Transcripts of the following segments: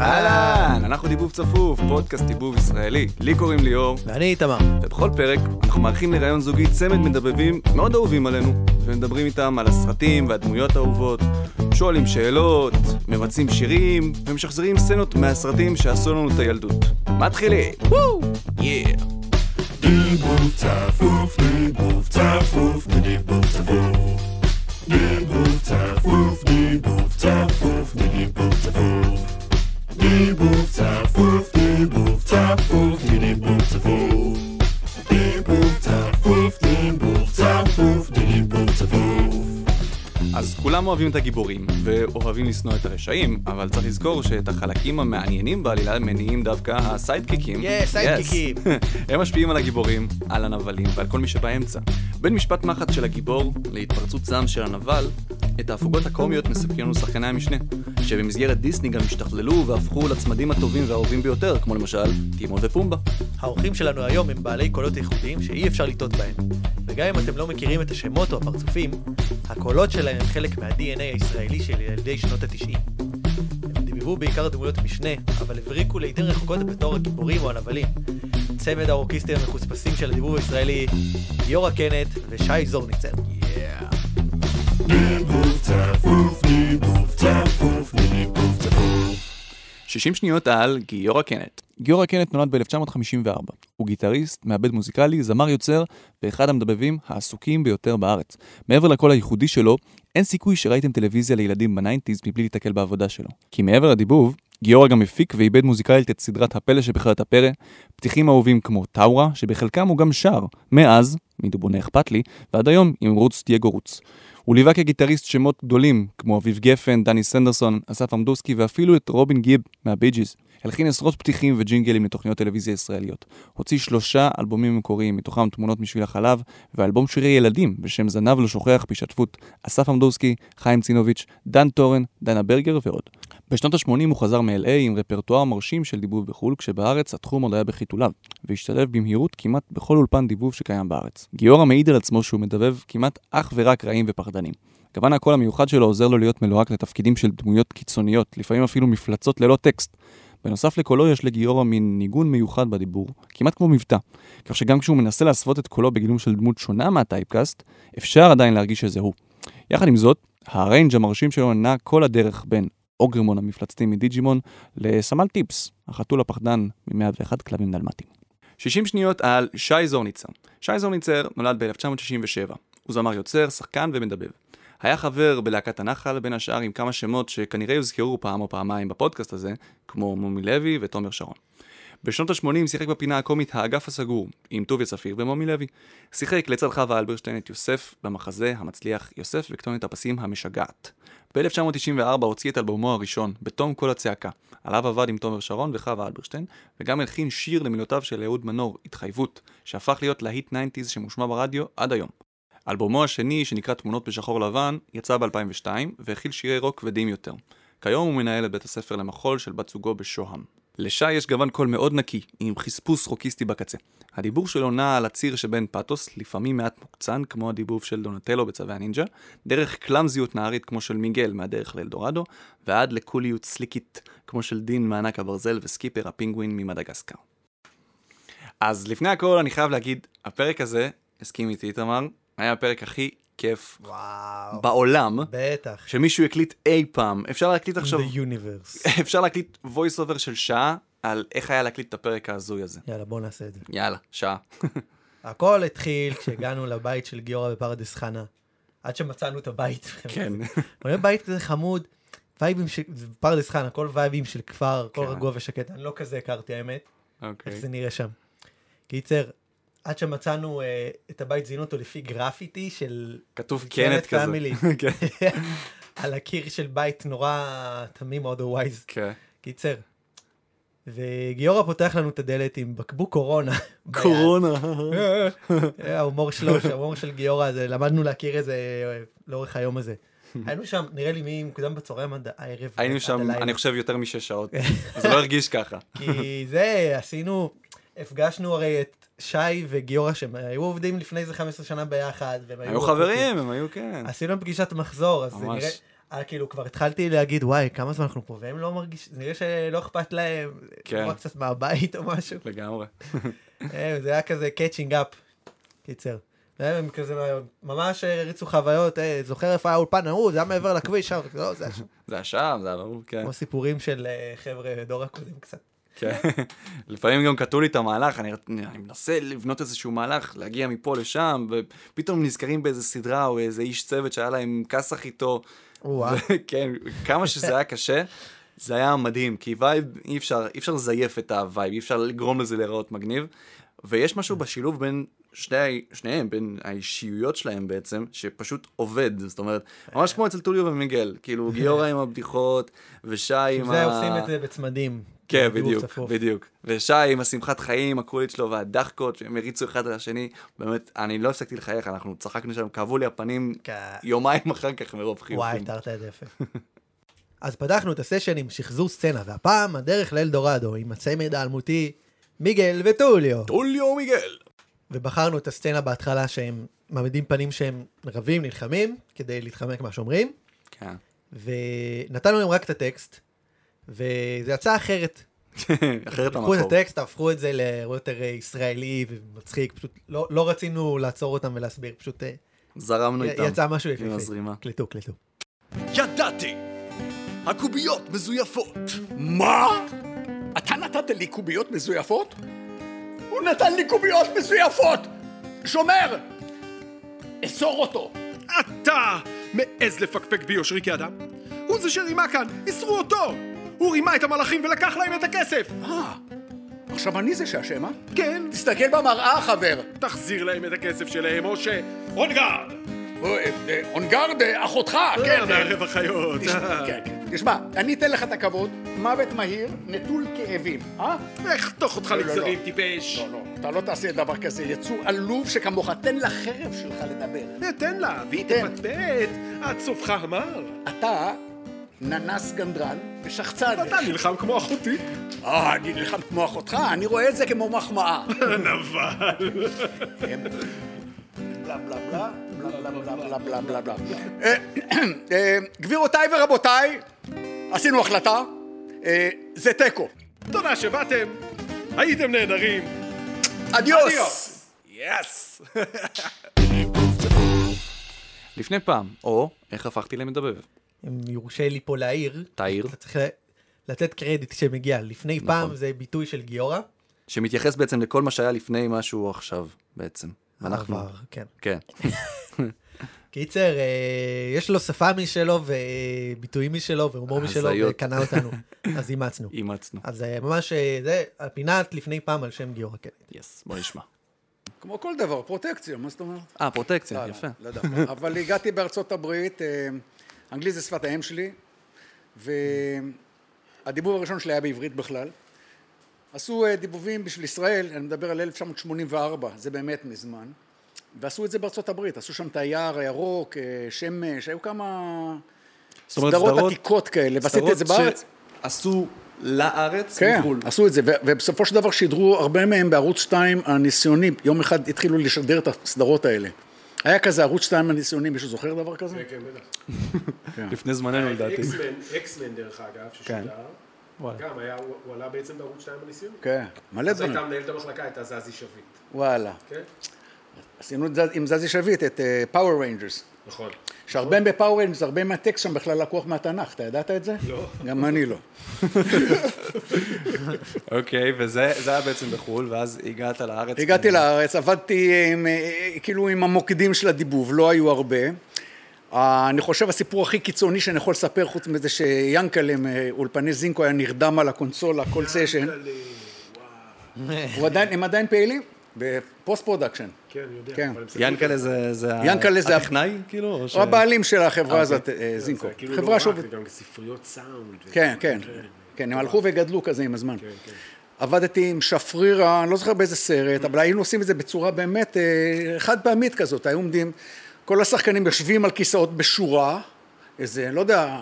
אהלן, אנחנו דיבוב צפוף, פודקאסט דיבוב ישראלי. לי קוראים ליאור, ואני איתמר. ובכל פרק אנחנו מארחים לראיון זוגי צמד מדבבים מאוד אהובים עלינו, ומדברים איתם על הסרטים והדמויות האהובות, שואלים שאלות, מבצעים שירים, ומשחזרים סצנות מהסרטים שעשו לנו את הילדות. מתחילים! וואו! יא! דיבוב צפוף, דיבוב צפוף, דיבוב צפוף. דיבוב צפוף, דיבוב צפוף, דיבוב צפוף. דיבוב צפוף, דיבוב צפוף, דיבוב צפוף. דיבוב צפוף, דיבוב צפוף, דיבוב צפוף. אז כולם אוהבים את הגיבורים, ואוהבים לשנוא את הרשעים, אבל צריך לזכור שאת החלקים המעניינים בעלילה מניעים דווקא הסיידקיקים. Yes, סיידקיקים. Yes. הם משפיעים על הגיבורים, על הנבלים ועל כל מי שבאמצע. בין משפט מחץ של הגיבור להתפרצות זעם של הנבל, את ההפוגות הקומיות מספקים לנו שחקני המשנה, שבמסגרת דיסני גם השתכללו והפכו לצמדים הטובים והאהובים ביותר, כמו למשל טימון ופומבה. האורחים שלנו היום הם בעלי קולות ייחודיים שאי אפשר לטעות בהם. וגם אם אתם לא מכירים את השמות או הפרצופים, הקולות שלהם הם חלק מה-DNA הישראלי של ילדי שנות ה-90. הם דיברו בעיקר דמויות משנה, אבל הבריקו לעיתים רחוקות בתור הגיבורים או הנבלים. צמד הרוקיסטים המחוספסים של הדיבור הישראלי, גיורא קנט ושי זורניצר. דיבוב צפוף, דיבוב צפוף, דיבוב צפוף. 60 שניות על גיורא קנט. גיורא קנט נולד ב-1954. הוא גיטריסט, מעבד מוזיקלי, זמר יוצר ואחד המדבבים העסוקים ביותר בארץ. מעבר לקול הייחודי שלו, אין סיכוי שראיתם טלוויזיה לילדים בניינטיז מבלי להתקל בעבודה שלו. כי מעבר לדיבוב, גיורא גם הפיק ועיבד מוזיקלית את סדרת הפלא שבחרת הפרא, פתיחים אהובים כמו טאורה, שבחלקם הוא גם שר, מאז, מדובונה אכפת לי, ועד היום עם רוץ דייגו רוץ. הוא ליווה כגיטריסט שמות גדולים כמו אביב גפן, דני סנדרסון, אסף עמדוסקי ואפילו את רובין גיב מהביג'יז. הלחין עשרות פתיחים וג'ינגלים לתוכניות טלוויזיה ישראליות. הוציא שלושה אלבומים מקוריים, מתוכם תמונות משביל החלב, ואלבום שירי ילדים בשם זנב לא שוכח בהשתתפות אסף עמדוסקי, חיים צינוביץ', דן טורן, דנה ברגר ועוד. בשנות ה-80 הוא חזר מ-LA עם רפרטואר מרשים של דיבוב בחו"ל, כשבארץ התחום עוד היה בחיתוליו, והשתלב במהירות כמעט בכל אולפן דיבוב שקיים בארץ. גיורא מעיד על עצמו שהוא מדבב כמעט אך ורק רעים ופחדנים. גוון הקול המיוחד שלו עוזר לו להיות מלוהק לתפקידים של דמויות קיצוניות, לפעמים אפילו מפלצות ללא טקסט. בנוסף לקולו יש לגיורא מין ניגון מיוחד בדיבור, כמעט כמו מבטא, כך שגם כשהוא מנסה להסוות את קולו בגילום של דמות שונה מהטייפקאסט, אפשר עדיין להרגיש שזה הוא. יחד עם זאת, הריינג' המרשים שלו נע כל הדרך בין אוגרמון המפלצתי מדיג'ימון לסמל טיפס, החתול הפחדן מ-101 כלבים דלמטים. 60 שניות על שי זורניצר. שי זורניצר נולד ב-1967. הוא זמר יוצר, שחקן ומדבב. היה חבר בלהקת הנחל, בין השאר עם כמה שמות שכנראה יוזכרו פעם או פעמיים בפודקאסט הזה, כמו מומי לוי ותומר שרון. בשנות ה-80 שיחק בפינה הקומית האגף הסגור, עם טוביה צפיר ומומי לוי. שיחק לצד חווה אלברשטיין את יוסף במחזה המצליח יוסף וקטונת הפסים המשגעת. ב-1994 הוציא את אלבומו הראשון, בתום כל הצעקה. עליו עבד עם תומר שרון וחווה אלברשטיין, וגם הלחין שיר למילותיו של אהוד מנור, התחייבות, שהפך להיות להיט 90's שמושמע ברדיו עד היום. אלבומו השני, שנקרא תמונות בשחור לבן, יצא ב-2002, והכיל שירי רוק כבדים יותר. כיום הוא מנהל את בית הספר למחול של בת זוגו בשוהם. לשי יש גוון קול מאוד נקי, עם חספוס רוקיסטי בקצה. הדיבור שלו נע על הציר שבין פאתוס, לפעמים מעט מוקצן, כמו הדיבוב של דונטלו בצווי הנינג'ה, דרך קלאמזיות נהרית כמו של מיגל מהדרך לאלדורדו, ועד לקוליות סליקית, כמו של דין מענק הברזל וסקיפר הפינגווין ממדגסקר. אז לפני הכל אני חייב להגיד, הפרק הזה, הסכים איתי איתמר, היה הפרק הכי כיף וואו. בעולם בטח. שמישהו הקליט אי פעם. אפשר להקליט עכשיו, The universe. אפשר להקליט voice over של שעה על איך היה להקליט את הפרק ההזוי הזה. יאללה, בואו נעשה את זה. יאללה, שעה. הכל התחיל כשהגענו לבית של גיורא בפרדס חנה, עד שמצאנו את הבית. כן. עולה בית כזה חמוד, וייבים של זה פרדס חנה, כל וייבים של כפר, הכל כן. רגוע ושקט, אני לא כזה הכרתי האמת, איך אוקיי. זה נראה שם. קיצר, עד שמצאנו אה, את הבית, זיהינו אותו לפי גרפיטי של... כתוב קנט קנט כזה. family. כן. על הקיר של בית נורא תמים אודרווייז. כן. קיצר. וגיורא פותח לנו את הדלת עם בקבוק קורונה. ביד. אה, ההומור שלו, ההומור של גיורא הזה, למדנו להכיר את זה אה, לאורך היום הזה. היינו שם, נראה לי מי מוקדם בצהריים עד הערב. היינו עד שם, הלילה. אני חושב, יותר משש שעות. זה לא הרגיש ככה. כי זה, עשינו, הפגשנו הרי את שי וגיורא, שהם היו עובדים לפני איזה 15 שנה ביחד. והם היו חברים, הם היו, כן. עשינו פגישת מחזור, אז זה ממש. נראה... אה, כאילו, כבר התחלתי להגיד, וואי, כמה זמן אנחנו פה, והם לא מרגישים, נראה שלא אכפת להם, כן. כן, קצת מהבית או משהו, לגמרי. אה, זה היה כזה קאצ'ינג אפ, קיצר. הם כזה ממש הריצו חוויות, אה, זוכר איפה היה האולפן ההוא, זה היה מעבר לכביש, שם, לא, זה היה שם. זה היה שם, זה היה ברור, כן. כמו סיפורים של אה, חבר'ה דור הקודם קצת. כן. לפעמים גם קטעו לי את המהלך, אני, אני מנסה לבנות איזשהו מהלך, להגיע מפה לשם, ופתאום נזכרים באיזה סדרה או איזה איש צוות שהיה להם כסח איתו. וואו. כן, כמה שזה היה קשה, זה היה מדהים, כי וייב, אי אפשר, אי אפשר לזייף את הווייב, אי אפשר לגרום לזה להיראות מגניב. ויש משהו בשילוב בין שני, ה- שניהם, בין האישיויות שלהם בעצם, שפשוט עובד. זאת אומרת, ממש כמו אצל טוליו ומיגל, כאילו גיורא עם הבדיחות, ושי עם זה עושים את זה בצמדים. כן, בדיוק בדיוק, צפוף. בדיוק. ושי עם השמחת חיים, הקולית שלו והדחקות, שהם הריצו אחד על השני, באמת, אני לא הפסקתי לחייך, אנחנו צחקנו שם, כאבו לי הפנים כן. יומיים אחר כך מרוב חיוכים. וואי, תרת את זה יפה. אז פתחנו את הסשן עם שחזור סצנה, והפעם הדרך לאלדורדו עם הצמד האלמותי מיגל וטוליו. טוליו מיגל! ובחרנו את הסצנה בהתחלה שהם מעמידים פנים שהם רבים, נלחמים, כדי להתחמק מהשומרים, כן. ונתנו להם רק את הטקסט, וזה יצא אחרת. אחרת לקחו את המקור. הטקסט, הפכו את זה לאירוע יותר אה, ישראלי ומצחיק, פשוט לא, לא רצינו לעצור אותם ולהסביר, פשוט אה, זרמנו לא איתם. יצא משהו יפהפה. עם הזרימה. קלטו, קלטו. ידעתי! הקוביות מזויפות! מה? אתה נתת לי קוביות מזויפות? הוא נתן לי קוביות מזויפות! שומר! אסור אותו! אתה מעז לפקפק ביושרי כאדם? הוא זה שרימה כאן, אסרו אותו! הוא רימה את המלאכים ולקח להם את הכסף! מה? אה, עכשיו אני זה שאשם, אה? כן. תסתכל במראה, חבר. תחזיר להם את הכסף שלהם, או ש... אונגרד! אה, אונגרד, אחותך, כן. מערב החיות. אה. כן, כן. תשמע, אני אתן לך את הכבוד, מוות מהיר, נטול כאבים, אה? אחתוך אותך לא, לא, לגזרים, לא. טיפש. לא, לא, אתה לא תעשה דבר כזה, יצור עלוב שכמוך, תן לחרב שלך לדבר. תן לה, והיא תן. תפטפט, עד סופך המר. אתה ננס גנדרן ושחצן. אתה נלחם כמו אחותי. אה, אני נלחם כמו אחותך, אני רואה את זה כמו מחמאה. נבל. כן. בלה בלה בלה, בלה בלה בלה בלה בלה בלה בלה. אה, אה, גבירותיי ורבותיי, עשינו החלטה, אה, זה תיקו. תודה שבאתם, הייתם נהדרים. אדיוס! אדיוס. יס. לפני פעם, או איך הפכתי למדבב. אם יורשה לי פה להעיר, תעיר, נכון. אתה צריך ל- לתת קרדיט כשמגיע. לפני פעם זה ביטוי של גיורא. שמתייחס בעצם לכל מה שהיה לפני מה שהוא עכשיו, בעצם. ואנחנו... העבר, כן. כן. קיצר, אה, יש לו שפה משלו וביטויים משלו והומור משלו, הזיות. וקנה אותנו, אז אימצנו. אימצנו. אז אה, ממש אה, זה, הפינת לפני פעם על שם גיורא, כן. יס, בוא נשמע. כמו כל דבר, פרוטקציה, מה זאת אומרת? אה, פרוטקציה, לא, יפה. לא, לא דווקא. אבל הגעתי בארצות הברית, אה, אנגלית זה שפת האם שלי, והדיבוב הראשון שלי היה בעברית בכלל. עשו אה, דיבובים בשביל ישראל, אני מדבר על 1984, זה באמת מזמן, ועשו את זה בארצות הברית, עשו שם את היער הירוק, אה, שמש, היו כמה זאת אומרת, סדרות סדרות- עתיקות כאלה, ועשיתי את זה סדרות בארץ. שעשו לארץ כן, מחו"ל. עשו את זה, ו- ובסופו של דבר שידרו הרבה מהם בערוץ 2 הניסיוני, יום אחד התחילו לשדר את הסדרות האלה. היה כזה ערוץ 2 הניסיוני, מישהו זוכר דבר כזה? כן, בטח. לפני זמננו לדעתי. אקסמן, אקסמן דרך אגב, ששידר. גם היה, הוא הוא עלה בעצם בערוץ 2 הניסיון. כן, מלא אז דברים. הייתה מנהלת המחלקה, הייתה זזי שביט. וואלה. כן? עשינו את זה עם זזי שביט, את פאוור ריינג'רס. נכון. שהרבה בפאוור ריינג'רס, הרבה מהטקסט שם בכלל לקוח מהתנ"ך, אתה ידעת את זה? לא. גם אני לא. אוקיי, וזה זה היה בעצם בחו"ל, ואז הגעת לארץ. אה, הגעתי לארץ, עבדתי עם, אה, כאילו עם המוקדים של הדיבוב, לא היו הרבה. אה, אני חושב הסיפור הכי קיצוני שאני יכול לספר, חוץ מזה שיאנקל'ה מאולפני זינקו היה נרדם על הקונסולה כל סשן. הוא עדיין, הם עדיין פעילים? בפוסט פרודקשן. כן, אני יודע. כן. אבל הם שמים ינקלה זה... זה ה- ינקלה זה ה- הטכנאי, כאילו? או ש- הוא הבעלים של החברה הזאת, אה, את זה, זינקו. זה כאילו לא חברה רק, שעובדת... זה גם ספריות סאונד. ו- כן, כן, כן, הם הלכו וגדלו כזה עם הזמן. כן. עבדתי עם שפרירה, אני לא זוכר באיזה סרט, אבל היינו עושים את זה בצורה באמת אה, חד פעמית כזאת, היו עומדים, כל השחקנים יושבים על כיסאות בשורה, איזה, לא יודע,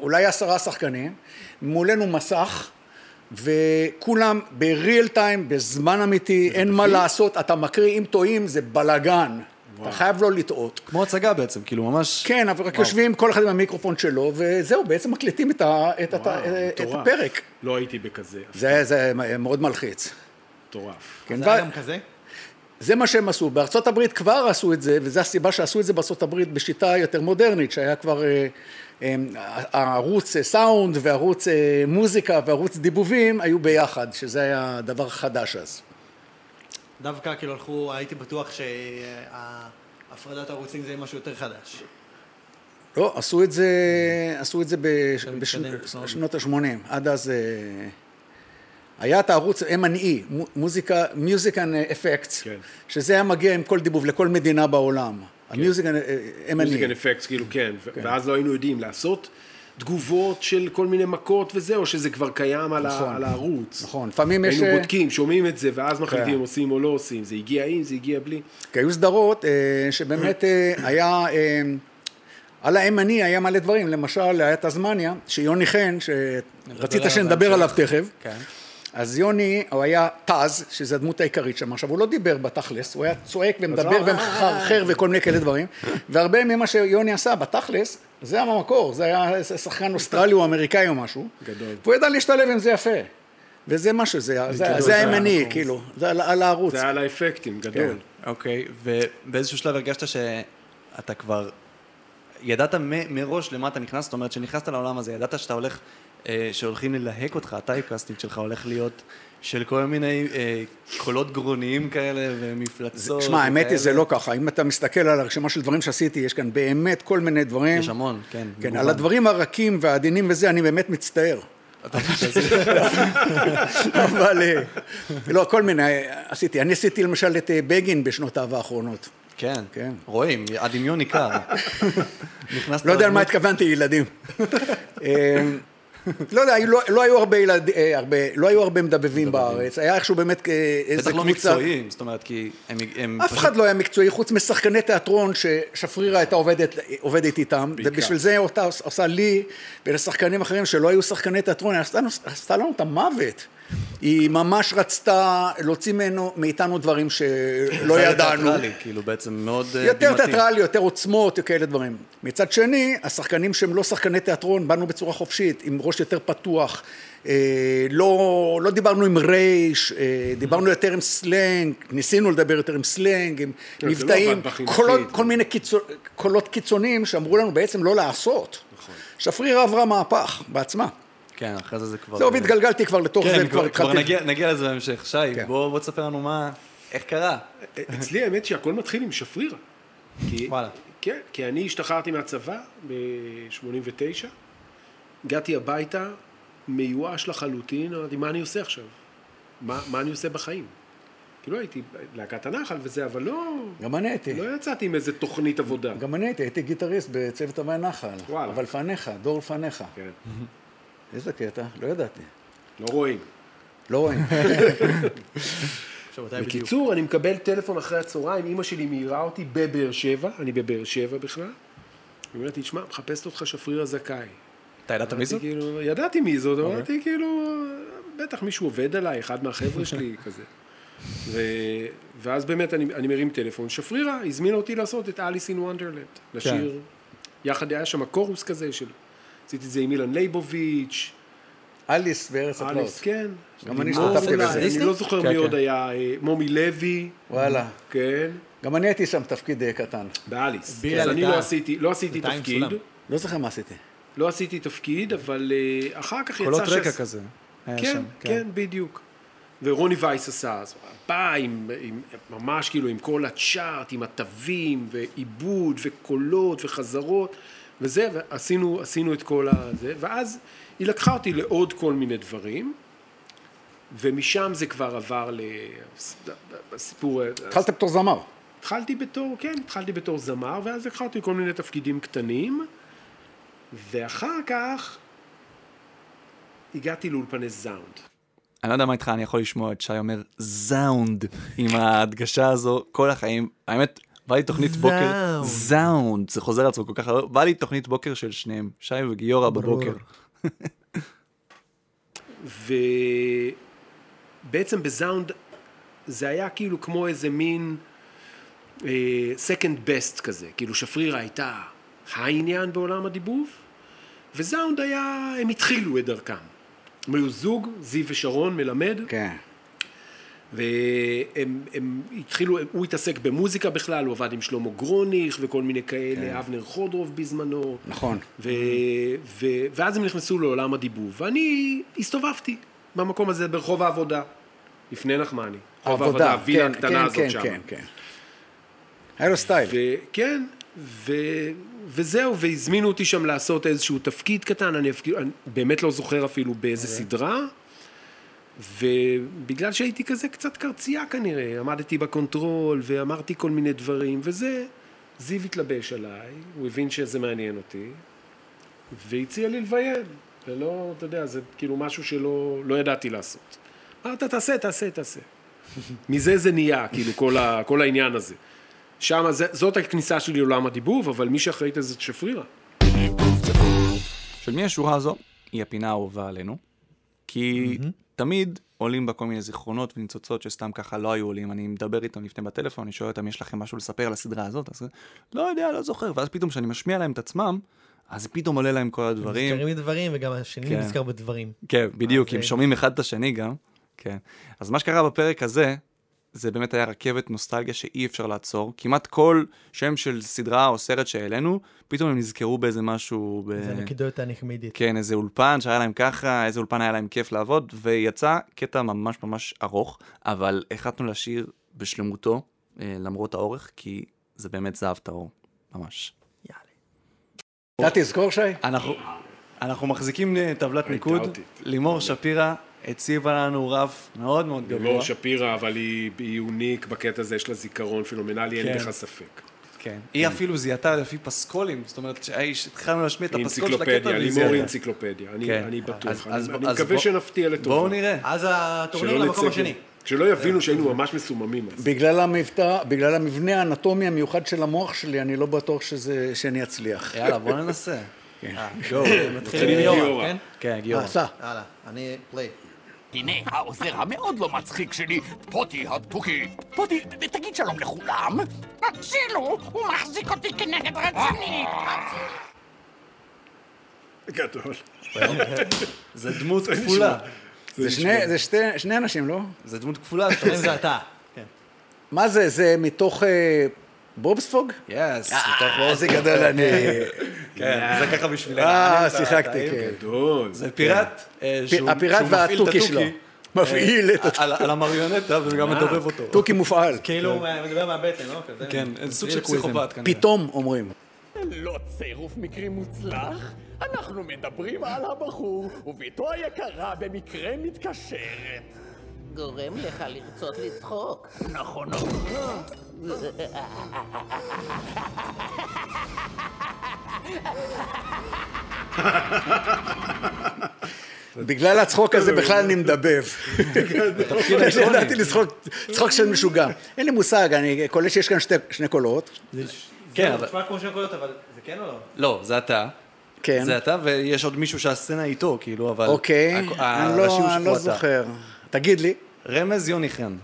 אולי עשרה שחקנים, מולנו מסך, וכולם ב-real time, בזמן אמיתי, אין מה לעשות, אתה מקריא, אם טועים זה בלאגן. אתה חייב לא לטעות. כמו הצגה בעצם, כאילו ממש... כן, אבל רק יושבים כל אחד עם המיקרופון שלו, וזהו, בעצם מקליטים את ה- את ה- את מטורף. הפרק. לא הייתי בכזה, אז זה זה מאוד מלחיץ. מטורף. כן, זה ו- היה גם כזה? זה מה שהם עשו. בארצות הברית כבר עשו את זה, וזו הסיבה שעשו את זה בארצות הברית בשיטה יותר מודרנית, שהיה כבר אה, אה, הערוץ אה, סאונד וערוץ אה, מוזיקה וערוץ דיבובים היו ביחד, שזה היה דבר חדש אז. דווקא כאילו הלכו, הייתי בטוח שהפרדת הערוצים זה משהו יותר חדש. לא, עשו את זה, עשו את זה בש, מתקדם, טכנולוגיה. בשנות ה-80, עד אז אה, היה את הערוץ M&E, מו- מוזיקה, Music and Effects, כן. שזה היה מגיע עם כל דיבוב לכל מדינה בעולם. אה, המיוזיק, M&E. מוזיקן אפקט, כאילו, כן. ו- ואז לא היינו יודעים לעשות תגובות של כל מיני מכות וזה, או שזה כבר קיים על ה- על הערוץ. נכון, לפעמים יש... היינו בודקים, שומעים את זה, ואז מחליטים כן. אם עושים או לא עושים. זה הגיע עם, זה הגיע בלי. כי היו סדרות אה, שבאמת אה, היה, אה, על הימני היה מלא דברים, למשל היה תזמניה, שיוני חן, שרצית עליו שנדבר בהמשך. עליו תכף, כן. אז יוני, הוא היה תז, שזו הדמות העיקרית שם, עכשיו הוא לא דיבר בתכלס, הוא היה צועק ומדבר ומחרחר וכל מיני כאלה דברים, והרבה ממה שיוני עשה בתכלס, זה היה במקור, זה היה שחקן אוסטרלי או אמריקאי או משהו, גדול. והוא ידע להשתלב עם זה יפה, וזה משהו, זה זה- גדול, זה זה היה הימני, המקור. כאילו, זה על- על הערוץ. זה היה על האפקטים, כן. גדול. אוקיי, ובאיזשהו שלב הרגשת שאתה כבר ידעת מ- מראש למה אתה נכנס, זאת אומרת שנכנסת לעולם הזה, ידעת שאתה הולך, אה, שהולכים ללהק אותך, הטייפקאסטינג שלך הולך להיות של כל מיני אה, קולות גרוניים כאלה ומפלצות. שמע, האמת היא, וכאלה. זה לא ככה. אם אתה מסתכל על הרשימה של דברים שעשיתי, יש כאן באמת כל מיני דברים. יש המון, כן. כן, מגוון. על הדברים הרכים והעדינים וזה, אני באמת מצטער. אבל אה, לא, כל מיני אה, עשיתי. אני עשיתי למשל את אה, בגין בשנותיו האחרונות. כן, כן. רואים, הדמיון ניכר. נכנסת לא יודע על מה לדמות- התכוונתי, ילדים. אה, לא יודע, היו- לא- לא היו הרבה ילד- אה, הרבה- לא היו הרבה מדבבים בארץ, היה איכשהו באמת אה, איזה בטח לא קבוצה- מקצועיים, זאת אומרת, כי הם- הם אף אחד לא היה מקצועי, חוץ משחקני תיאטרון ששפרירה הייתה עובדת, עובדת איתם, ובשביל זה אותה עוש- עושה לי ולשחקנים אחרים שלא היו שחקני תיאטרון, היא עשתה, לנו- עשתה לנו את המוות. היא ממש רצתה להוציא ממנו, מאיתנו דברים שלא זה לא ידענו. תיאטרלי, כאילו בעצם מאוד אה, יותר דמיותי. תיאטרלי, יותר עוצמות, כאלה דברים. מצד שני, השחקנים שהם לא שחקני תיאטרון, באנו בצורה חופשית, עם ראש יותר פתוח. אה, לא, לא דיברנו עם רייש, אה, דיברנו יותר עם סלנג, ניסינו לדבר יותר עם סלנג, עם לא מבטאים, עבד בחינוכית. קולות, כל מיני קיצו, קולות קיצוניים שאמרו לנו בעצם לא לעשות. נכון. שפרירה עברה מהפך בעצמה. אוקיי. כן, אחרי זה זה כבר... טוב, התגלגלתי כבר לתוך לא זה, כן, וכבר כבר- כבר התחלתי... נגיע- נגיע לזה בהמשך. שי, כן. בוא בוא תספר לנו מה... איך קרה? אצלי האמת שהכל מתחיל עם שפרירה. כי, וואלה. כן, כי אני השתחררתי מהצבא ב-89, הגעתי הביתה מיואש לחלוטין, אמרתי, מה אני עושה עכשיו? מה, מה אני עושה בחיים? כאילו הייתי להקת הנחל וזה, אבל לא, גם אני הייתי. לא יצאתי עם איזה תוכנית עבודה. גם אני הייתי, הייתי גיטריסט בצוות המי נחל. וואלה. אבל לפניך, דור לפניך. כן, איזה קטע? לא ידעתי. לא רואים. לא רואים. עכשיו, מתי בדיוק? בקיצור, אני מקבל טלפון אחרי הצהריים, אימא שלי מעירה אותי בבאר שבע, אני בבאר שבע בכלל. היא אומרת לי, תשמע, מחפשת אותך שפרירה זכאי. אתה ידעת מי זאת? אמרתי, כאילו, ידעתי מי זאת, אבל אמרתי כאילו, בטח מישהו עובד עליי, אחד מהחבר'ה שלי כזה. ו... ואז באמת אני, אני מרים טלפון, שפרירה הזמינה אותי לעשות את אליס אין וונדרלנד, לשיר, יחד היה שם קורוס כזה של, עשיתי את זה עם אילן לייבוביץ', אליס בארץ הפלאות. אליס כן, גם אני לימור השתתפתי אולי, בזה. אני לא זוכר מי עוד היה, אה, מומי לוי, וואלה. כן, גם אני הייתי שם תפקיד אה, קטן. באליס, בילה אז אני הייתה- לא עשיתי, לא עשיתי הייתה עם תפקיד, סולם. לא זוכר מה עשיתי. לא עשיתי תפקיד, אבל אה, אחר כך יצא קולות שעש- רקע כזה. היה כן, שם, כן, בדיוק. ורוני וייס עשה, אז הוא בא עם, עם, ממש כאילו עם כל הצ'ארט, עם התווים, ועיבוד, וקולות, וחזרות, וזה, ועשינו עשינו את כל הזה, ואז היא לקחה אותי לעוד כל מיני דברים, ומשם זה כבר עבר לסיפור... התחלת בתור זמר. התחלתי בתור, כן, התחלתי בתור זמר, ואז לקחה אותי כל מיני תפקידים קטנים, ואחר כך הגעתי לאולפני זאונד. אני לא יודע מה איתך, אני יכול לשמוע את שי אומר זאונד עם ההדגשה הזו כל החיים. האמת, בא לי תוכנית בוקר, זאונד. זאונד, זה חוזר על עצמו כל כך הרבה, בא לי תוכנית בוקר של שניהם, שי וגיורא בבוקר. ובעצם בזאונד זה היה כאילו כמו איזה מין second best כזה, כאילו שפרירה הייתה העניין בעולם הדיבוב, וזאונד היה, הם התחילו את דרכם. הם היו זוג, זיו ושרון מלמד, כן. והם הם התחילו, הוא התעסק במוזיקה בכלל, הוא עבד עם שלמה גרוניך וכל מיני כאלה, כן. אבנר חודרוב בזמנו. נכון. ו, ו, ואז הם נכנסו לעולם הדיבוב, ואני הסתובבתי במקום הזה ברחוב העבודה, לפני נחמני. רחוב העבודה, עבודה, הווילה כן, הקטנה כן, הזאת כן, שם. כן, כן. היה לו סטייל. וכן, כן, ו... וזהו, והזמינו אותי שם לעשות איזשהו תפקיד קטן, אני, אפק- אני באמת לא זוכר אפילו באיזה סדרה, ובגלל שהייתי כזה קצת קרצייה כנראה, עמדתי בקונטרול ואמרתי כל מיני דברים, וזה, זיו התלבש עליי, הוא הבין שזה מעניין אותי, והציע לי לביים, ולא, אתה יודע, זה כאילו משהו שלא לא ידעתי לעשות. אמרת, תעשה, תעשה, תעשה. מזה זה נהיה, כאילו, כל, ה, כל העניין הזה. שם, זה, זאת הכניסה שלי לעולם הדיבוב, אבל מי שאחראית לזה זה שפרירה. של מי השורה הזו? היא הפינה האהובה עלינו, כי תמיד עולים בה כל מיני זיכרונות וניצוצות שסתם ככה לא היו עולים. אני מדבר איתם לפני בטלפון, אני שואל אותם, יש לכם משהו לספר על הסדרה הזאת? אז לא יודע, לא זוכר. ואז פתאום כשאני משמיע להם את עצמם, אז פתאום עולה להם כל הדברים. נזכרים בדברים, וגם השני כן. נזכר בדברים. כן, בדיוק, אוקיי. הם שומעים אחד את השני גם. כן. אז מה שקרה בפרק הזה, זה באמת היה רכבת נוסטלגיה שאי אפשר לעצור. כמעט כל שם של סדרה או סרט שהעלינו, פתאום הם נזכרו באיזה משהו... ב... זה הנקדותה הנחמדית. כן, איזה אולפן שהיה להם ככה, איזה אולפן היה להם כיף לעבוד, ויצא קטע ממש ממש ארוך, אבל החלטנו להשאיר בשלמותו, אה, למרות האורך, כי זה באמת זהב טהור, ממש. יאללה. אתה תזכור, שי? אנחנו, אנחנו מחזיקים אה, טבלת ניקוד. אותי. לימור שפירא הציבה לנו רף מאוד מאוד גבוה. לימור שפירא, אבל היא, היא יוניק בקטע הזה, יש לה זיכרון פנומנלי, אין כן. בכלל ספק. כן. היא אפילו זיהתה לפי פסקולים, זאת אומרת, שהאיש- התחלנו להשמיע את היא הפסקול של הקטע אנציקלופדיה, והיא לימור היא זיהתה. אנציקלופדיה, אני, כן. אני בטוח. אז- אני, אז- אני אז מקווה בוא- שנפתיע לטובה. בואו נראה. אז שלא הטורניר למקום נצא- השני. שלא יבינו שהיינו ממש מסוממים. אז. בגלל המבטא, בגלל המבנה האנטומי המיוחד של המוח שלי, אני לא בטוח שזה, שאני אצליח. יאללה, בואו ננסה. כן, אה, גו. מתחילים עם גיורא, גיורא. כן? כן, גיורא. עשה. יאללה, אני פליי. הנה העוזר המאוד לא מצחיק שלי, פוטי התוכי. פוטי, תגיד שלום לכולם. הצילו, הוא מחזיק אותי כנגד רציני. אה. גדול. זה דמות כפולה. זה שני- זה שתי- שני אנשים, לא? זה דמות כפולה. שאתה אם עושה. זה כן, אתה. מה זה, זה מתוך אה, בובספוג? יס. אה, זה גדול, אני... כן, זה ככה בשבילנו. אה, אני ואתה, שיחקתי, אתה, כן. גדול. זה פיראט. אה, שהוא- הפיראט שהוא מפעיל את והתוכי התוכי, שלו. מפעיל את... אה, על- על המריונטה וגם מדובב אותו. התוכי מופעל. כאילו, כן. הוא מדבר מהבטן, לא? כזה. כן, סוג של פסיכופת כנראה. פתאום אומרים. לא צירוף מקרים מוצלח, אנחנו מדברים על הבחור, וביתו היקרה במקרה מתקשרת. גורם לך לרצות לצחוק. נכון, בגלל הצחוק הזה בכלל אני מדבב. ידעתי לצחוק, צחוק של משוגע. אין לי מושג, אני קולט שיש כאן שתי- שני קולות. כן, זה אבל... כאילו, נשמע כמו שני קולות, אבל זה כן או לא? לא, זה אתה. כן. זה אתה, ויש עוד מישהו שהסצנה איתו, כאילו, אבל... אוקיי, הכ- אני הראשי הוא לא- אני לא שהוא אתה. זוכר. תגיד לי, רמז יוני חן.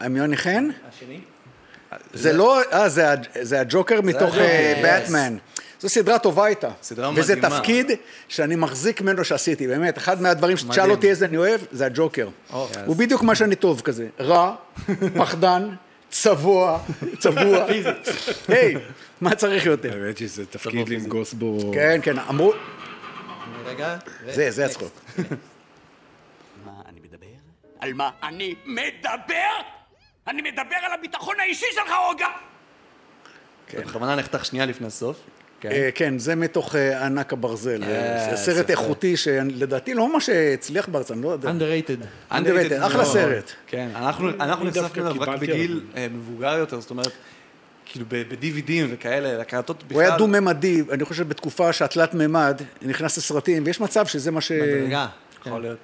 המיוני חן? השני? זה לא, אה, זה ה- זה הג'וקר מתוך הג'וקר, אה, yes. באטמן. זו סדרה טובה הייתה. סדרה וזה מדהימה. תפקיד שאני מחזיק ממנו שעשיתי, באמת. אחד מהדברים שתשאל מדהים. Oh, אותי איזה אני אוהב, זה הג'וקר. הוא בדיוק מה שאני טוב כזה. רע, פחדן, צבוע, צבוע. היי, מה צריך יותר? האמת שזה תפקיד לנגוס בו. כן, כן, אמרו, רגע. זה, זה הצחוק. מה אני מדבר? על מה אני מדבר? אני מדבר על הביטחון האישי שלך, אוגה! אתה בכוונה נחתך שנייה לפני הסוף. כן. כן. אה, כן, זה מתוך אה, ענק הברזל. זה אה, סרט ספר. איכותי שלדעתי לא ממש הצליח בארץ, אני לא יודע. underrated. underrated, אחלה מאוד. סרט. כן, אנחנו אנחנו אני דווקא נחשפנו אליו רק קיבלתי בגיל אה, מבוגר יותר, זאת אומרת, כאילו ב-DVDים וכאלה, הקלטות בכלל... הוא היה דו-ממדי, אני חושב שבתקופה שהתלת מימד נכנס לסרטים, ויש מצב שזה מה ש... רגע. אה, כן. יכול להיות.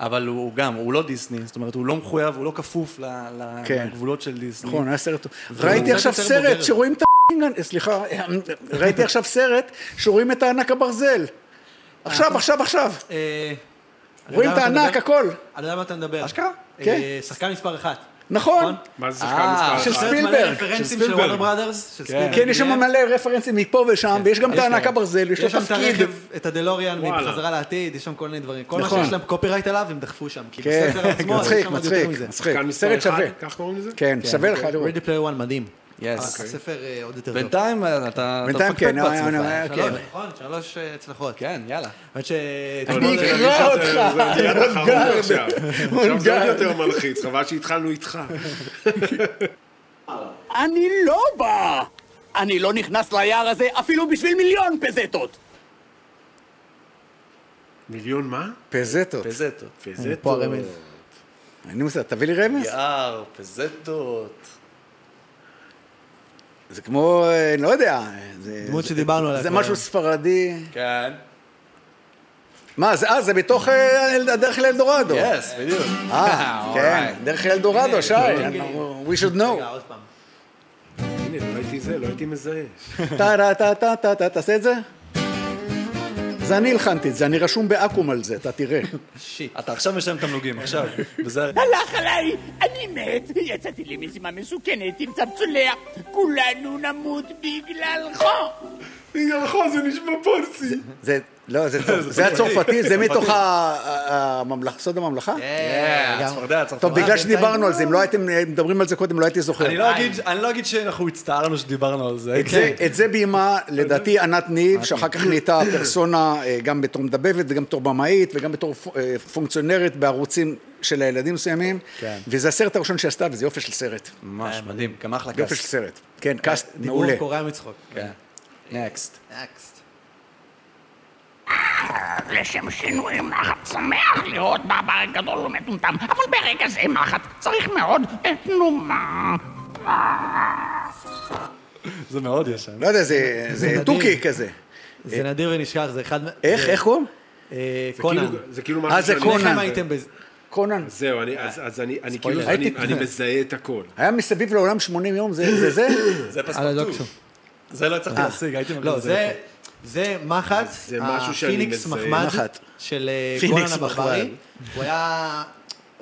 אבל הוא הוא גם, הוא לא דיסני, זאת אומרת, הוא לא מחויב, הוא לא כפוף ל- ל- כן. לגבולות של דיסני. נכון, היה סרט... הוא ראיתי קצת עכשיו יותר סרט בוגר. שרואים את ה... סליחה, ראיתי עכשיו סרט שרואים את הענק הברזל. עכשיו, עכשיו, עכשיו. אה, אני רואים את יודע מה אתה הענק, מדבר? הכל. אני יודע מה אתה מדבר. אשכרה? אה, כן. שחקן מספר אחת. נכון. מה זה שחקן אה, מספר של אחת? ספילברג. רפרנסים של ספילברג. וורנר בראדרס, של ספילברג. כן, יש שם אה, מלא רפרנסים מפה ושם, ויש גם את הענקה ברזל, יש לו כן. יש שם את תפקיד. הרכב, את הדלוריאן וואלה. בחזרה לעתיד, יש שם כל מיני דברים. כל מה נכון. שיש להם קופירייט עליו, הם דחפו שם. כי כן, בספר עצמו, יש מצחיק, שם עוד יותר מצחיק, מזה. מצחיק. שחקן מספר סרט אחד, שווה. כך קוראים לזה? כן, שווה לך אוקיי. לראות. Ready Player One מדהים. יס. הספר אה, עוד יותר טוב. בינתיים אה, אתה אתה בינתיים כן, אה, בעצמך. אה, אה, שלוש, כן. נכון? שלוש אה, הצלחות. כן, יאללה. עד ש... לא אני כן. אקרא זה- זה אותך. נהיה תחרות עכשיו. עכשיו זה עוד אונגר. יותר מלחיץ, חבל שהתחלנו איתך. אני לא בא! אני לא נכנס ליער הזה אפילו בשביל מיליון פזטות! מיליון מה? פזטות. פזטות. פה הרמז. אני מוסר, תביא לי רמז. יער, פזטות. זה כמו, אה, לא יודע. זה- דמות זה- שדיברנו עליה זה כבר. משהו ספרדי. כן. מה, זה- אה, זה בתוך אה, אל- הדרך לאלדורדו. יס, בדיוק. אה, כן, דרך לאלדורדו, שי. אנחנו- We should רגע, know. עוד פעם. הנה, לא הייתי זה, לא הייתי מזהה. טה טה טה טה טה תעשה את זה. זה אני הלחנתי את זה, אני רשום בעכו"ם על זה, אתה תראה. שיט. אתה עכשיו משלם תמלוגים, עכשיו. וזה... הלך עליי, אני מת, יצאתי למשימה מסוכנת עם צמצוליה, כולנו נמות בגללך. בגללך נכון, זה נשמע פולסי. זה, לא, זה- זה הצרפתי, זה מתוך ה- ה- הממלכ- סוד הממלכה? יאה, צפרדע, צפרדע. טוב, בגלל שדיברנו על זה, אם לא הייתם מדברים על זה קודם, לא הייתי זוכר. אני לא אגיד- אני לא אגיד שאנחנו הצטערנו שדיברנו על זה. כן. את זה- את זה ביימה, לדעתי, כן. ענת ניב, שאחר כך נהייתה פרסונה אה, גם בתור מדבבת וגם בתור במאית וגם בתור פו- אה, פונקציונרת בערוצים של הילדים מסוימים. וזה הסרט הראשון שעשתה, וזה יופי של סרט. ממש מדהים, גם אחלה אה, יופי של קאסט. סרט. כן, קאסט דיבור מעולה. כן. קורע מצחוק. נקסט. נקסט. לשם שינוי מחט שמח לראות בעבר גדול ומטומטם, אבל ברגע זה מחט צריך מאוד, אה, נו מה. זה מאוד ישן. לא יודע, זה- זה מדהים. תוכי כזה. זה נדיר ונשכח, זה אחד... מה- איך, זה- איך קוראים? אה, זה קונן. כאילו- זה כאילו אה, משהו זה שאני... שניכם קונן. הייתם בזה. קונן. זהו, אני- אז אז אני אני כאילו, ספוילר. אני הייתי- אני מזהה את הכל. היה מסביב לעולם 80 יום, זה זה? זה? זה על פספורטו. הדוקשו. זה לא אה. הצלחתי להשיג, הייתי מבין לא, זה... זה מחט, זה משהו שאני הפיניקס מזהה. מחמד מחט. של אה, פיניקס קונן הברברי. מחמד. הוא היה...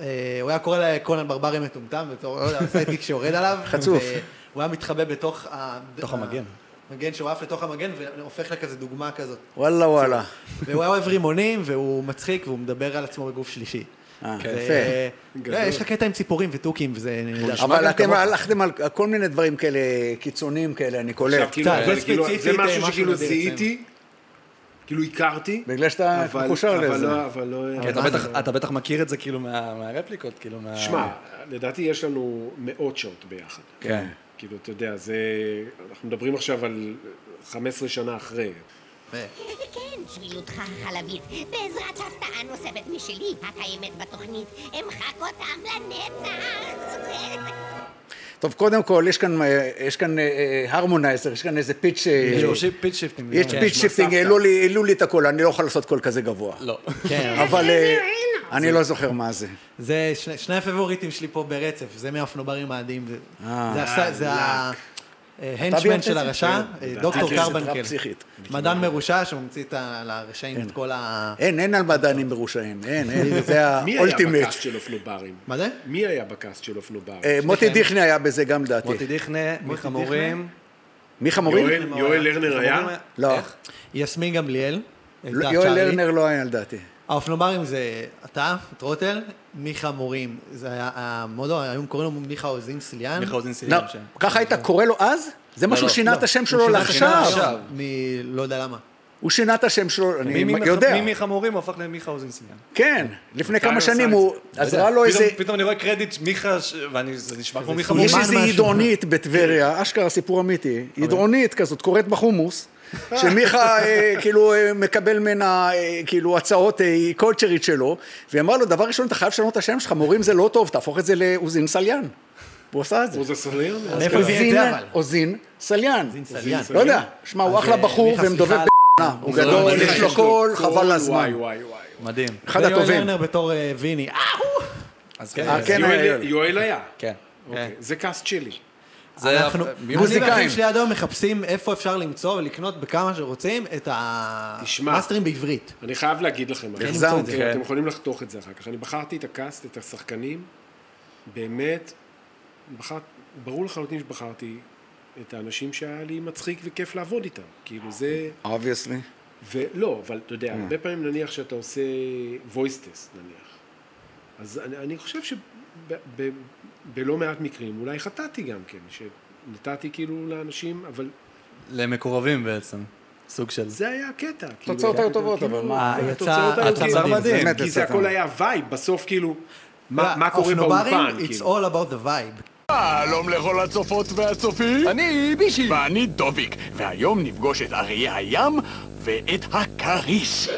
אה, הוא היה קורא לקונן ברברי מטומטם, בתור, לא יודע, הסייטיק שיורד עליו. חצוף. והוא היה מתחבא בתוך ה... בתוך המגן. מגן שהוא עף לתוך המגן והופך לכזה דוגמה כזאת. וואלה וואלה. והוא היה אוהב רימונים, והוא מצחיק, והוא מדבר על עצמו בגוף שלישי. אה, זה- יפה. לא, יש לך קטע עם ציפורים ותוכים, וזה נהדר. אבל אתם הלכתם על כל מיני דברים כאלה, קיצוניים כאלה, אני עכשיו, קולט. כאילו, זה אבל כאילו, זה ספציפית, משהו משהו שכאילו נדיר, זיהיתי, כאילו הכרתי, בגלל שאתה אבל מקושר אבל לזה. לא- אבל לא... אתה מה בטח- זה? אתה בטח מכיר את זה כאילו מה- מהרפליקות, כאילו מה... שמע, לדעתי יש לנו מאות שעות ביחד. כן. כאילו, אתה יודע, זה... אנחנו מדברים עכשיו על 15 שנה אחרי. כן, שביותך החלבית, בעזרת הפתעה נוספת משלי, הקיימת בתוכנית, אמחק אותם לנצח! טוב, קודם כל, יש כאן, אה, יש כאן הרמונייזר, יש כאן איזה פיץ' אה, יש פה שיפ- פיץ' שיפטינג. יש כן. פיץ' שיפטינג, העלו לי- העלו לי את הקול, אני לא יכול לעשות קול כזה גבוה. לא. כן, אבל אה, אני לא זוכר מה זה. זה שני, שני הפבוריטים שלי פה ברצף, זה מהאפנוברים האדים. זה, אה, זה, עשה- זה אתה ביום ההנצ'מן של כסף? הרשע, אה, דוקטור כן, קרבנקל. סדרה פסיכית. כן. מדען מרושע שממציא את ה- לרשעים את כל ה... אין, אין על מדענים מרושעים, אין, אין, זה מי היה האולטימט. בקאסט של אופנוברים? מה זה? מי היה בקאסט של אופנוברים? אה, מוטי דיכני היה בזה גם מוטי לדעתי. דיכנה, מיכה מורים. מיכה מורים? יואל יואל לרנר היה? לא. איך? יסמין גמליאל. לא, הייתה יואל צ'ארלי. לרנר לא היה לדעתי. האופנוברים זה אתה, טרוטל, מיכה מורים. זה היה המודו, היום קוראים לו מיכה אוזין סליאן. מיכה אוזן לא, סילים שם. לא, ככה היית קורא לו אז? זה מה שהוא שינה את השם שלו לעכשיו. עכשיו. מ... לא יודע למה. הוא שינה את השם שלו, אני מי- מי- יודע. מי מיכה מורים הוא הפך למיכה אוזן סילים. כן, לפני הוא כמה עשה שנים את הוא, אז ראה לו איזה, לא פתאום אני רואה קרדיט מיכה, ש- ואני- זה נשמע כמו מיכה מורים. יש איזה משהו. עידרונית בטבריה, אשכרה סיפור אמיתי, עידרונית כזאת, קוראת בחומוס, שמיכה אה, כאילו אה, מקבל ממנה אה, כאילו הצעות אה, קולצ'רית שלו, והיא אמרה לו, דבר ראשון, אתה חייב לשנות את השם שלך, מורים זה לא טוב, תהפוך את זה לאוזין סליין. הוא עשה את זה. עוז הסוליר? כן. מאיפה הביא את זה אבל? אוזין סליין. סליין. לא יודע, שמע, הוא אחלה אה, בחור מיכה, ומדובב סליחה. לא- ב***נה, הוא לא, גדול, מדהים. לא, יש לו קול, חבל וואי הזמן. וואי וואי. מדהים. אחד ויואל הטובים. לרנר בתור אה, ויני. אה, הוא! אז כן. אה, אז כן, יואל- היה. יואל היה. כן. אוקיי, זה קאסט שלי. זה אנחנו, אני מוזיקאים. והאחים שלי עד היום מחפשים איפה אפשר למצוא ולקנות בכמה שרוצים את תשמע. המאסטרים בעברית. אני חייב להגיד לכם משהו. כן, החזרנו, אתם- כן. אתם יכולים לחתוך את זה אחר כך. אני בחרתי את הקאסט, את השחקנים, באמת בחר, ברור לחלוטין שבחרתי את האנשים שהיה לי מצחיק וכיף לעבוד איתם. כאילו זה... לא. אובייסלי. ולא, אבל אתה אה. יודע, הרבה פעמים נניח שאתה עושה voice test נניח. אז אני, אני חושב שבלא מעט מקרים אולי חטאתי גם כן, שנתתי כאילו לאנשים, אבל למקורבים בעצם, סוג של... זה היה הקטע. כאילו, תוצאות היו כאילו, טובות, אבל מה? מה, יצא- התוצאות היו התוצאה כאילו- מדהים. באמת כי יצא זה הכל טוב. היה וייב, בסוף כאילו, מה מה קורה אופנוברים, באולפן, לא, it's כאילו. all about the vibe. שלום לכל הצופות והצופים. אני בישי. ואני דוביק, והיום נפגוש את אריה הים ואת הכריש.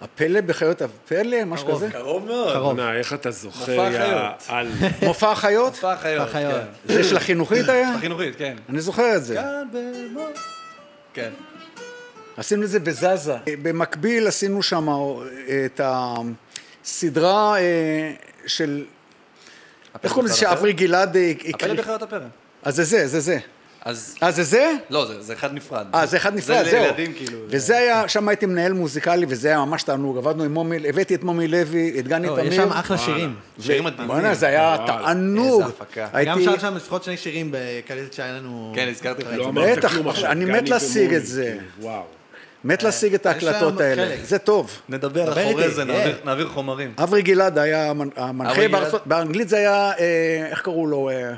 הפלא בחיות הפלא, משהו כזה? קרוב מאוד. בוא'נה, איך אתה זוכר, מופע יא חיות. על... מופע החיות? מופע החיות, החיות. כן. זה של החינוכית היה? החינוכית, כן. אני זוכר את זה. כאן במו- כן. עשינו את זה בזזה. במקביל עשינו שם את הסדרה אה, של... איך קוראים לזה? בחיות שאברי גלעד... אה, הפלא הקריא. בחיות הפרא. אז זה זה, זה זה. אז... אה, זה זה? לא, זה- זה אחד נפרד. אה, זה אחד נפרד, זה זהו. לילדים כאילו. וזה היה, שם הייתי מנהל מוזיקלי, וזה היה ממש תענוג. עבדנו עם מומי, הבאתי את מומי לוי, את גני לא, תמיר. יש שם אחלה שירים. שירים מדהימים. בוא'נה, זה היה וואו, תענוג. איזה הפקה. גם הייתי... שר שם לפחות שני שירים בקלטת שהיה לנו... כן, הזכרתי לך. את לא זה. אמרת בטח, כלום עכשיו, אני גני מת להשיג את ומולי, זה. כאילו, וואו. מת להשיג את ההקלטות אה, שם האלה. חלק. זה טוב. נדבר דבר אחורי איתי, זה, כן. נעביר- נעביר חומרים. אברי גלעד היה המנ- אברי המנחה גלעד. בארצות... באנגלית זה היה, אה, איך קראו לו? אה,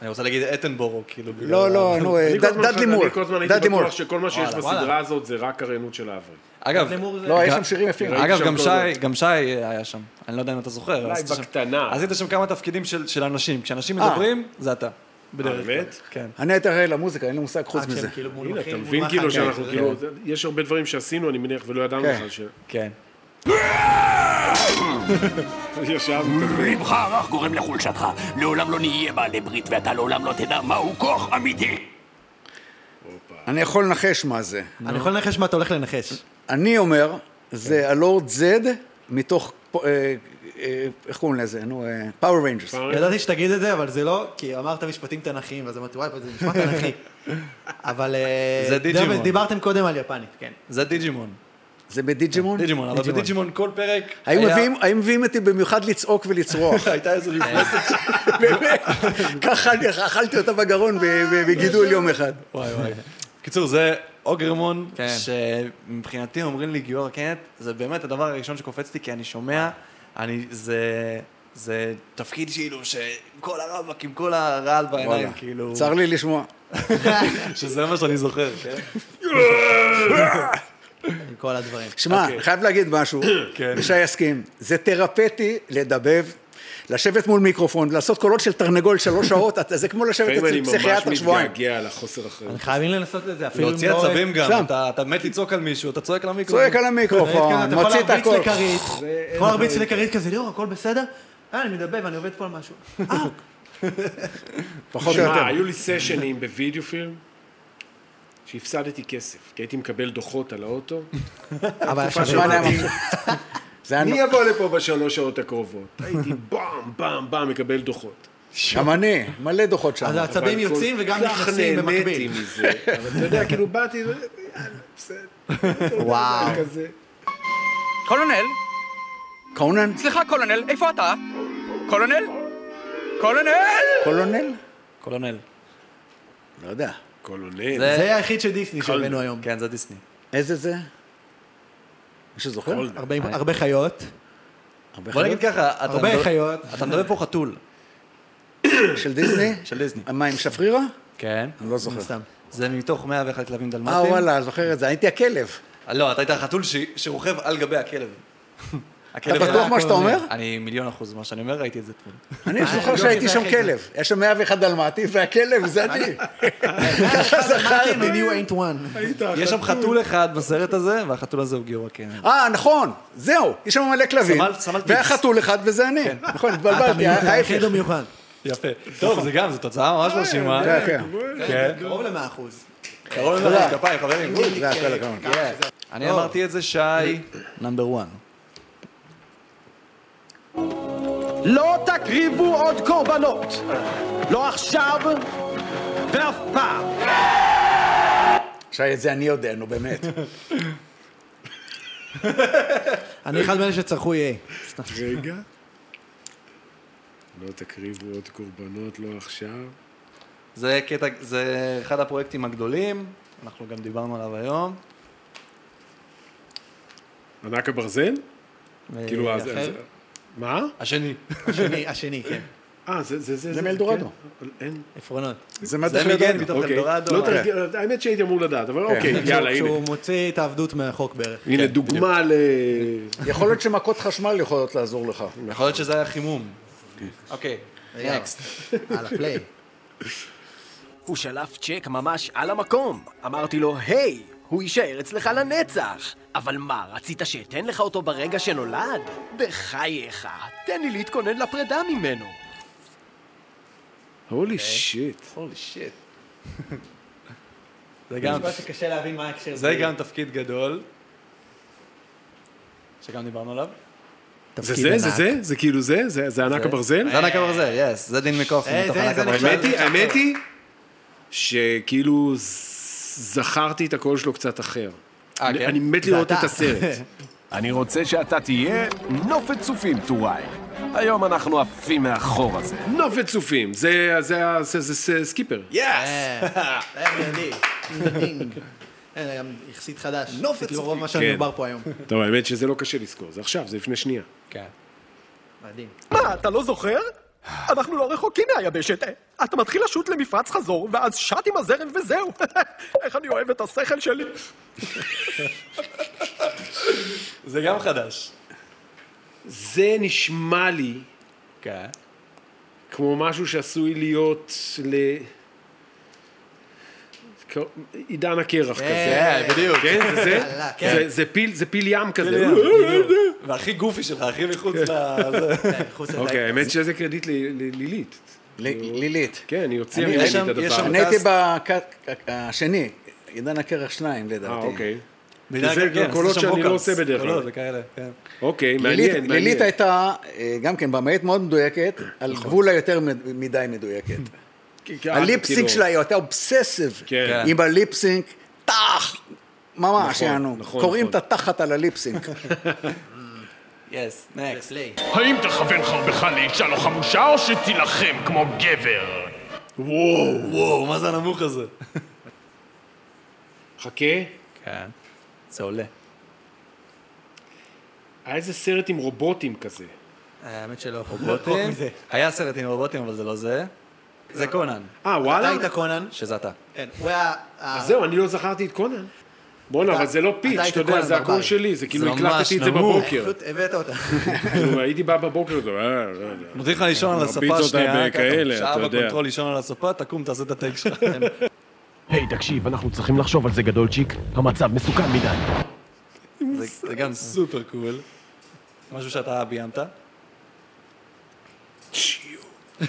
אני רוצה להגיד אטנבורו, כאילו. בגלל ה- לא, לא, נו, אה, אני כל ד- הזמן דדלי חשבתי- מור. אני כל הזמן דדלי הייתי מור. בטוח שכל מה שיש וואלה, וואלה. בסדרה הזאת זה רק הרענות של אברי. אגב, לא, יש גם- שם שירים יפים. ראיתי אגב, שם גם כל שי, גם שי היה שם. אני לא יודע אם אתה זוכר. אולי עשית שם- בקטנה. עשית שם כמה תפקידים של של אנשים. כשאנשים אה. מדברים, זה אתה. בדרך כלל. באמת? כן. אני הייתי אחראי למוזיקה, אין לי מושג חוץ רק מזה. שהם כאילו הנה, אתה מונחים... מבין מונח כאילו על כאלה, שאנחנו זה- כאילו, יש הרבה דברים שעשינו, אני מניח, ולא ידענו כן. בכלל ש... כן. ישבנו. לבך הרך גורם לחולשתך. לעולם לא נהיה בעלי ברית ואתה לעולם לא תדע מהו כוח אמיתי. אני יכול לנחש מה זה. אני יכול לנחש מה אתה הולך לנחש. אני אומר, כן. זה הלורד זד מתוך, פ- אה, אה, איך קוראים לזה? נו, אה, פאוור ריינג'רס. אוקיי. ידעתי שתגיד את זה, אבל זה לא, כי אמרת משפטים תנכיים, ואז אמרתי, וואי, זה נשמע תנכי. אבל... אה, זה דיג'ימון. דבר- דיברתם קודם על יפנית, כן. זה דיג'ימון. זה בדיג'ימון? דיג'ימון, אבל בדיג'ימון כל פרק היו מביאים- היו מביאים אותי במיוחד לצעוק ולצרוח. הייתה איזו מפלצת. באמת, ככה אני אכלתי אותה בגרון ב- ב- בגידול יום אחד. וואי וואי. בקיצור, זה אוגרמון, כן. שמבחינתי אומרים לי גיורא קנט, זה באמת הדבר הראשון שקופץ לי, כי אני שומע, אני, זה, זה תפקיד כאילו, שכל הרווק עם כל הרעל בעיניים, וואלה. כאילו, צר לי לשמוע. שזה מה שאני זוכר, כן? עם כל הדברים. שמע, אוקיי. אני חייב להגיד משהו, כן. ושי יסכים, זה תרפטי לדבב. לשבת מול מיקרופון, לעשות קולות של תרנגול שלוש שעות, אתה- זה כמו לשבת לפעמים אני אצל ממש פסיכיאטר שבועיים. מתגעגע על החוסר אחריות. חייבים לנסות את זה, אפילו אם לא... להוציא עצבים שם. גם, אתה, אתה מת לצעוק על מישהו, אתה צועק על המיקרופון. צועק על המיקרופון, אתה יכול מוציא את להרביץ הכל. לכרית, יכול להרביץ לכרית כזה, ליאור, הכל בסדר? אה, אני מדבב, אני עובד פה על משהו. אה, פחות או יותר. שמע, היו לי סשנים בווידאו פילם, שהפסדתי כסף, כי הייתי מקבל דוחות על האוטו. אבל היה שמע, שווה. אני אמרתי- זה היה מי יבוא לפה בשלוש שעות הקרובות? הייתי באם, באם, באם, מקבל דוחות. גם אני, מלא דוחות שם. אז העצבים אבל כל יוצאים וגם כך נכנסים נהניתי במקביל. מזה, אבל אתה יודע, כאילו באתי, ו- יאללה, בסדר. אה. וואו. כזה. קולונל, קונן? סליחה קולונל, איפה אתה? קולונל? קולונל! קולונל? קולונל. לא יודע. קולונל. זה היחיד של דיסני שהבאנו היום. כן, זה דיסני. איזה זה? מישהו זוכר? הרבה- הרבה חיות. לא הרבה בוא נגיד חיות? ככה, אתה הרבה מדבר- חיות. אתה מדבר פה חתול. של דיסני? של דיסני. מה, עם שפרירה? כן. אני לא זוכר. סתם. זה מתוך 101 כלבים אה, דלמטים. וואלה, זוכר את זה. הייתי הכלב. לא, אתה היית החתול ש- שרוכב על גבי הכלב. אתה בטוח מה שאתה אומר? אני מיליון אחוז מה שאני אומר, ראיתי את זה אתמול. אני זוכר שהייתי שם כלב. היה שם 101 דלמטי, והכלב, זה אני. ככה אמרתי, זכרתי. "And you כן, ain't one. לא, יש שם חתול אחד בסרט הזה, והחתול הזה הוא גיורא קנן. אה, נכון, זהו, יש שם מלא כלבים. סמל- סמל טיפס. והיה חתול אחד וזה אני. נכון, אתה התבלבלתי, מיוחד, היחיד ההפך. הוא מיוחד. יפה. טוב, זה גם, זו תוצאה ממש מרשימה. כן, כן. כן. קרוב ל-100 אחוז. קרוב למחז כפיים, חברים. זה הכל הכבוד. לא. כן. אני אמרתי את זה, שי, נאמבר 1. לא תקריבו עוד קורבנות! לא עכשיו ואף פעם! שי, את זה אני יודע, נו באמת. אני אחד מאלה שצרחו יהיה. רגע. לא תקריבו עוד קורבנות, לא עכשיו. זה קטע, זה אחד הפרויקטים הגדולים, אנחנו גם דיברנו עליו היום. ענק הברזל? אה, כאילו, אז... אחר? אז- מה? השני. השני, השני, כן. אה, זה... זה זה מאלדורדו. כן. אין. עפרונות. זה זה מהתחיל מיגן מתוך אוקיי. אלדורדו. לא תרגיל, האמת שהייתי אמור לדעת, אבל כן. אוקיי, כשהוא- יאללה, הנה. כשהוא מוצא את העבדות מהחוק בערך. הנה דוגמה ל... יכול להיות שמכות חשמל יכולות לעזור לך. יכול להיות שזה היה חימום. כן. אוקיי, נקסט. הלאה, פליי. הוא שלף צ'ק ממש על המקום. אמרתי לו, היי, הוא יישאר אצלך לנצח. אבל מה, רצית שאתן לך אותו ברגע שנולד? בחייך, תן לי להתכונן לפרידה ממנו. הולי שיט. הולי שיט. זה גם- כן. משפט שקשה להבין מה ההקשר. זה גם תפקיד גדול, שגם דיברנו עליו. זה זה? זה זה? זה כאילו זה? זה- זה ענק הברזל? זה אה, אה. ענק הברזל, יס. זה דין מקופן. אה, מתוך זה- ענק זה הברזל. האמת היא, האמת היא, שכאילו זכרתי את הקול שלו קצת אחר. אה, אני כן? אני מת זה לראות אתה. את הסרט. אני רוצה שאתה תהיה נופת צופים, טוראי. היום אנחנו עפים מהחור הזה. נופת צופים, זה זה ה- זה- זה- זה סקיפר. כן. זה היה אה, מיידי. דינג. אה, זה גם יחסית חדש. נופת לרוב מה כן. שמדובר פה היום. טוב, האמת שזה לא קשה לזכור, זה עכשיו, זה לפני שנייה. מדהים. מה, אתה לא זוכר? אנחנו לא רחוקים מהיבשת. אתה מתחיל לשוט למפרץ חזור, ואז שט עם הזרם וזהו. איך אני אוהב את השכל שלי. זה גם חדש. זה נשמע לי כן. כמו משהו שעשוי להיות ל... כמו- עידן הקרח כזה. כן, בדיוק. כן, זה זה? יאללה, כן. זה- זה פיל- זה פיל ים כזה. והכי גופי שלך, הכי מחוץ כן. ל... זה. חוץ אוקיי, לדייק. האמת שזה קרדיט ל- ל- לילית. ל- לילית. כן, היא הוציאה אני- ממני יש שם- את הדבר יש הזה. שם- אני הייתי בק- השני, עידן הקרח שניים אה, לדעתי. אוקיי. בדיוק, זה כן, קולות עשו שם שאני לא ווקלס. עושה בדרך כלל. קולות וכאלה, כן. אוקיי, לילית- מעניין, מעניין. לילית הייתה, אה, גם כן, במאית מאוד מדויקת, על נכון. גבול היותר מ- מדי מדויקת. כי- כי- הליפסינק אה, כאילו- שלה, היא הייתה אובססיב כן. עם הליפסינק, טח! ממש, יענו. נכון, קוראים את נכון. התחת על הליפסינק. יס, נקסט. פליי. האם תכוון חרבך לאישה לא חמושה, או שתילחם כמו גבר? וואו, מה זה הנמוך הזה? חכה, כן. זה עולה. היה איזה סרט עם רובוטים כזה. אה, האמת שלא. כן. רובוטים? היה סרט עם רובוטים, אבל זה לא זה. זה קונן, אה, אתה וואלה? היית קונן? שזה אתה. כן. הוא היה... ה- אז זהו, אני לא זכרתי את קונן. בואנה, אבל זה לא פיץ', היית אתה יודע, קונן זה הקול ברברי. שלי, זה כאילו זה ממש הקלטתי את זה נמוך. בבוקר. פשוט הבאת אותה. כאילו, הייתי בא בבוקר, זה, אה, לא יודע. נותנים לך לישון על הספה מרביץ אותה שנייה, ככה, בכאלה, שעה אתה יודע. בקונטרול לישון על הספה, תקום, תעשה את הטייק שלך. היי, תקשיב, אנחנו צריכים לחשוב על זה, גדולצ'יק. המצב מסוכן מדי. זה- זה גם סופר קול. משהו שאתה ביימת.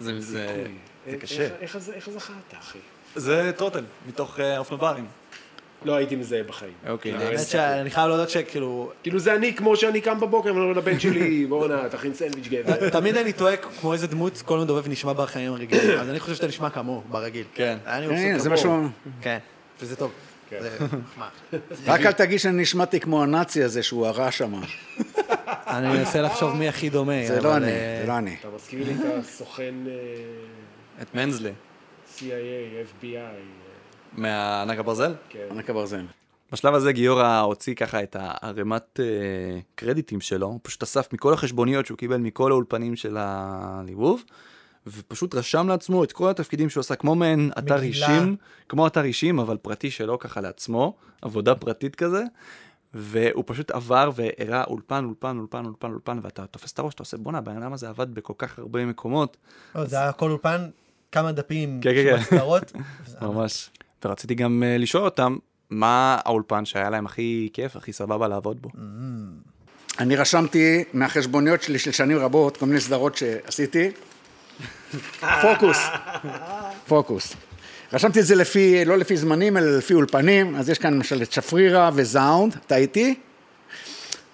זה- זה זה קשה. איך- איך זה- איך זכרת, אחי? זה טרוטל, מתוך אה, אופנוברים. לא הייתי מזהה בחיים. אוקיי, האמת שאני חייב להודות שכאילו... כאילו, זה אני, כמו שאני קם בבוקר, ואומר לבן שלי, בואנה, תכין סנדוויץ' גבר. תמיד אני טועה כמו איזה דמות, כל מדובב נשמע בחיים הרגילים, אז אני חושב שאתה נשמע כמוהו, ברגיל. כן. היה אני כן, מבסוט זה כמוהו. משהו- כן. כן, וזה טוב. זה מחמאה. רק אל תגיד שאני נשמעתי כמו הנאצי הזה שהוא הרע שם. אני מנסה לחשוב מי הכי דומה. זה אה, אבל, לא אני, אה, זה לא אני. אתה מזכיר לי את הסוכן אה, את מנזלי, CIA, FBI, אה, מהענק הברזל. כן. ענק הברזל. בשלב הזה גיורא הוציא ככה את הערימת אה, קרדיטים שלו, הוא פשוט אסף מכל החשבוניות שהוא קיבל מכל האולפנים של הליבוב, ופשוט רשם לעצמו את כל התפקידים שהוא עשה, כמו מעין אתר מגילה. אישים, כמו אתר אישים, אבל פרטי שלו ככה לעצמו, עבודה פרטית כזה, והוא פשוט עבר והראה אולפן, אולפן, אולפן, אולפן, אולפן, ואתה תופס את הראש, אתה עושה בואנה, הבן אדם הזה עבד בכל כך הרבה מקומות, לא, זה היה כל אולפן, כמה דפים, כן, כן, כן. סדרות. ממש. ורציתי גם אה, לשאול אותם, מה האולפן שהיה להם הכי כיף, הכי סבבה לעבוד בו? אני רשמתי מהחשבוניות שלי של שנים רבות, כל מיני סדרות שעשיתי. פוקוס, פוקוס. רשמתי את זה לפי, לא לפי זמנים, אלא לפי אולפנים, אז יש כאן למשל את שפרירה וזאונד, אתה איתי?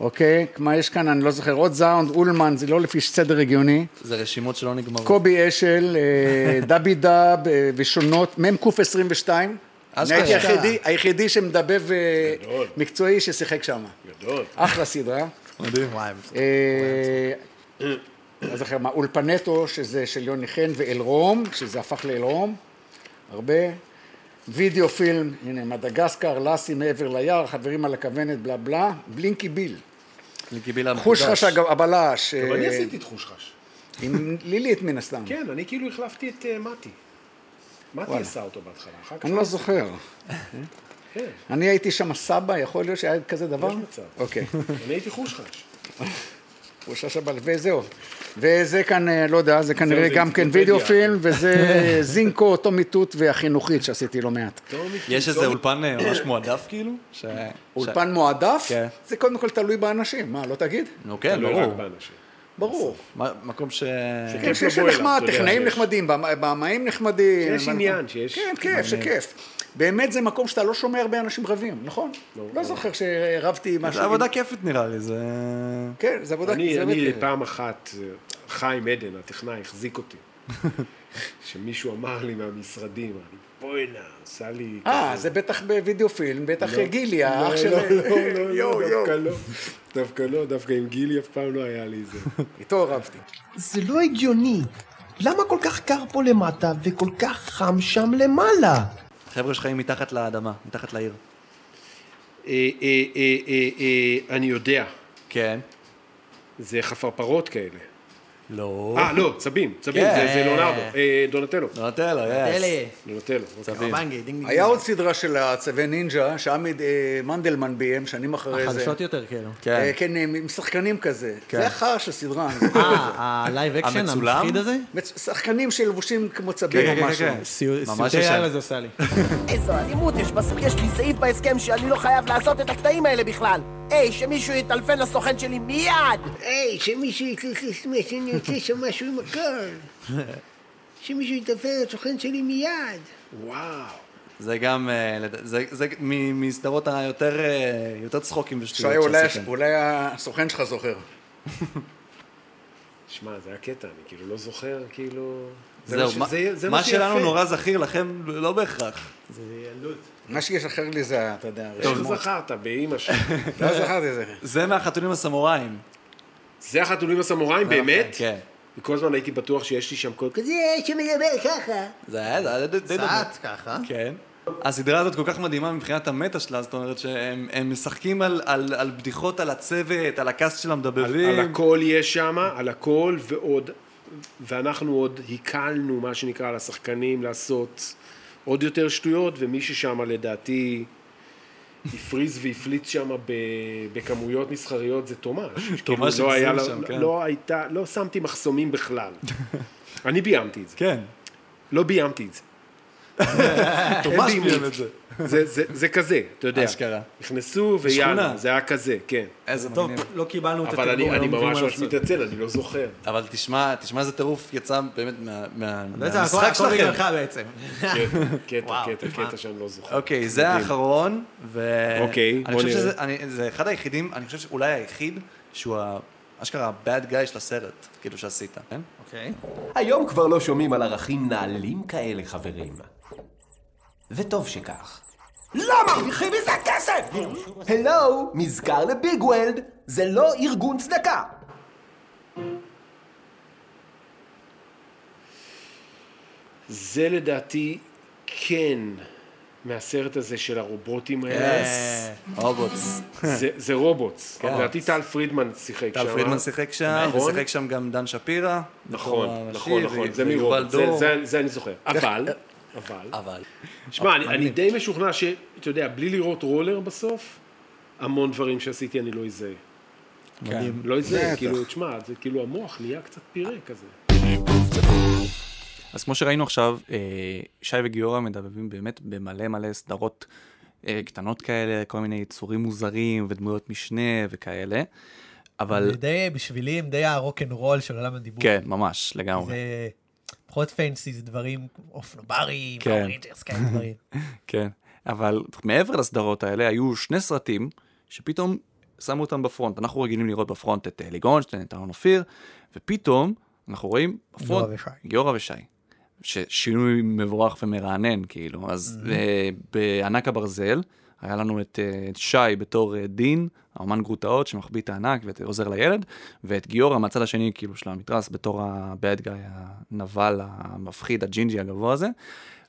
אוקיי, מה יש כאן, אני לא זוכר, עוד זאונד, אולמן, זה לא לפי סדר הגיוני. זה רשימות שלא נגמרות. קובי אשל, אה, דבי דב אה, ושונות, מ"ק 22. אני אשכרה. הייתי היחידי, היחידי שמדבב אה, מקצועי ששיחק שם. גדול. אה, אחלה סדרה. מדהים. וואי, אה, לא זוכר מה, אולפנטו, שזה של יוני חן, ואלרום, שזה הפך לאלרום, הרבה. וידאו פילם, הנה, מדגסקר, לאסי מעבר ליער, חברים על הכוונת, בלה בלה, בלינקי ביל. בלינקי ביל המקודש. חוש חש אגב, הבלש. גם אני אה, עשיתי את חושחש. עם לילית מן הסתם. כן, אני כאילו החלפתי את אה, מתי. מתי וואלה. עשה אותו בהתחלה, אחר כך... אני לא זוכר. כן, אני הייתי שם סבא, יכול להיות שהיה כזה דבר? יש מצב. אוקיי. אני הייתי חושחש. הוא שש הבל, וזהו. וזה כאן, אה, לא יודע, זה כנראה זה גם כן אנציקלופדיה. וידאו פילם, וזה זינקו, טומי טוט והחינוכית שעשיתי לא מעט. יש איזה אולפן אה, ממש מועדף כאילו? ש- ש- אולפן מועדף? כן. זה קודם כל תלוי באנשים, מה, לא תגיד? נו כן, תלוי ברור. רק ברור. מה- מקום ש... כן, שיש נחמד, טכנאים נחמדים, במ- במאים נחמדים. שיש אבל- עניין, שיש- כן, כיף, מעניין. שכיף. באמת זה מקום שאתה לא שומע הרבה אנשים רבים, נכון? לא זוכר שרבתי עם משהו. זה עבודה כיפית נראה לי, זה... כן, זה עבודה אני, זה אני באמת- פעם אחת, אה, חיים עדן, הטכנאי, החזיק אותי. שמישהו אמר לי מהמשרדים, אמר לי, בוא'נה, עשה לי... אה, כזה." זה בטח בווידאו פילם, בטח לא. גילי, לא, האח של... לא, לא, לא, יואו, לא, יואו. דווקא לא. דווקא לא, דווקא עם גילי אף פעם לא היה לי זה. איתו רבתי. זה לא הגיוני. למה כל כך קר פה למטה וכל כך חם שם למעלה? חבר'ה שחיים מתחת לאדמה, מתחת לעיר. אה, אה, אה, אה, אה, אני יודע. כן. זה חפרפרות כאלה. לא. אה, לא, צבים, צבים, כן. לא. זה זה ליאונרדו, אה, דונטלו. דונטלו, דונטלי. דונטלו, אוקיי. היה עוד סדרה של הצווי נינג'ה, שעמיד אה, מנדלמן ביים, שנים אחרי זה. החדשות יותר כאילו. אה, כן, עם עם שחקנים כזה. כן. זה החרא של סדרה. אני זוכר את זה. אה, הלייב אקשן המצולם? המפחיד הזה? מצ- שחקנים שלבושים כמו צבים או משהו. סיוטי יאיר הזה עושה לי. איזו אלימות יש בסוף, יש לי סעיף בהסכם שאני לא חייב לעשות את הקטעים האלה בכלל. היי, שמישהו יטלפן לסוכן שלי מיד! היי, שמישהו יתלסלסמס, אני רוצה שם משהו עם הקול. שמישהו יטפל לסוכן שלי מיד. וואו. זה גם, אה, לד- זה זה מ- מסדרות היותר אה, יותר צחוקים שי, ושטויות אולי- שעשיתם. אולי הסוכן שלך זוכר. שמע, זה היה קטע, אני כאילו לא זוכר, כאילו... זה זהו, ש- מה- זה- זה מה שיפה. שלנו נורא זכיר לכם, לא בהכרח. זה ילדות. מה שיש אחר לי זה, אתה יודע, איך זכרת, באימא שלי. לא זכרתי את זה. זה מהחתולים הסמוראים. זה החתולים הסמוראים, באמת? כן. כל הזמן הייתי בטוח שיש לי שם כל כזה. זה שמדבר ככה. זה היה, זה היה די די דומה. צעד ככה. כן. הסדרה הזאת כל כך מדהימה מבחינת המטה שלה, זאת אומרת שהם הם משחקים על, על, על בדיחות על הצוות, על הקאסט של המדברים. על הכל יש שם, על הכל ועוד. ואנחנו עוד הקלנו, מה שנקרא, על השחקנים לעשות עוד יותר שטויות, ומי ששם לדעתי הפריז והפליץ שם ב- בכמויות מסחריות זה תומש. כאילו, תומש לא היה הגזים לה- שם, כן. לא הייתה, לא שמתי מחסומים בכלל. אני ביימתי את זה. כן. לא ביימתי את זה. אין תומש ביימות. ביים את זה. זה- זה- זה כזה, אתה יודע. אשכרה. נכנסו ויאללה, שכונה. זה היה כזה, כן. איזה טוב, מגניב. לא קיבלנו אבל אני אני ממש ממש מתנצל, אני לא זוכר. אבל תשמע, תשמע איזה טירוף יצא באמת מה- מה- לא, בעצם מהמשחק הכל- הכל שלכם. בגללך בעצם. קטע, וואו, קטע, מה? קטע שאני לא זוכר. אוקיי, זה מדהים. האחרון, ו... אוקיי, אני בוא חושב נראה. שזה אני- זה אחד היחידים, אני חושב שאולי היחיד, שהוא ה- אשכרה ה-bad guy של הסרט, כאילו שעשית, כן? אוקיי. היום כבר לא שומעים על ערכים נעלים כאלה, חברים. וטוב שכך. לא מרוויחים מזה כסף! הלו, מזכר לביג וולד, זה לא ארגון צדקה. זה לדעתי כן מהסרט הזה של הרובוטים האלה. יס, רובוטס. זה- זה רובוטס. כן. לדעתי טל פרידמן שיחק שם. טל פרידמן שיחק שם, נכון? ושיחק שם גם דן שפירא. נכון, בתור נכון, הראשי, נכון, ו- זה ויובל מרובוט, זה- דור. זה- זה אני זוכר. אבל, אבל, אבל, שמע, אני- אני די משוכנע ש, אתה יודע, בלי לראות רולר בסוף, המון דברים שעשיתי אני לא אזהה. כן. מדהים. לא אזהה, בטח. כאילו, תשמע, זה כאילו המוח נהיה קצת פירה כזה. אז כמו שראינו עכשיו, אה, שי וגיורא מדבבים באמת במלא מלא סדרות אה, קטנות כאלה, כל מיני יצורים מוזרים ודמויות משנה וכאלה, אבל... זה די, בשבילי הם די הרוקנרול של עולם הדיבור. כן, ממש, לגמרי. זה פחות פנסי, זה דברים אופנוברים, כן. אוריג'רס, כאלה דברים. כן, אבל מעבר לסדרות האלה, היו שני סרטים שפתאום שמו אותם בפרונט. אנחנו רגילים לראות בפרונט את אה, אלי גולדשטיין, את אהרון אופיר, ופתאום אנחנו רואים בפרונט... גיורא ושי. גיורא ושי. ששינוי מבורך ומרענן, כאילו. אז Mhm. אה, בענק הברזל היה לנו את אה, שי בתור אה, דין, האומן גרוטאות שמחביא את הענק ועוזר לילד, ואת גיורא מהצד השני כאילו של המתרס בתור ה-bad guy, הנבל המפחיד, הג'ינג'י הגבוה הזה.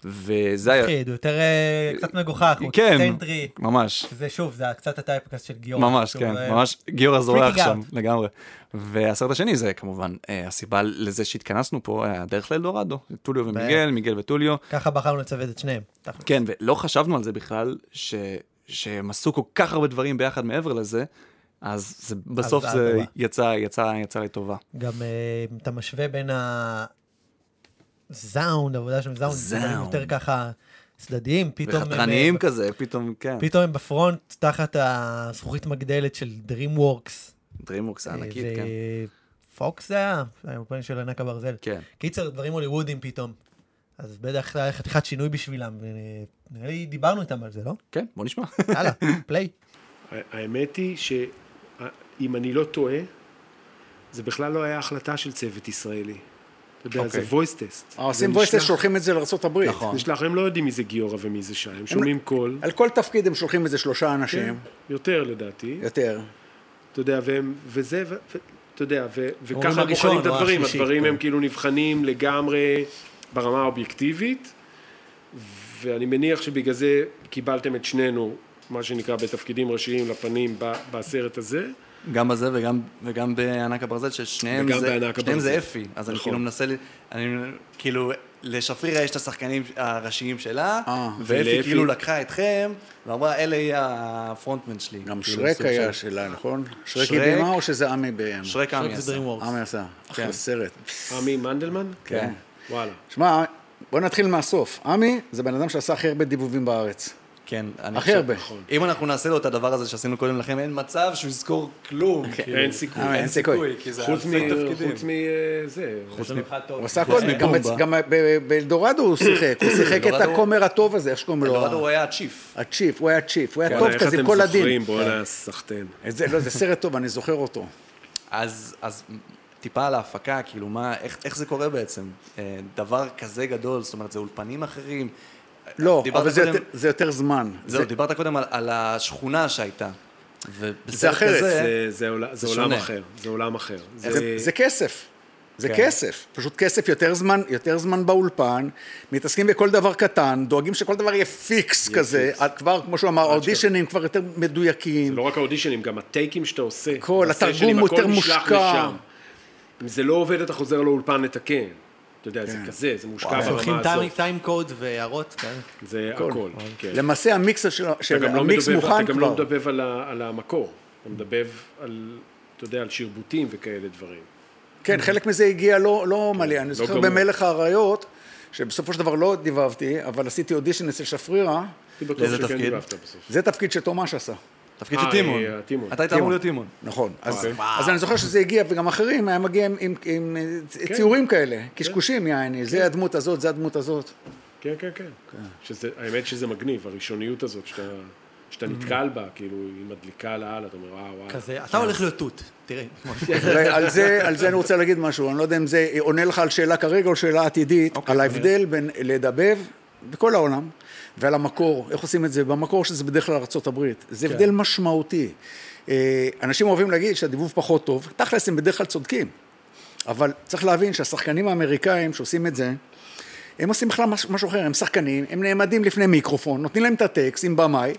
וזה היה... מפחיד, הוא יותר אה, קצת מגוחך, הוא כן, אקסצנטרי. ממש. זה שוב, זה קצת הטייפקאסט של גיורא. ממש, שהוא, כן, אה, ממש גיורא זורח freaking out. שם, לגמרי. והסרט השני זה כמובן אה, הסיבה לזה שהתכנסנו פה, היה הדרך לאלדורדו, טוליו ומיגל, מיגל וטוליו. ככה בחרנו לצוות את שניהם. כן, ולא חשבנו על זה בכלל, ש... שהם עשו כל כך הרבה דברים ביחד מעבר לזה, אז זה, בסוף אז זה אדרבה. יצא, יצא, יצא לטובה. גם אה, אם אתה משווה בין הזאונד, העבודה של זאונד, זאונד. דברים יותר ככה צדדיים, פתאום... הם, וחתרניים אה, כזה, פתאום, כן. פתאום הם בפרונט תחת הזכוכית מגדלת של DreamWorks. DreamWorks הענקית, אה, כן. ופוקס זה היה, האולפן של ענק הברזל. כן. קיצר, דברים הוליוודים פתאום. אז בטח היה חתיכת שינוי בשבילם, ונראה לי דיברנו איתם על זה, לא? כן, בוא נשמע. יאללה, פליי. האמת היא שאם אני לא טועה, זה בכלל לא היה החלטה של צוות ישראלי. אתה יודע, זה אוקיי. voice test. אה, זה עושים voice נשלח- test, שולחים את זה לארה"ב. נכון. נשלח, הם לא יודעים מי זה גיורא ומי זה שי, הם שומעים קול. על כל תפקיד הם שולחים איזה שלושה כן, אנשים. יותר לדעתי. יותר. אתה יודע, והם, וזה, ו- ו- אתה יודע, ו- וככה הם הראשון, בוחנים את או הדברים, השלישי, הדברים כן. הם כאילו נבחנים לגמרי ברמה האובייקטיבית, ואני מניח שבגלל זה קיבלתם את שנינו, מה שנקרא, בתפקידים ראשיים לפנים ב- בסרט הזה. גם בזה וגם, וגם בענק הברזל, ששניהם וגם זה, בענק שניהם זה הברזל. אפי. אז אני נכון. כאילו מנסה, ל- אני כאילו, לשפרירה יש את השחקנים הראשיים שלה, אה, ואפי ולאפי- כאילו לקחה אתכם, ואמרה, אלה יהיה הפרונטמן שלי. כאילו, גם כאילו, שרק היה שלה, נכון? שרק היא בימה או שזה עמי ביים? שרק אה, עמי שרק זה עשה. DreamWorks. עמי עשה. כן. אחלה סרט. עמי מנדלמן? כן. וואלה. שמע, בוא נתחיל מהסוף. עמי זה בן אדם שעשה הכי הרבה דיבובים בארץ. כן, אני הכי הרבה. אם אנחנו נעשה לו את הדבר הזה שעשינו קודם לכם, אין מצב שהוא יזכור כלום. כאילו. אוקיי. אין סיכוי. אה, אין, סיכוי, כי זה חוץ אלפי מ- אה, תפקידים. חוץ מזה. חוץ מ- הוא עשה הכל, גם בצ- גם ב- באלדורדו הוא שיחק, הוא שיחק את אלדורדו- הכומר הטוב הזה, איך שקוראים לו? אלדורדו הוא היה הצ'יף. הצ'יף, הוא היה צ'יף, הוא היה כן, טוב אה, איך כזה, אתם כל הדין. זוכרים? בואנה, סחטיין. את זה- לא, זה סרט טוב, אני זוכר אותו. אז, אז טיפה על ההפקה, כאילו, מה, איך, איך זה קורה בעצם? אה, דבר כזה גדול, זאת אומרת, זה אולפנים אחרים. לא, דיברת אבל זה קודם- יותר- זה יותר זמן. זהו, זה- דיברת קודם על, על השכונה שהייתה. ובסרט זה אחרת. כזה, זה- זה עול- זה עולם שונה. אחר, זה עולם אחר. זה- זה כסף. זה כן. כסף, פשוט כסף, יותר זמן, יותר זמן באולפן, מתעסקים בכל דבר קטן, דואגים שכל דבר יהיה פיקס יהיה כזה, פיקס. עד כבר, כמו שהוא אמר, האודישנים כבר יותר מדויקים. זה לא רק האודישנים, גם הטייקים שאתה עושה. הכל, בסשנים, התרגום הכל יותר נשלח מושקע. לשם. אם זה לא עובד, אתה חוזר לאולפן לתקן. אתה יודע, זה כן. כזה, זה מושקע וואו. ברמה שולחים הזאת. טיים קוד והערות, כן. זה הכל. הכל, כן. למעשה המיקס של- אתה של גם לא המיקס מדבב- מוכן אתה גם לא כבר. מדבב על ה- על המקור, אתה מדבב על, אתה יודע, על שרבוטים וכאלה דברים. כן, חלק מזה הגיע לא, לא מלא. אני זוכר כן, גמור. במלך האריות, שבסופו של דבר לא דיבבתי, אבל עשיתי אודישן אצל שפרירה. הייתי בטוח לאיזה שכן תפקיד? דיבבת בסוף. זה תפקיד שתומש עשה. תפקיד של אה, טימון. אה, טימון. אתה היית אמור להיות טימון. נכון. אז, אוקיי. אז אני זוכר שזה הגיע, וגם אחרים, היה מגיע עם, עם, עם כן. כן. ציורים כאלה, קשקושים, יעני, זה הדמות הזאת, זה הדמות הזאת. כן, כן, כן. שזה- האמת שזה מגניב, הראשוניות הזאת שאתה... שאתה נתקל בה, כאילו, היא מדליקה על העל, אתה אומר, וואו, וואו. כזה, אתה הולך להיות תות, תראה. אולי על, זה, על זה אני רוצה להגיד משהו, אני לא יודע אם זה עונה לך על שאלה כרגע או שאלה עתידית, על ההבדל בין לדבב בכל העולם, ועל המקור, איך עושים את זה במקור, שזה בדרך כלל ארה"ב. זה כן. הבדל משמעותי. אה, אנשים אוהבים להגיד שהדיבוב פחות טוב, תכלס הם בדרך כלל צודקים, אבל צריך להבין שהשחקנים האמריקאים שעושים את זה, הם עושים בכלל מש- משהו אחר, הם שחקנים, הם נעמדים לפני מיקרופון, נותנים להם את הטקסט עם במאי,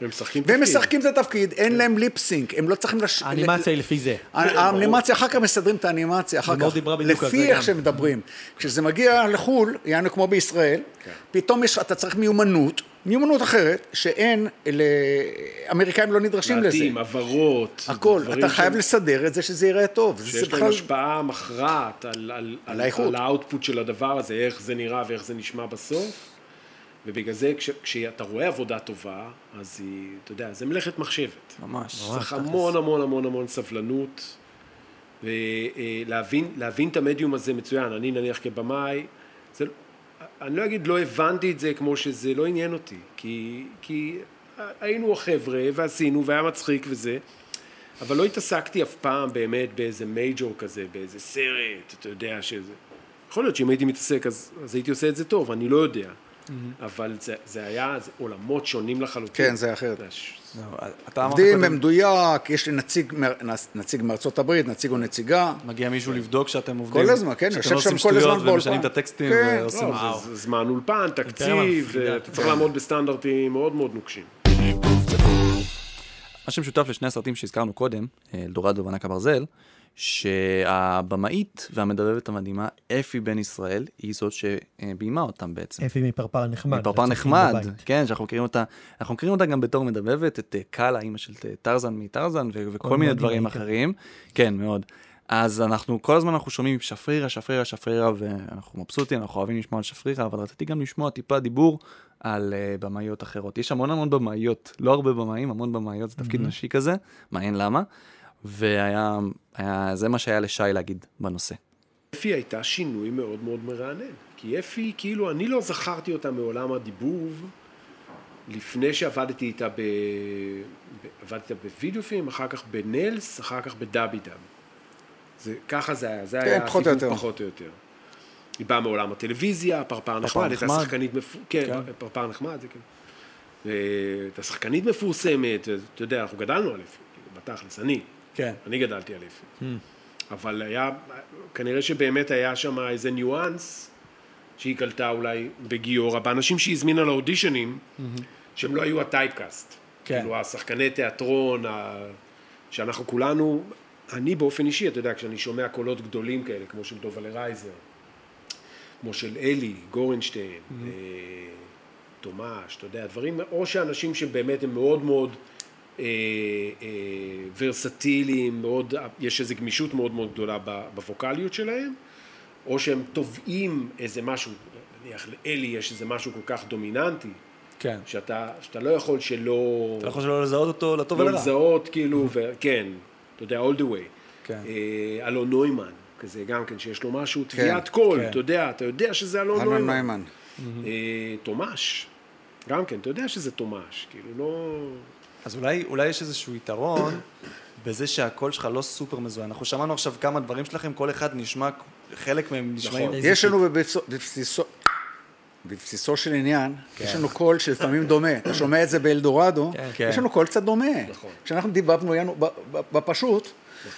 והם משחקים את התפקיד, אין להם ליפסינק, הם לא צריכים... לש- האנימציה היא לפי זה. האנימציה, אחר כך מסדרים את האנימציה, אחר לימור כך, דיברה בדיוק על זה לפי גם. איך שהם מדברים. כשזה מגיע לחו"ל, יענו כמו בישראל, כן. פתאום יש, אתה צריך מיומנות, מיומנות אחרת, שאין, ל- אמריקאים לא נדרשים לזה. מעטים, הברות. הכל, דברים אתה חייב שהם- לסדר את זה שזה ייראה טוב. זה שיש להם בכלל- השפעה מכרעת על, על, על, האיכות. על האוטפוט של הדבר הזה, איך זה נראה ואיך זה נשמע בסוף. ובגלל זה כש, כשאתה רואה עבודה טובה, אז היא, אתה יודע, זה מלאכת מחשבת. ממש. צריך המון המון המון המון סבלנות, ולהבין להבין את המדיום הזה מצוין. אני נניח כבמאי, זה, לא- אני לא אגיד לא הבנתי את זה כמו שזה לא עניין אותי, כי, כי היינו החבר'ה ועשינו והיה מצחיק וזה, אבל לא התעסקתי אף פעם באמת באיזה מייג'ור כזה, באיזה סרט, אתה יודע שזה. יכול להיות שאם הייתי מתעסק אז, אז הייתי עושה את זה טוב, אני לא יודע. אבל זה, זה היה זה עולמות שונים לחלוטין. כן, זה היה אחרת. ש- עובדים במדויק, יש לי נציג מה- נציג מארצות הברית, נציג או נציגה. מגיע מישהו לבדוק שאתם עובדים. כל הזמן, כן, שאתם יושב לא שם עושים כל הזמן שטויות באולפן. ומשנים את הטקסטים כן, ועושים... לא, זה- זה זמן אולפן, תקציב, מפחידה. אתה צריך לעמוד בסטנדרטים מאוד מאוד נוקשים. מה שמשותף לשני הסרטים שהזכרנו קודם, אה, אלדורדו וענק הברזל, שהבמאית והמדבבת המדהימה, אפי בן ישראל, היא זאת שביימה אותם בעצם. אפי מפרפר נחמד. מפרפר לצופים נחמד, בבית. כן, שאנחנו מכירים אותה, אנחנו מכירים אותה גם בתור מדבבת, את אה, קאלה, אימא של אה, טרזן מטרזן, ו- וכל מאוד מיני דינמיקה. דברים אחרים. כן, מאוד. אז אנחנו, כל הזמן אנחנו שומעים שפרירה, שפרירה, שפרירה, ואנחנו מבסוטים, אנחנו אוהבים לשמוע על שפרירה, אבל רציתי גם לשמוע טיפה דיבור על uh, במאיות אחרות. יש המון המון במאיות, לא הרבה במאים, המון במאיות, זה תפקיד מהמם. נשי כזה, מעניין למה. והיה, היה, זה מה שהיה לשי להגיד בנושא. אפי הייתה שינוי מאוד מאוד מרענן. כי אפי, כאילו, אני לא זכרתי אותה מעולם הדיבוב לפני שעבדתי איתה ב... ב- עבדתי איתה בווידאו פילם, אחר כך בנלס, אחר כך בדאבי דאב. זה, ככה זה היה, זה כן, היה פחות או הסיפור יותר. פחות או יותר. היא באה מעולם הטלוויזיה, פרפר נחמד, הייתה נחמד. שחקנית מפורסמת, כן, כן. פרפר נחמד, זה כן. אה, הייתה שחקנית מפורסמת, אה, אתה יודע, אנחנו גדלנו על אפי, כאילו, בתכלס, אני. כן. אני גדלתי על אפי. אבל היה, כנראה שבאמת היה שם איזה ניואנס שהיא קלטה אולי בגיורא, באנשים שהיא הזמינה לאודישנים, שהם לא היו הטייפקאסט. כן. כאילו השחקני תיאטרון, ה... שאנחנו כולנו, אני באופן אישי, אתה יודע, כשאני שומע קולות גדולים כאלה, כמו של דובלה רייזר, כמו של אלי, גורנשטיין, Mm-hmm. אה, תומש, אתה יודע, דברים, או שאנשים שבאמת הם מאוד מאוד אה, אה, ורסטיליים, מאוד, יש איזו גמישות מאוד מאוד גדולה ב- בווקאליות שלהם, או שהם תובעים איזה משהו, נניח לאלי יש איזה משהו כל כך דומיננטי, כן. שאתה, שאתה לא יכול שלא... אתה לא יכול שלא לזהות אותו לטוב ולרע. לא לזהות, כאילו, ו- כן, אתה יודע, all the way. כן. אה, אלון נוימן, כזה גם כן, שיש לו משהו, כן, תביעת קול, כן. אתה יודע, אתה יודע שזה לא, אלון אלון נוימן. נוימן. אה, תומש, גם כן, אתה יודע שזה תומש, כאילו, לא... אז אולי, אולי יש איזשהו יתרון בזה שהקול שלך לא סופר מזוהה. אנחנו שמענו עכשיו כמה דברים שלכם, כל אחד נשמע, חלק מהם נשמעים... נכון. יש לנו בבסיסו- בבסיסו... בבסיסו של עניין, כן. יש לנו קול שלפעמים דומה. אתה שומע את זה באלדורדו, כן. נכון. יש לנו קול קצת דומה. כשאנחנו דיבבנו יענו, ב- ב- בפשוט,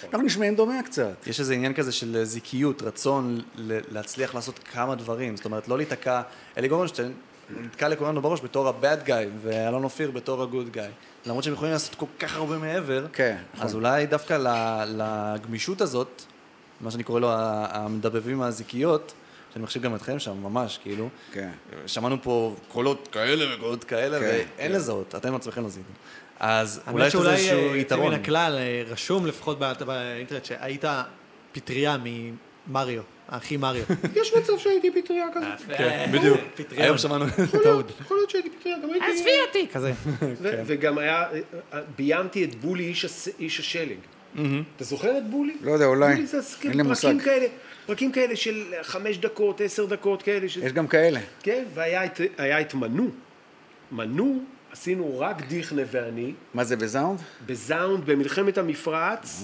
אנחנו נשמעים דומה קצת. יש איזה עניין כזה של זיקיות, רצון ל- להצליח לעשות כמה דברים. זאת אומרת, לא להיתקע... אלי גורנשטיין נתקע לכולנו בראש בתור ה-bad guy, ואלון אופיר בתור ה-good guy. למרות שהם יכולים לעשות כל כך הרבה מעבר, כן, נכון. אז אולי דווקא ל- לגמישות הזאת, מה שאני קורא לו ה- המדבבים הזיקיות, שאני מחשיב גם אתכם שם, ממש, כאילו. כן. שמענו פה קולות כאלה וקולות כאלה, כן, ואין כן. לזהות, אתם עצמכם לא זיהיתם. אז אולי האמת יש לזה שאולי אה, איזשהו יוצא מן יתרון. הכלל, אה, רשום לפחות בא- באינטרנט שהיית פטריה ממריו, האחי מריו. יש מצב שהייתי פטריה כזאת. כן, בדיוק. פטריה. היום שמענו את ההוד. יכול להיות שהייתי פטריה, גם הייתי... עזבי אותי! כזה. כן. ו- וגם היה, אה, ביימתי את בולי איש הס- איש השלג. אתה זוכר את בולי? לא יודע, אולי. בולי זה הס- אין לי מושג. פרקים כאלה, פרקים כאלה של חמש דקות, עשר דקות כאלה. ש- יש גם כאלה. כן, והיה את, היה את מנו. מנו, עשינו רק דיכנה ואני, מה זה בזאונד? בזאונד, במלחמת המפרץ,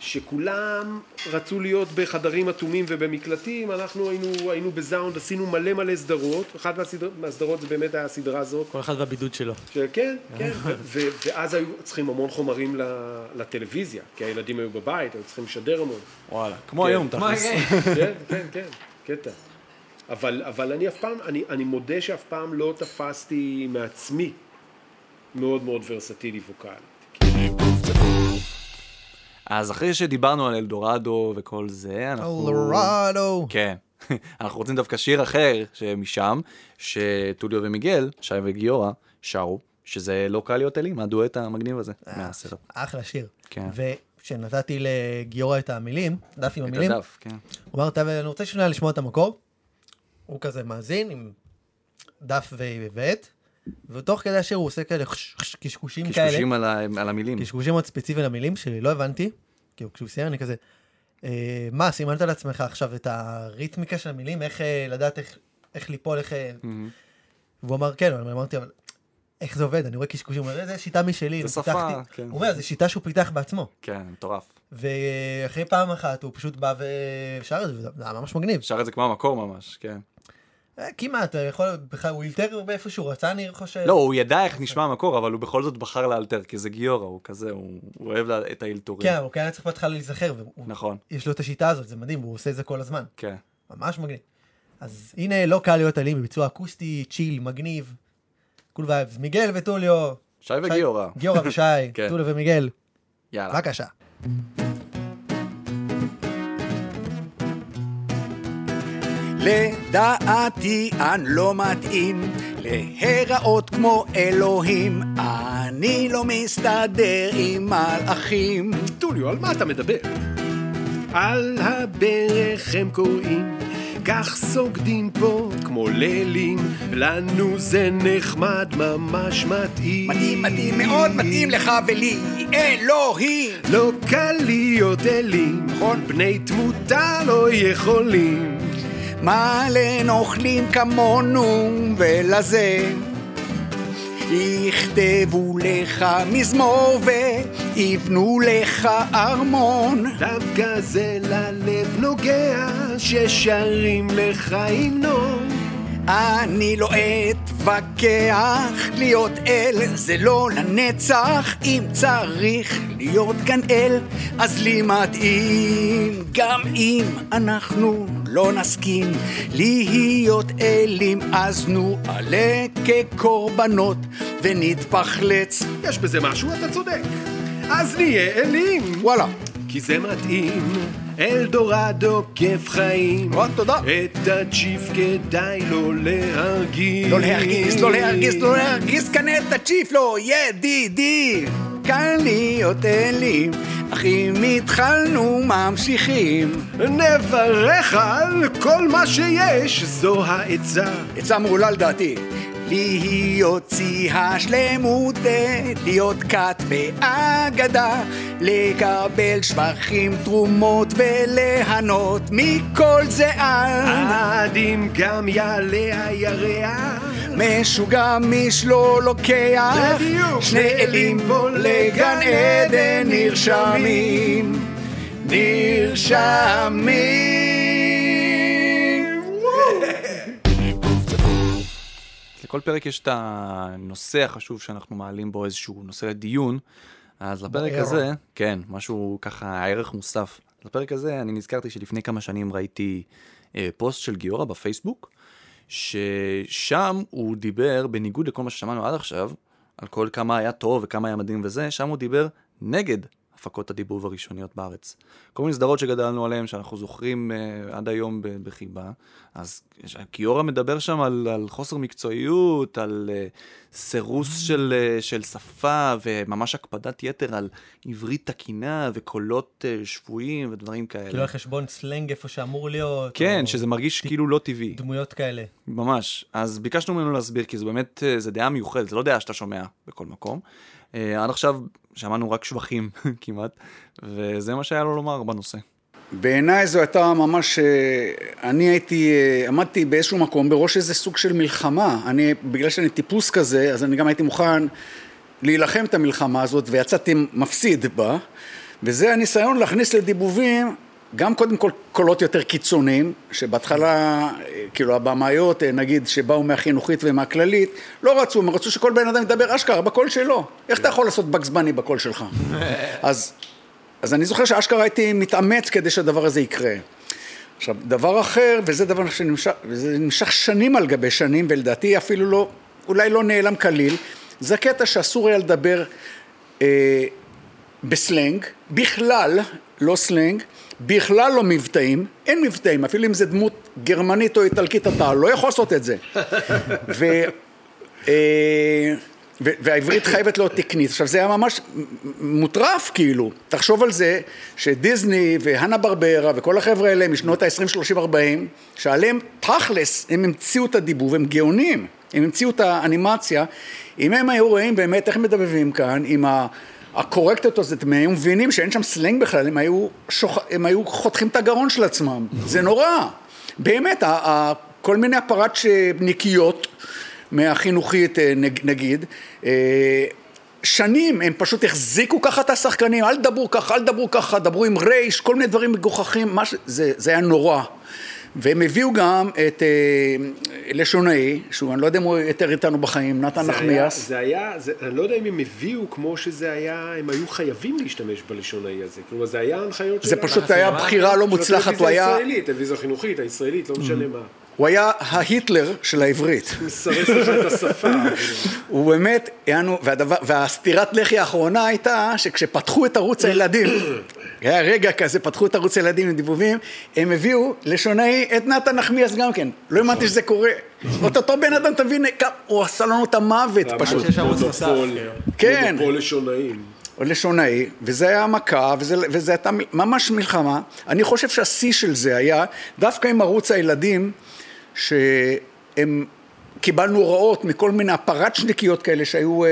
שכולם רצו להיות בחדרים אטומים ובמקלטים, אנחנו היינו, היינו בזאונד, עשינו מלא מלא סדרות, אחת מהסדר, מהסדרות זה באמת היה הסדרה הזאת. כל אחד והבידוד שלו. כן, כן, ו- ו- ואז היו צריכים המון חומרים ל- לטלוויזיה, כי הילדים היו בבית, היו צריכים לשדר המון. וואלה, כמו כן. היום, תכלס. כן, כן, כן, קטע. אבל, אבל אני אף פעם, אני, אני מודה שאף פעם לא תפסתי מעצמי מאוד מאוד ורסטילי ווקאלי. אז אחרי שדיברנו על אלדורדו וכל זה, אנחנו... אלדורדו. כן. אנחנו רוצים דווקא שיר אחר שמשם, שטוליו ומיגל, שי וגיורא, שרו, שזה לא קל להיות אלים, הדואט המגניב הזה, מהסרט. אחלה שיר. כן. וכשנתתי לגיורא את המילים, דף עם את המילים, הדף, כן. הוא אמר, "טוב, אני רוצה שנייה לשמוע את המקור. הוא כזה מאזין עם דף ו- ועט, ותוך כדי השיר הוא עושה כאלה חש- חש- קשקושים כאלה. קשקושים על ה- על המילים. קשקושים מאוד ספציפיים למילים שלי, לא הבנתי. כאילו, כשהוא סיים אני כזה, אה, מה, סימנת לעצמך עכשיו את הריתמיקה של המילים, איך אה, לדעת איך- איך ליפול, איך... אה, Mm-hmm. והוא אמר, כן, אבל אמרתי, אבל איך זה עובד? אני רואה קשקושים, הוא אומר, "אה, זה שיטה משלי, זה אני שפה, פיתחתי." כן. הוא אומר, זו שיטה שהוא פיתח בעצמו. כן, מטורף. ואחרי פעם אחת הוא פשוט בא ושר את זה, וזה היה ממש מגניב. שר את זה כמו המקור ממש, כן. אה, כמעט, אה, יכול, בכלל, הוא אילתר באיפה שהוא רצה, אני חושב. לא, הוא ידע איך נשמע המקור, אבל הוא בכל זאת בחר לאלתר, כי זה גיורא, הוא כזה, הוא הוא אוהב לה- את האלתורים. כן, אבל הוא כן היה צריך בהתחלה להיזכר, והוא- נכון, יש לו את השיטה הזאת, זה מדהים, הוא עושה את זה כל הזמן. כן. ממש מגניב. אז הנה, לא קל להיות אלים בביצוע אקוסטי, צ'יל, מגניב. קול וייבס, מיגל וטוליו. שי וגיורא. גיורא ושי, כן. טוליו ומיגל. יאללה. בבקשה. כאילו, לדעתי אני לא מתאים להיראות כמו אלוהים, אני לא מסתדר עם מלאכים. טוליו, על מה אתה מדבר? על הברך הם קוראים, כך סוגדים פה כמו לילים, לנו זה נחמד, ממש מתאים. מתאים, מתאים, מאוד מתאים לך ולי, אלוהים. לא קל להיות אלים, נכון? בני תמותה לא יכולים. מלא נוכלים כמונו, ולזה יכתבו לך מזמור ויבנו לך ארמון. דווקא זה ללב נוגע, ששרים לך המנון. אני לא אתווכח, להיות אל זה לא לנצח, אם צריך להיות כאן אל, אז לי מתאים. גם אם אנחנו לא נסכים להיות אלים, אז נו עלה כקורבנות ונתפחלץ. יש בזה משהו, אתה צודק. אז נהיה אלים. וואלה. כי זה מתאים. אלדורדו כיף חיים. או, תודה. את הצ'יף כדאי לא להרגיז. לא להרגיז, לא להרגיז, לא להרגיז, כאן את הצ'יף, לא, ידידי. כאן להיות אלים, אך אם התחלנו ממשיכים. נברך על כל מה שיש, זו העצה. עצה מעולה לדעתי. להיות צי השלמות, להיות כת באגדה, לקבל שבחים, תרומות וליהנות מכל זה עד. עד אם גם יעלה הירח. משוגע מיש לא לוקח, בדיוק. שני אלים פה לגן עדן נרשמים, נרשמים. לכל פרק יש את הנושא החשוב שאנחנו מעלים בו איזשהו נושא לדיון, אז לפרק בוער. הזה, כן, משהו ככה, ערך מוסף. לפרק הזה אני נזכרתי שלפני כמה שנים ראיתי אה, פוסט של גיורא בפייסבוק, ששם הוא דיבר, בניגוד לכל מה ששמענו עד עכשיו, על כל כמה היה טוב וכמה היה מדהים וזה, שם הוא דיבר נגד הפקות הדיבוב הראשוניות בארץ. כל מיני סדרות שגדלנו עליהן, שאנחנו זוכרים אה, עד היום ב- בחיבה. אז יש- קיורה מדבר שם על, על חוסר מקצועיות, על אה, סירוס של, אה, של שפה, וממש הקפדת יתר על עברית תקינה וקולות אה, שפויים ודברים כאלה. כאילו על חשבון סלנג איפה שאמור להיות. כן, שזה מרגיש כאילו לא טבעי. דמויות כאלה. ממש. אז ביקשנו ממנו להסביר, כי זה באמת, אה, זה דעה מיוחדת, זה לא דעה שאתה שומע בכל מקום. אה, עד עכשיו שמענו רק שבחים כמעט, וזה מה שהיה לו לומר בנושא. בעיניי זו הייתה ממש, אה, אני הייתי, אה, עמדתי באיזשהו מקום בראש איזה סוג של מלחמה. אני, בגלל שאני טיפוס כזה, אז אני גם הייתי מוכן להילחם את המלחמה הזאת, ויצאתי מפסיד בה, וזה הניסיון להכניס לדיבובים גם קודם כל קולות יותר קיצוניים, שבהתחלה, אה, כאילו הבמאיות, אה, נגיד, שבאו מהחינוכית ומהכללית, לא רצו, הם רצו שכל בן אדם ידבר אשכרה בקול שלו. איך אתה יכול לעשות בגז בני בקול שלך? אז, אז אני זוכר שאשכרה הייתי מתאמץ כדי שהדבר הזה יקרה. עכשיו, דבר אחר, וזה דבר שנמשך, וזה נמשך שנים על גבי שנים, ולדעתי אפילו לא, אולי לא נעלם כליל, זה הקטע שאסור היה לדבר אה, בסלנג, בכלל, לא סלנג, בכלל לא מבטאים, אין מבטאים, אפילו אם זה דמות גרמנית או איטלקית, אתה לא יכול לעשות את זה. ו... אה, ו- והעברית חייבת להיות תקנית. עכשיו, זה היה ממש מ- מוטרף, כאילו. תחשוב על זה שדיסני והנה ברברה וכל החבר'ה האלה משנות ה-20, 30, 40, שעליהם תכלס, הם המציאו את הדיבוב, הם גאונים. הם המציאו את האנימציה. אם הם היו רואים באמת איך מדבבים כאן, עם ה... הקורקטות הזאת, הם היו מבינים שאין שם סלנג בכלל, הם היו, שוח... הם היו חותכים את הגרון של עצמם. זה נורא. באמת, ה- ה- כל מיני הפרצ'ניקיות, מהחינוכית אה, נג- נגיד, אה, שנים הם פשוט החזיקו ככה את השחקנים, אל תדברו ככה, אל תדברו ככה, דברו עם רייש, כל מיני דברים מגוחכים, מה ש... זה, זה היה נורא. והם הביאו גם את אה, לשונאי, שהוא, אני לא יודע אם הוא יותר איתנו בחיים, נתן זה היה- נחמיאס. זה היה, זה- אני לא יודע אם הם הביאו כמו שזה היה, הם היו חייבים להשתמש בלשונאי הזה. כלומר, זה היה הנחיות זה שלנו. פשוט היה בחירה לא מוצלחת, הוא היה- Mm. של הטלוויזיה הישראלית, הטלוויזיה החינוכית, הישראלית, לא משנה מה. הוא היה ההיטלר של העברית. מסרס לך את השפה. הוא באמת, יענו, והדבר, והסטירת לחי האחרונה הייתה שכשפתחו את ערוץ הילדים, היה רגע כזה, פתחו את ערוץ הילדים עם דיבובים, הם הביאו לשונאי את נתן נחמיאס גם כן. לא האמנתי שזה קורה. אותו אותו בן אדם, תבין, כמה- הוא עשה לנו את המוות פשוט. כן. מונופול לשונאים. או לשונאי, וזה היה מכה, וזה, וזה הייתה מ- ממש מלחמה. אני חושב שהשיא של זה היה דווקא עם ערוץ הילדים, שהם... קיבלנו הוראות מכל מיני הפרצ'ניקיות כאלה שהיו אה,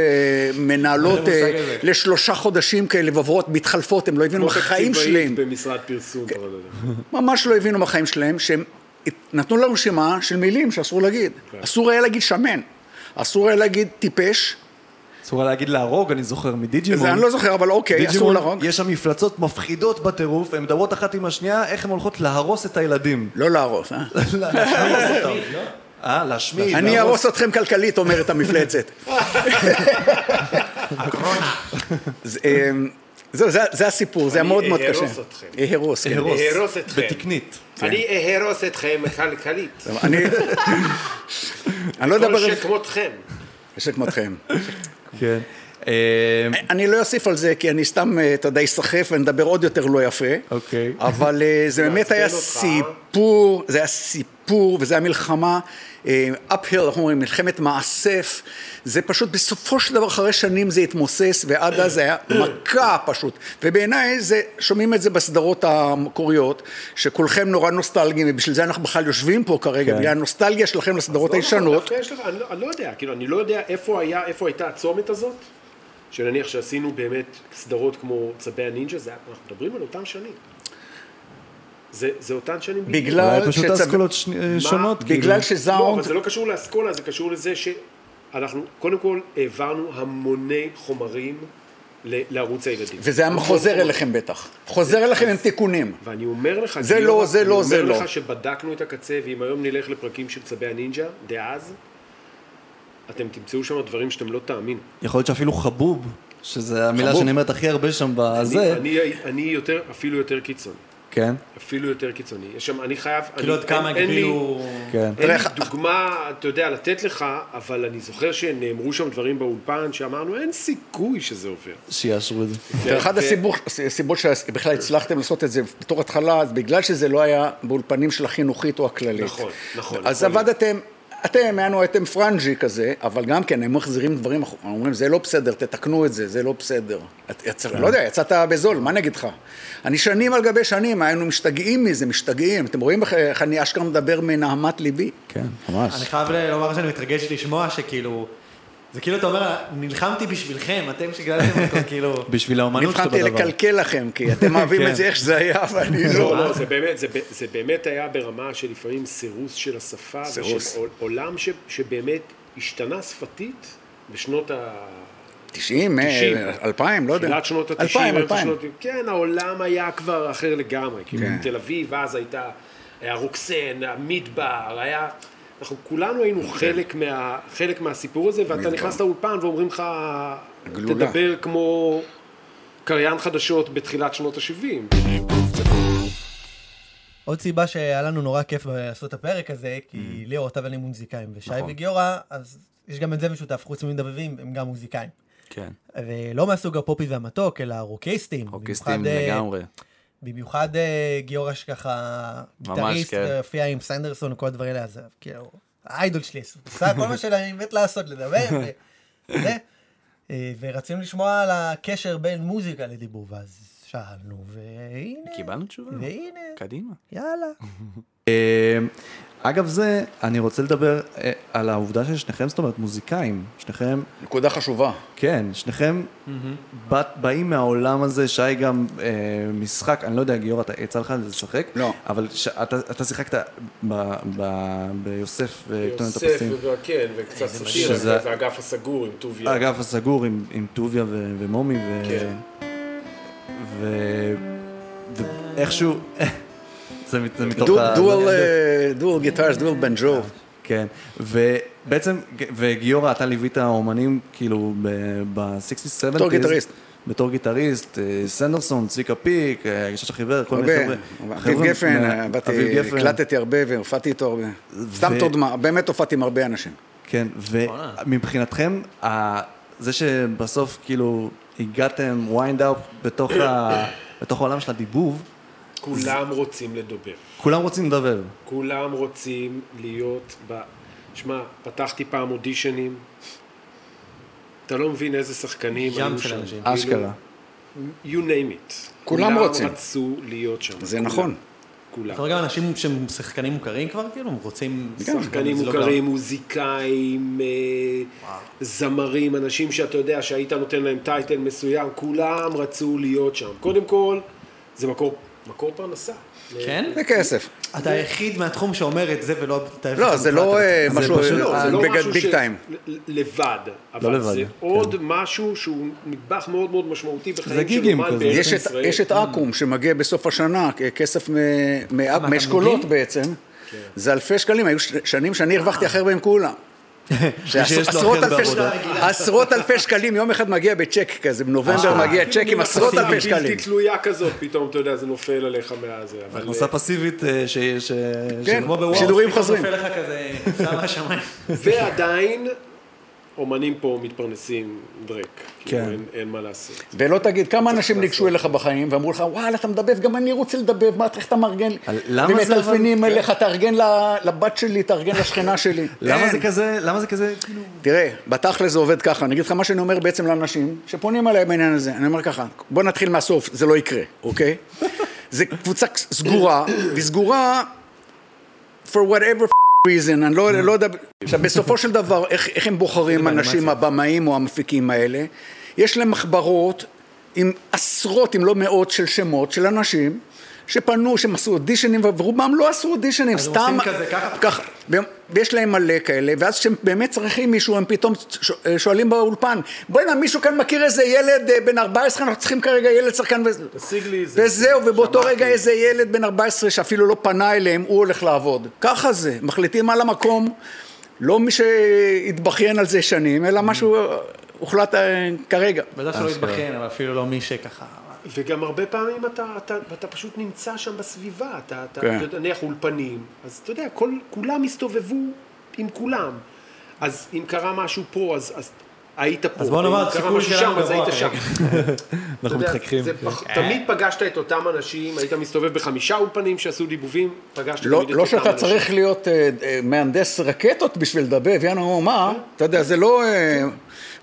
מנהלות אין לי אה, מושג איזה. לשלושה חודשים כאלה ועוברות, מתחלפות, הם לא הבינו כמו בחיים תקציבאית שלהם. במשרד פרסום. אתה לא יודע. ממש לא הבינו בחיים שלהם, שהם נתנו לנו רשימה של מילים שאסור להגיד. אסור היה להגיד שמן, אסור היה להגיד טיפש, אסור להגיד להרוג, אני זוכר, מדיג'ימון. זה אני לא זוכר, אבל אוקיי, דיג'ימון, אסור להרוג. יש שם מפלצות מפחידות בטירוף, הן מדברות אחת עם השנייה, איך הן הולכות להרוס את הילדים. לא להרוס, אה? אה, להשמיד. אני להרוס. אהרוס אתכם כלכלית, אומרת המפלצת. זה, אמ, זהו, זה- זה הסיפור, זה היה אני מאוד מאוד אהרוס קשה. אתכם. אהרוס, כן. אהרוס אתכם. כן. אני אהרוס אתכם כלכלית. אני אני לא אדבר כל על שכמותכם. שכמותכם. כן. אני לא אוסיף על זה, כי אני סתם, אה, אתה יודע, אסחף ונדבר עוד יותר לא יפה. אוקיי. אבל אה, זה באמת היה מעצבן אותך, אה? סיפור, זה היה סיפור וזה היה מלחמה, אפהיל, אנחנו אומרים, מלחמת מאסף, זה פשוט, בסופו של דבר, אחרי שנים זה התמוסס, ועד אז זה היה מכה פשוט. ובעיניי, זה, שומעים את זה בסדרות המקוריות, שכולכם נורא נוסטלגיים, ובשביל זה אנחנו בכלל יושבים פה כרגע, כן. בגלל הנוסטלגיה שלכם לסדרות לא נכון, הישנות. דווקא יש לך- אני לא- אני לא יודע, כאילו, אני לא יודע איפה היה, איפה הייתה הצומת הזאת, שנניח שעשינו באמת סדרות כמו צבי הנינג'ה, זה היה- אנחנו מדברים על אותן שנים. זה זה אותן שנים. בדיוק. בגלל אולי פשוט שצו- האסכולות שני- מה? שונות. כאילו. לא, אבל זה לא קשור לאסכולה, זה קשור לזה שאנחנו, קודם כל, העברנו המוני חומרים ל- לערוץ הילדים. וזה היה נכון. חוזר אליכם בטח. חוזר אליכם עם תיקונים. ואני אומר לך, זה גיורא, לא, זה לא, זה אני לא. אומר לך שבדקנו את הקצה, ואם היום נלך לפרקים של צבי הנינג'ה, דאז, אתם תמצאו שם דברים שאתם לא תאמינו. יכול להיות שאפילו חבוב, שזו המילה חבוב. שנאמרת הכי הרבה שם אני, בזה. אני, אני יותר, אפילו יותר קיצוני. כן. אפילו יותר קיצוני. יש שם, אני חייב... כאילו אני- עד כמה אין- אין לי- הגבילו- כן. אין לי דוגמה, אתה יודע, לתת לך, אבל אני זוכר שנאמרו שם דברים באולפן שאמרנו, אין סיכוי שזה עובר. שיאשרו את זה. כן, זה אחת הסיבור- הסיבות שבכלל הצלחתם לעשות את זה בתור התחלה, אז בגלל שזה לא היה באולפנים של החינוכית או הכללית. נכון, נכון. אז נכון. עבדתם, אתם, יענו, הייתם פרנג'י כזה, אבל גם כן, הם מחזירים דברים, אחורה, אומרים, זה לא בסדר, תתקנו את זה, זה לא בסדר. את- יצא- כן. לא יודע, יצאת בזול, מה אני אגיד לך? אני שנים על גבי שנים, היינו משתגעים מזה, משתגעים. אתם רואים איך- איך אני אשכרה מדבר מנהמת ליבי? כן, ממש. אני חייב ל- לומר שאני מתרגש לשמוע שכאילו... זה כאילו אתה אומר, נלחמתי בשבילכם, אתם שגדלתם אותו, כאילו... בשביל האומנות נבחרתי לקלקל לכם, כי אתם אוהבים את זה איך שזה היה, ואני לא, כן. לא. לא, זה באמת, זה, ב- זה באמת היה ברמה שלפעמים סירוס של השפה, סירוס. ושל עול- עולם ש, שבאמת השתנה שפתית בשנות ה... 90, אה, 90. 2000, לא יודע. תחילת שנות ה-90. 2000, 2000. כן, העולם היה כבר אחר לגמרי. כאילו, כן. תל אביב אז הייתה, היה רוקסן, המדבר, היה... אנחנו כולנו היינו חלק, מה, חלק מהסיפור הזה, ואתה כן. מדבר. נכנס לאולפן ואומרים לך, גלולה. תדבר כמו קריין חדשות בתחילת שנות ה-70. עוד סיבה שהיה לנו נורא כיף לעשות את הפרק הזה, Mm. כי ליאור, אתה ואני מוזיקאים, ושי נכון. וגיורא, אז יש גם את זה משותף, חוץ ממדבבים, הם גם מוזיקאים. כן. ולא מהסוג הפופי והמתוק, אלא רוקיסטים. רוקסטים במיוחד, אה, לגמרי. במיוחד אה, גיורא שככה, ממש, גיטריסט, כן. אה, הופיע עם סנדרסון וכל הדברים האלה, אז כאילו, האיידול שלי, עשה כל מה שאני מת לעשות, לדבר, ו- זה. אה, ורצינו לשמוע על הקשר בין מוזיקה לדיבור, ואז שאלנו, והנה, קיבלנו תשובה. והנה, קדימה. יאללה. אה, אגב זה, אני רוצה לדבר אה, על העובדה ששניכם, זאת אומרת, מוזיקאים, שניכם... נקודה חשובה. כן, שניכם מהמם. באת- באים מהעולם הזה, שי גם אה, משחק, אני לא יודע, גיורא, אתה- יצא לך לשחק? לא. אבל ש- אתה אתה שיחקת ב- ב- ביוסף וקטונת יוסף, הפסים. כן, וקצת סאטירה, שזה- והאגף הסגור עם אה, טוביה. האגף הסגור עם, עם טוביה ו- ומומי ו... כן. ו... ואיכשהו... זה מת- זה מתוך ה... לא, אה, דואל גיטרס, דואל בן ג'ו. כן, ובעצם, וגיורא, אתה ליווית אומנים, כאילו, ב-60-70. בתור גיטריסט. בתור גיטריסט, אה, סנדרסון, צביקה פיק, אה, הגשש החיוור, כל מיני הרבה. חבר'ה. אביב חבר'ה גפן, אה, מה- באתי- אביב גפן, הקלטתי הרבה והופעתי איתו הרבה. סתם תודמה, באמת הופעתי עם הרבה אנשים. כן, ומבחינתכם, ה- זה שבסוף, כאילו, הגעתם ויינד אפ בתוך ה- בתוך העולם של הדיבוב, כולם רוצים לדבר. כולם רוצים לדבר. כאילו, כולם רוצים להיות ב... שמע, פתחתי פעם אודישנים, אתה לא מבין איזה שחקנים ים היו של שם. אנשים. כאילו, אשכרה. You name it. כולם רוצים. כולם רצו להיות שם. זה כולם. נכון. כולם. אתה רואה גם אנשים שהם שחקנים מוכרים כבר, כאילו, הם רוצים... כן, שחקנים זה לא מוכרים, גם- מוזיקאים, אה, זמרים, אנשים שאתה יודע שהיית נותן להם טייטל מסוים, כולם רצו להיות שם. קודם כל, זה מקור, מקור פרנסה. כן? זה כסף. אתה היחיד מהתחום שאומר את זה ולא... את ההפך לא, זה לא, המוחלט. אה, זה משהו- פשוט- לא, זה לא ביג- משהו ביג ש- טיים. ל- לבד, לא אבל לבד, זה כן. עוד משהו שהוא נדבך מאוד מאוד משמעותי זה בחיים של גיגים אומן כזה. בארץ יש את- ישראל. יש Mm. את אקו"ם שמגיע בסוף השנה, כ- כסף מ- מ- מאשכולות בעצם. כן. זה אלפי שקלים, היו ש- שנים שאני הרווחתי הכי הרבה עם כולם. שיש לו הכי שעשרות הרבה אלפי ש- עבודה. עשרות אלפי שקלים, יום אחד מגיע בצ'ק כזה, בנובמבר אה, מגיע כאילו צ'ק עם מין עשרות הכנסה אלפי שקלים. בלתי תלויה כזאת, פתאום, אתה יודע, זה נופל עליך מהזה. אבל, הכנסה פסיבית אה, ש... ש- כן, שכמו בוואו, שידורים פתאום חוזרים. נופל לך כזה, שם השמיים. ועדיין, אומנים פה מתפרנסים דרק. כאילו, כן. אין- אין מה לעשות. ולא תגיד כמה אנשים ניגשו אליך בחיים ואמרו לך, וואלה, אתה מדבב, גם אני רוצה לדבב, מה, איך אתה מארגן? למה זה אבל- כן. ומטלפנים אליך, תארגן ל- לבת שלי, תארגן לשכנה שלי. כן. למה זה אין. כזה, למה זה כזה, כאילו... תראה, בתכל'ס זה עובד ככה, אני אגיד לך מה שאני אומר בעצם לאנשים שפונים אליי בעניין הזה, אני אומר ככה, בוא נתחיל מהסוף, זה לא יקרה, אוקיי? זה קבוצה סגורה, וסגורה for whatever reason, אני לא, לא יודע, עכשיו בסופו של דבר, איך, איך הם בוחרים אנשים, הבמאים או המפיקים האלה, יש להם מחברות עם עשרות אם לא מאות של שמות של אנשים. שפנו, שהם עשו אודישנים, ורובם לא עשו אודישנים, אז הם סתם... עושים כזה, ככה? ככה, והם- ויש להם מלא כאלה, ואז כשהם באמת צריכים מישהו, הם פתאום ש- אה, שואלים באולפן, בוא'נה, מישהו כאן מכיר איזה ילד אה, בן 14, אנחנו צריכים כרגע ילד שחקן וזה. תשיג לי איזה. וזהו, ובאותו רגע איזה ילד בן 14 שאפילו לא פנה אליהם, הוא הולך לעבוד. ככה זה, מחליטים על המקום, לא מי שהתבכיין על זה שנים, אלא משהו אה, הוחלט אה, כרגע. בטח שלא יתבכיין, אבל אפילו לא מי שככה... וגם הרבה פעמים אתה, אתה, אתה פשוט נמצא שם בסביבה, אתה, אתה כן. אתה נניח אולפנים, אז אתה יודע, כל, כולם הסתובבו עם כולם. אז אם קרה משהו פה, אז, אז היית פה. אז בוא אם נאמר, קרה הסיכוי משהו שלנו שם, אז גבוה היית שם. כרגע. אתה יודע, זה פח- תמיד פגשת את אותם אנשים, היית מסתובב בחמישה אולפנים שעשו דיבובים, פגשת לא, תמיד את לא אותם שאתה אנשים. צריך להיות אה, אה, מהנדס רקטות בשביל לדבב, יענו מה, אתה יודע, זה לא... אה,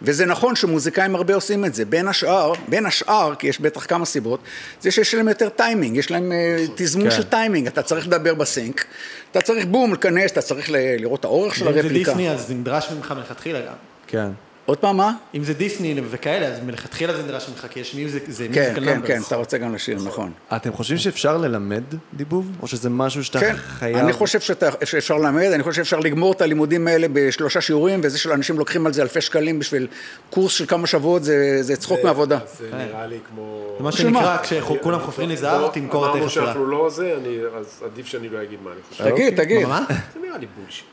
וזה נכון שמוזיקאים הרבה עושים את זה. בין השאר, בין השאר, כי יש בטח כמה סיבות, זה שיש להם יותר טיימינג, יש להם אה, תזמון כן. של טיימינג, אתה צריך לדבר בסינק, אתה צריך בום, לכנס, אתה צריך ל- לראות את האורך של אם זה הרפליקה. דיסני, אז זה נדרש ממך מלכתחילה גם. כן. עוד פעם, מה? אם זה דיסני וכאלה, אז מלכתחילה זה נדרש ממך, כי יש מיוזיק, זה כן, מיוזיקל כן, נאמברס. כן, אתה רוצה גם לשיר, נכון. אתם חושבים שאפשר ללמד דיבוב? או שזה משהו שאתה כן, חייב... אני חושב שאתה- שאפשר ללמד, אני חושב שאפשר לגמור את הלימודים האלה בשלושה שיעורים, וזה שאנשים לוקחים על זה אלפי שקלים בשביל קורס של כמה שבועות, זה זה צחוק מעבודה. זה נראה לי כמו... זה מה שנקרא, כשכולם חופרים לזהב, לא, תמכור את אמרנו היחס שלה. שאנחנו לא זה, אני- אז עדיף שאני לא אגיד מה אני חושב. תגיד, תגיד. אוקיי. מה? זה נראה לי בולשיט.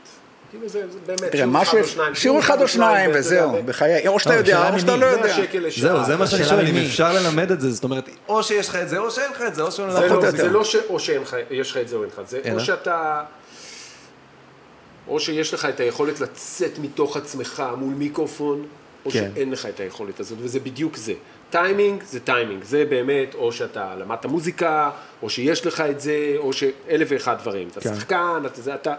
כאילו זה זה באמת, תראה, שיעור משהו, אחד או שניים, לא- שיעור אחד או שניים, ואתה יודע, וזהו, בחיי, או שאתה יודע, או שאתה לא מי. מאה יודע. שקל לשעה. זהו, זה מה שאני השאלה שואל, אם כאילו ממי. אפשר ללמד את זה, זאת אומרת, או שיש לך את זה, או שאין לך את זה, או שאין לך זה את לא- זה לא שאו שיש לך את זה או אין אה? לך את זה, אלא? או שאתה... או שיש לך את היכולת לצאת מתוך עצמך מול מיקרופון, או כן. שאין לך את היכולת הזאת, וזה בדיוק זה. טיימינג זה טיימינג, זה באמת, או שאתה למדת מוזיקה, או שיש לך את זה, או שאלף ואחד דברים. אתה כן. שחקן, אתה, זה, אתה,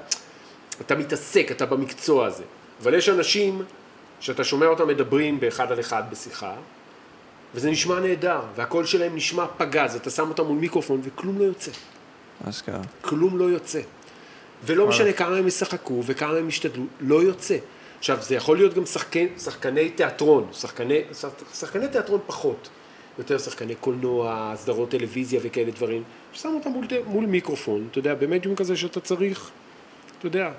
אתה מתעסק, אתה במקצוע הזה. אבל יש אנשים שאתה שומע אותם מדברים באחד על אחד בשיחה, וזה נשמע נהדר, והקול שלהם נשמע פגז, אתה שם אותם מול מיקרופון וכלום לא יוצא. אשכרה. כלום לא יוצא. ולא משנה כמה הם ישחקו וכמה הם ישתדלו, לא יוצא. עכשיו, זה יכול להיות גם שחקן, שחקני תיאטרון, שחקני, שח- שחקני תיאטרון פחות, יותר שחקני קולנוע, סדרות טלוויזיה וכאלה דברים, ששמו אותם מול, מול מיקרופון, אתה יודע, במדיום כזה שאתה צריך, אתה יודע,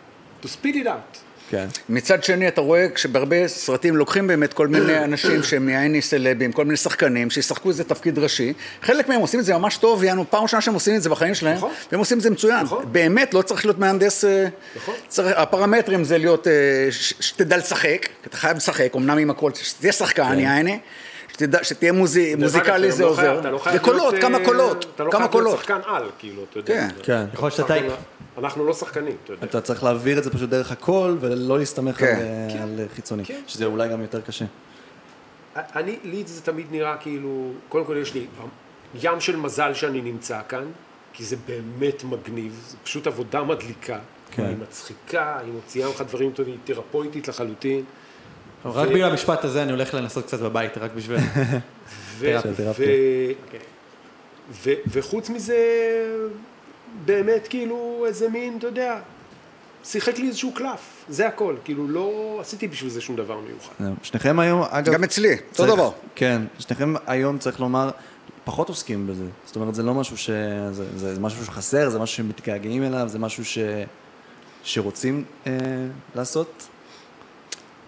to speed it out. כן. מצד שני, אתה רואה כשבהרבה סרטים לוקחים באמת כל מיני אנשים שהם מהעיני סלבים, כל מיני שחקנים, שישחקו איזה תפקיד ראשי. חלק מהם עושים את זה ממש טוב, יענו, פעם ראשונה שהם עושים את זה בחיים שלהם, נכון. והם עושים את זה מצוין. באמת, לא צריך להיות מהנדס... אה, נכון. צריך- הפרמטרים זה להיות, אה, ש- שתדע לשחק, כי אתה חייב לשחק, אמנם עם הכל, שתהיה שחקן, יעני. שתדע- שתהיה מוזי- כן. דרך אגב, מוזיקלי אתה זה לא חייב- עוזר. אתה לא חייב וקולות, להיות, כמה אה, קולות, אתה לא כמה חייב להיות קולות. שחקן על, כאילו, אתה יודע. כן. כן. יכול להיות שאתה- אנחנו- אנחנו לא שחקנים, אתה יודע. אתה צריך להעביר את זה פשוט דרך הכל, ולא להסתמך כן. על- כן. על חיצוני, כן. שזה אולי גם יותר קשה. אני, לי זה תמיד נראה כאילו, קודם כל יש לי ים של מזל שאני נמצא כאן, כי זה באמת מגניב, זה פשוט עבודה מדליקה. כן. היא מצחיקה, היא מוציאה ממך דברים טובים, היא תרפויטית לחלוטין. אבל רק ו- בגלל המשפט הזה אני הולך לנסות קצת בבית, רק בשביל... ו- תרפיה. ו- ו- וחוץ מזה, באמת כאילו איזה מין, אתה יודע, שיחק לי איזשהו קלף, זה הכל. כאילו לא עשיתי בשביל זה שום דבר מיוחד. זהו. שניכם היום, אגב... גם אצלי, אותו צריך- דבר. כן, שניכם היום, צריך לומר, פחות עוסקים בזה. זאת אומרת, זה לא משהו ש... זה, זה, זה משהו שחסר, זה משהו שמתגעגעים אליו, זה משהו ש... שרוצים אה, לעשות.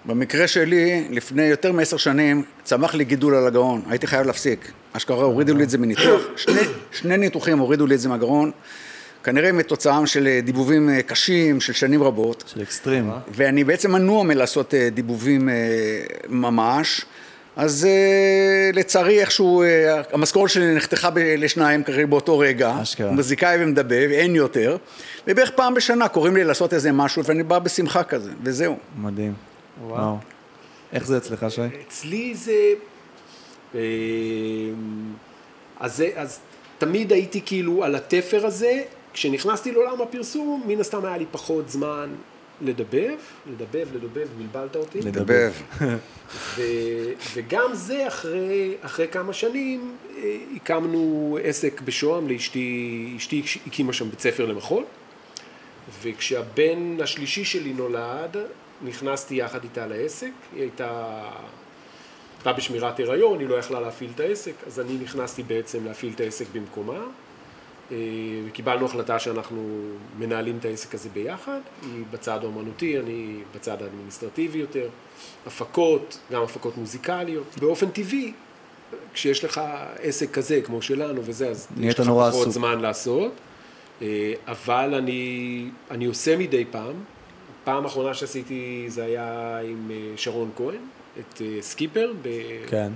במקרה שלי, לפני יותר מעשר שנים, צמח לי גידול על הגרון, הייתי חייב להפסיק. אשכרה הורידו לי את זה מניתוח, שני, שני ניתוחים הורידו לי את זה מהגרון, כנראה מתוצאם של אה, דיבובים אה, קשים של שנים רבות. של אקסטרים, אה? ואני בעצם מנוע מלעשות אה, דיבובים אה, ממש. אז אה, לצערי איכשהו, אה, המשכורת שלי נחתכה ב- לשניים כרגע באותו רגע. אשכרה. מוזיקאי ומדבב, אין יותר. ובערך פעם בשנה קוראים לי לעשות איזה משהו, ואני בא בשמחה כזה, וזהו. מדהים. וואו. איך זה אצלך, שי? אצלי זה... אה, אז, זה- אז תמיד הייתי כאילו על התפר הזה, כשנכנסתי לעולם הפרסום, מן הסתם היה לי פחות זמן לדבב, לדבב, לדבב, בלבלת אותי. לדבב. ו, וגם זה אחרי, אחרי כמה שנים, אה, הקמנו עסק בשוהם, לאשתי, אשתי הקימה שם בית ספר למחול, וכשהבן השלישי שלי נולד, נכנסתי יחד איתה לעסק, היא הייתה, הייתה בשמירת הריון, היא לא יכלה להפעיל את העסק, אז אני נכנסתי בעצם להפעיל את העסק במקומה. אה, וקיבלנו החלטה שאנחנו מנהלים את העסק הזה ביחד, היא בצד האומנותי, אני בצד האדמיניסטרטיבי יותר, הפקות, גם הפקות מוזיקליות. באופן טבעי, כשיש לך עסק כזה כמו שלנו וזה, אז נהיית יש לך נורא פחות עסוק. זמן לעשות, אה, אבל אני, אני עושה מדי פעם. פעם האחרונה שעשיתי זה היה עם אה, שרון כהן, את אה, סקיפר, ב... כן.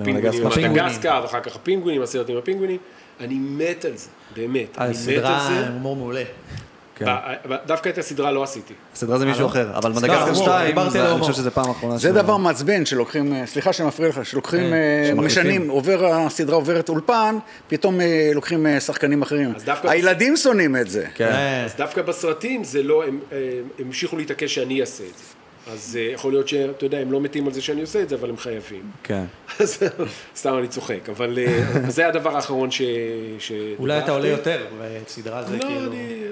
הפינגווינים, במדגסקר. מדגסקר, ואחר כך הפינגווינים, הסרט עם הפינגווינים. אני מת על זה, באמת. אני מת על הסדרה זה. עם הומור מעולה. אה, כן. ב- ב- דווקא את הסדרה לא עשיתי. הסדרה זה אה, מישהו לא? אחר, אבל סדרה, מדגסקר הומור, 2, דיברתי זה- על אני ההומור. חושב שזה פעם אחרונה זה שלנו. דבר מעצבן שלוקחים, אה, סליחה שאני מפריע לך, שלוקחים, כן, אה, שמחליפים. משנים, עובר, הסדרה עוברת אולפן, פתאום אה, לוקחים אה, שחקנים אחרים. דווקא- הילדים שונאים את זה. כן. אה? אה, אז דווקא בסרטים זה לא, הם הם המשיכו להתעקש שאני אעשה את זה. אז אה, יכול להיות שאתה יודע, הם לא מתים על זה שאני עושה את זה, אבל הם חייבים. כן. אז אה, סתם אני צוחק, אבל אה, אז זה הדבר האחרון ש... ש- אולי אתה עולה דחפתי. יותר, וסדרה זה לא, כאילו... אני-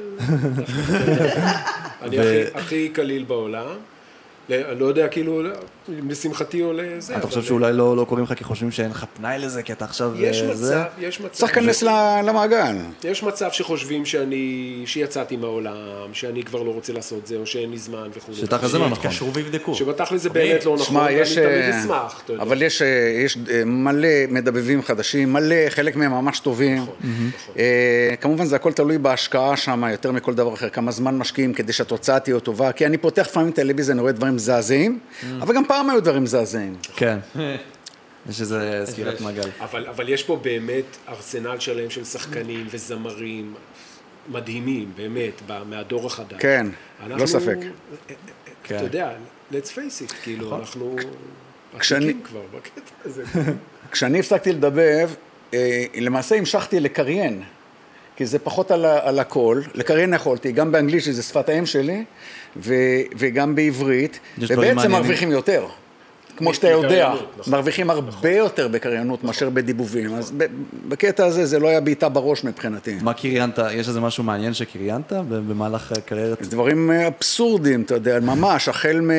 אני הכי- הכי קליל בעולם. לא- אני לא יודע, כאילו, לא, לשמחתי עולה זה. אתה אבל- חושב שאולי לא לא קוראים לך כי חושבים שאין לך פנאי לזה, כי אתה עכשיו... יש אה, זה? מצב, יש מצב. צריך להיכנס ל- למעגל. יש מצב שחושבים שאני, שיצאתי מהעולם, שאני כבר לא רוצה לעשות זה, או שאין לי זמן וכו'. שתכל'ס זה לא נכון. שיתקשרו ויבדקו. שבתכל'ס זה באמת לא נכון, שמע, ואני יש, תמיד אה, אשמח, אתה יודע. אבל יש, אה, יש אה, מלא מדבבים חדשים, מלא, חלק מהם ממש טובים. נכון, אה, כמובן זה הכל תלוי בהשקעה שם, יותר מכל דבר אחר, כמה זמן משקיעים כדי שהתוצאה תהיה טובה, כי אני פותח לפעמים טלוויזיה, אני רואה דברים מזעזעים, Mm. אבל גם פעם היו דברים מזעזעים. כן. יש איזה סגירת יש. מעגל. אבל, אבל יש פה באמת ארסנל שלם של שחקנים וזמרים מדהימים, באמת, ב- מהדור החדש. כן, אנחנו, לא ספק. אתה יודע, let's face it, כאילו, נכון. אנחנו כשאני- עתיקים כבר בקטע הזה. כשאני הפסקתי לדבב, אה, למעשה המשכתי לקריין, כי זה פחות על, ה- על הכל. לקריין יכולתי, גם באנגלית, שזה שפת האם שלי, ו, וגם בעברית, יש דברים ובעצם מעניינים. מרוויחים יותר. כמו שאתה יודע, בקריינות, נכון. מרוויחים הרבה יותר בקריינות מאשר בדיבובים. אז ב- בקטע הזה זה לא היה בעיטה בראש מבחינתי. מה קריינת? יש איזה משהו מעניין שקריינת ב- במהלך הקריירת? דברים אה, אבסורדים, אתה יודע, ממש, החל מ...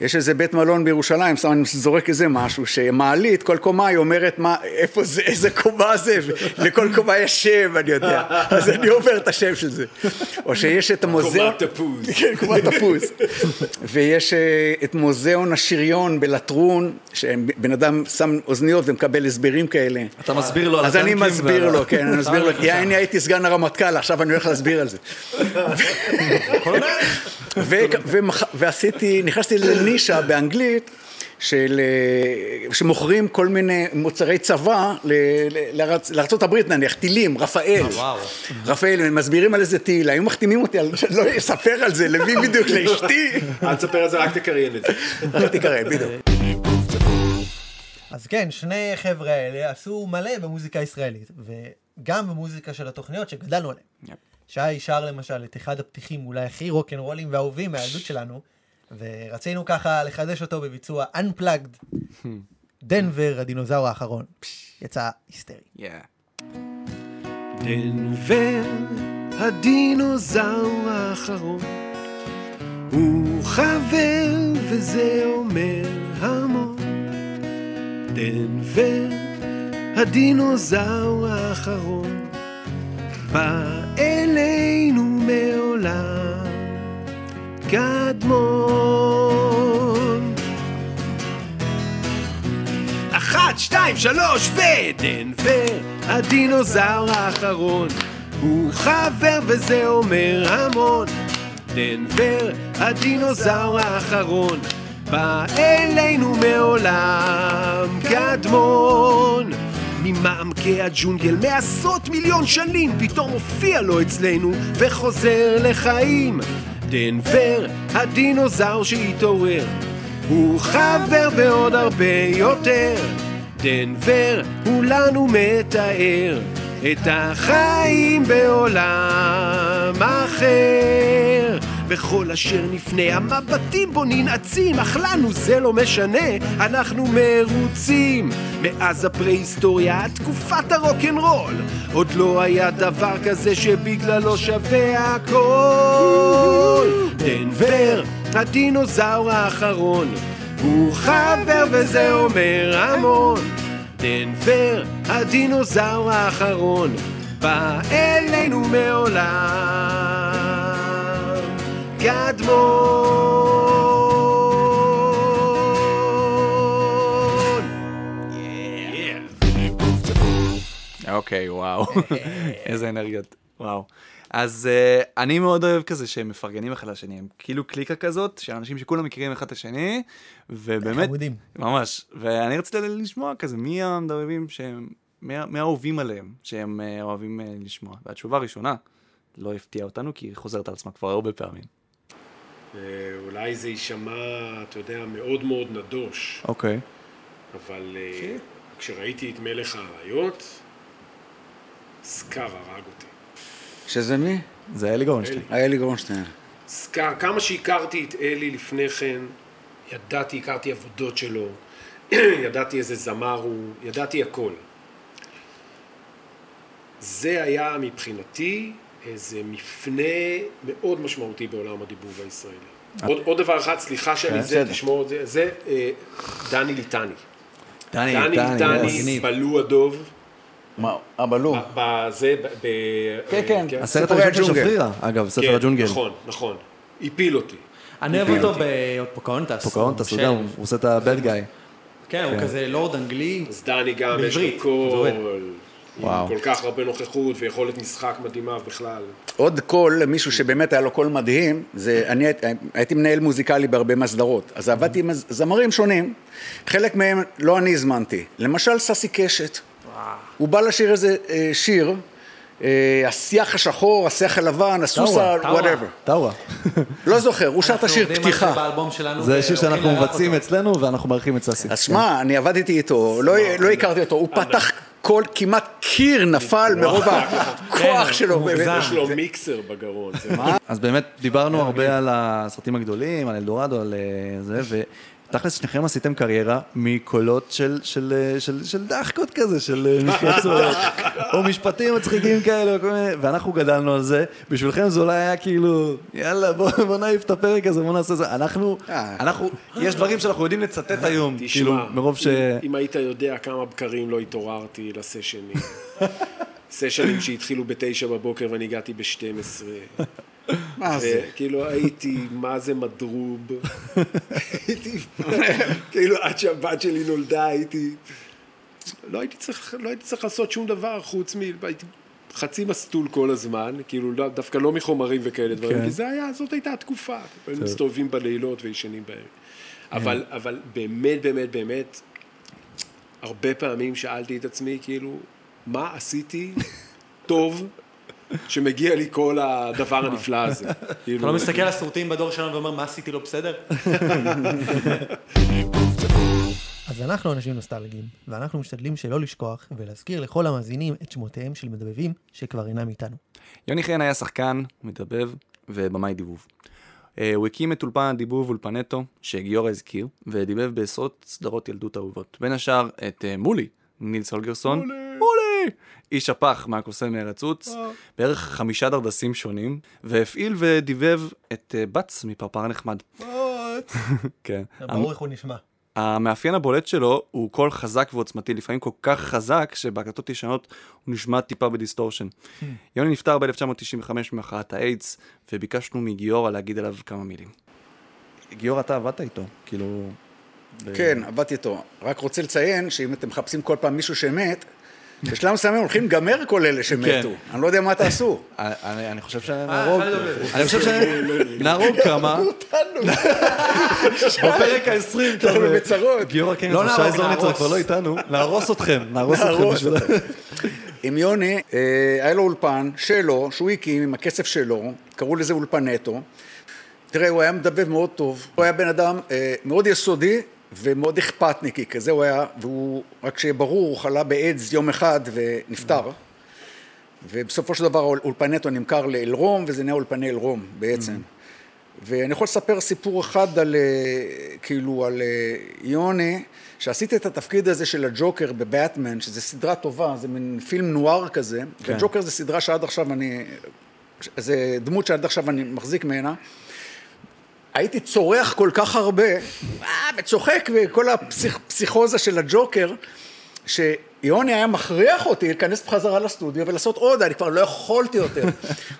יש איזה בית מלון בירושלים, סתם אני זורק איזה משהו, שמעלית, כל קומה היא אומרת מה, איפה זה, איזה קומה זה, ולכל קומה יש שם, אני יודע. אז אני עובר את השם של זה. או שיש את המוזיאון... קומת תפוז. כן, קומת תפוז. ויש אה, את מוזיאון השריון בלטרון, שבן אדם שם אוזניות ומקבל הסברים כאלה. לא, אתה מסביר לו על אז אני הטנקים מסביר ועל ה- לו, כן, אני מסביר לו. אתה כי אני הייתי סגן הרמטכ"ל, עכשיו אני הולך להסביר על זה. ו- ומח- ועשיתי, נכנסתי לנישה באנגלית. של, אה, שמוכרים כל מיני מוצרי צבא ל- ל- לארצ- לארה"ב נניח, טילים, רפאל. אה, רפאל, הם מסבירים על איזה טיל, היו מחתימים אותי, על- לא אספר על זה, למי בדיוק, לאשתי. אל תספר את זה, רק כן, תקריין את זה. רק תקריין, בדיוק. אז כן, שני חבר'ה האלה עשו מלא במוזיקה הישראלית, וגם במוזיקה של התוכניות שגדלנו עליהן. Yep. שי שר למשל את אחד הפתיחים אולי הכי רוקנרולים והאהובים מהילדות שלנו, ורצינו ככה לחדש אותו בביצוע Unplugged, דנבר, הדינוזאור האחרון. יצא היסטרי. דנבר, הדינוזאור האחרון, הוא חבר וזה אומר המון. דנבר, הדינוזאור האחרון, בא אלינו מעולם קדמון. אחת, שתיים, שלוש, ודנבר, הדינוזאור האחרון. הוא חבר וזה אומר המון. דנבר, הדינוזאור האחרון. בא אלינו מעולם קדמון. ממעמקי הג'ונגל מעשרות מיליון שנים פתאום הופיע לו אצלנו וחוזר לחיים. דנבר, הדינוזאור שהתעורר. הוא חבר ועוד הרבה יותר. דנבר הוא לנו מתאר את החיים בעולם אחר. וכל אשר נפנה, המבטים בו ננעצים, אך לנו זה לא משנה, אנחנו מרוצים. מאז הפרה-היסטוריה עד תקופת הרוקנרול, עוד לא היה דבר כזה שבגללו שווה הכל. דנבר, הדינוזאור האחרון, הוא חבר וזה אומר המון. דנבר, הדינוזאור האחרון, בא אלינו מעולם קדמון. אוקיי, וואו. איזה אנרגיות. וואו. אז אה, אני מאוד אוהב כזה שהם מפרגנים אחד לשני, הם כאילו קליקה כזאת של אנשים שכולם מכירים אחד את השני, ובאמת... חמודים. ממש. ואני רציתי לשמוע כזה מי המדבבים שהם, מי ה- מי האהובים עליהם, שהם אה, אוהבים אה, לשמוע. והתשובה הראשונה לא הפתיעה אותנו, כי היא חוזרת על עצמה כבר הרבה פעמים. אה, אולי זה יישמע, אתה יודע, מאוד מאוד נדוש, אוקיי. אבל אה, אוקיי. כשראיתי את מלך האריות, סקאר הרג אותי. שזה מי? זה אלי גורנשטיין. אלי גורנשטיין. סקאר, כמה שהכרתי את אלי לפני כן, ידעתי, הכרתי עבודות שלו, ידעתי איזה זמר הוא, ידעתי הכל. זה היה מבחינתי איזה מפנה מאוד משמעותי בעולם הדיבוב הישראלי. עוד, עוד דבר אחד, סליחה שאני כן, זה, בסדר. אה, תשמור את זה, זה אה, דני ליטני. דני ליטני, ליטני, מגניב. בלו הדוב. מה, הבלו. אה, בזה, ב... ב- כן, כן, אה, הסרט הראשון של שפרירה, אגב, ספר הג'ונגל. נכון, נכון. הפיל אותי. אני אוהב הפיל אותו בפוקאונטס. פוקאונטס, הוא אתה יודע, של- הוא הוא עושה את הבד גאי. כן, הוא כן. כזה לורד אנגלי. אז דני גם יש בעברית, לו קול, עובד. וואו. עם כל כך הרבה נוכחות ויכולת משחק מדהימה בכלל. עוד קול, מישהו שבאמת היה לו קול מדהים, זה, אני הייתי- הייתי מנהל מוזיקלי בהרבה מסדרות, אז עבדתי עם הז- זמרים שונים, חלק מהם לא אני הזמנתי, למשל ססי קשת, הוא בא לשיר איזה אה, שיר, אה, השיח השחור, השיח הלבן, הסוס ה... וואטאבר, טאווה. לא זוכר, הוא שר את השיר פתיחה. אה, זה אוקיי, שיר שאנחנו אוקיי, מבצעים אצלנו ואנחנו מארחים את ססי. אז שמע, אני עבדתי איתו, לא- לא הכרתי אותו, הוא פתח כל, כמעט קיר נפל כן, מרוב הכוח שלו. יש לו מיקסר בגרון. זה- אוקיי. אז באמת דיברנו הרבה על הסרטים הגדולים, על אלדורדו, על אה, זה, תכלס, שניכם עשיתם קריירה מקולות של, של, אה, של, של דחקות כזה, של אה, מפלצות, או משפטים מצחיקים כאלה, או כל מיני- ואנחנו גדלנו על זה. בשבילכם זה אולי היה כאילו, יאללה, בוא, בוא נעיף את הפרק הזה, בוא נעשה זה. אנחנו, אנחנו, יש דברים שאנחנו יודעים לצטט היום, תשמע, כאילו, מרוב ש... אם- אם היית יודע כמה בקרים לא התעוררתי לסשנים. סשנים שהתחילו בתשע בבוקר ואני הגעתי בשתים עשרה. מה זה? כאילו הייתי, מה זה מדרוב? הייתי, כאילו עד שהבת שלי נולדה הייתי... לא הייתי צריך, לא הייתי צריך לעשות שום דבר חוץ מ... הייתי חצי מסטול כל הזמן, כאילו לא- דווקא לא מחומרים וכאלה דברים, כן. כי זה היה, זאת הייתה התקופה. היינו טוב. מסתובבים בלילות וישנים בערב. כן. אבל, אבל באמת, באמת, באמת, הרבה פעמים שאלתי את עצמי, כאילו, מה עשיתי טוב שמגיע לי כל הדבר הנפלא הזה? כאילו, אתה לא מסתכל על הסרוטים בדור שלנו ואומר, מה עשיתי לא בסדר? אז אנחנו אנשים נוסטלגיים, ואנחנו משתדלים שלא לשכוח ולהזכיר לכל המאזינים את שמותיהם של מדבבים שכבר אינם איתנו. יוני חן היה שחקן, מדבב ובמאי דיבוב. אה, הוא הקים את אולפן הדיבוב אולפנטו, שגיורא הזכיר, ודיבב בעשרות סדרות ילדות אהובות. בין השאר את אה, מולי, נילס הולגרסון. מולי! מולי! איש הפח מהקוסם מארץ עוץ, אה. בערך חמישה דרדסים שונים, והפעיל ודיבב את אה, בץ מפרפר נחמד. כן. ברור איך הוא נשמע. המאפיין הבולט שלו הוא קול חזק ועוצמתי, לפעמים כל כך חזק שבהקלטות ישנות הוא נשמע טיפה בדיסטורשן. Hmm. יוני נפטר ב-1995 ממחלת האיידס, וביקשנו מגיורא להגיד עליו כמה מילים. גיורא, אתה עבדת איתו, כאילו... כן, עבדתי איתו. רק רוצה לציין שאם אתם מחפשים כל פעם מישהו שמת, בשלב מסוים הולכים לגמר כל אלה שמתו. כן. אני לא יודע מה תעשו. אני אני חושב שנהרוג, אחד עובד. אני חושב שנהרוג כמה, בפרק ה-20 אנחנו בצרות. גיורא כן, שי זורניצר כבר לא איתנו, נהרוס אתכם, נהרוס לא אתכם נהרוס בשביל... אתכם. עם יוני, אה, היה לו אולפן שלו, שהוא הקים עם הכסף שלו, קראו לזה אולפנטו. תראה, הוא היה מדבב מאוד טוב, הוא היה בן אדם אה, מאוד יסודי ומאוד אכפתניקי כזה הוא היה, והוא, רק שיהיה ברור, הוא חלה באיידס יום אחד ונפטר. ובסופו של דבר האול- אולפנטו נמכר לאלרום, וזה נהיה אולפני אלרום בעצם. ואני יכול לספר סיפור אחד על, אה, כאילו, על אה, יוני, שעשית את התפקיד הזה של הג'וקר בבטמן, שזו סדרה טובה, זה מין פילם נואר כזה, כן. כן. וג'וקר זו סדרה שעד עכשיו אני, זו דמות שעד עכשיו אני מחזיק ממנה. הייתי צורח כל כך הרבה, אה, וצוחק, וכל הפסיכוזה של הג'וקר, שיוני היה מכריח אותי להיכנס בחזרה לסטודיו ולעשות עוד, אני כבר לא יכולתי יותר. הוא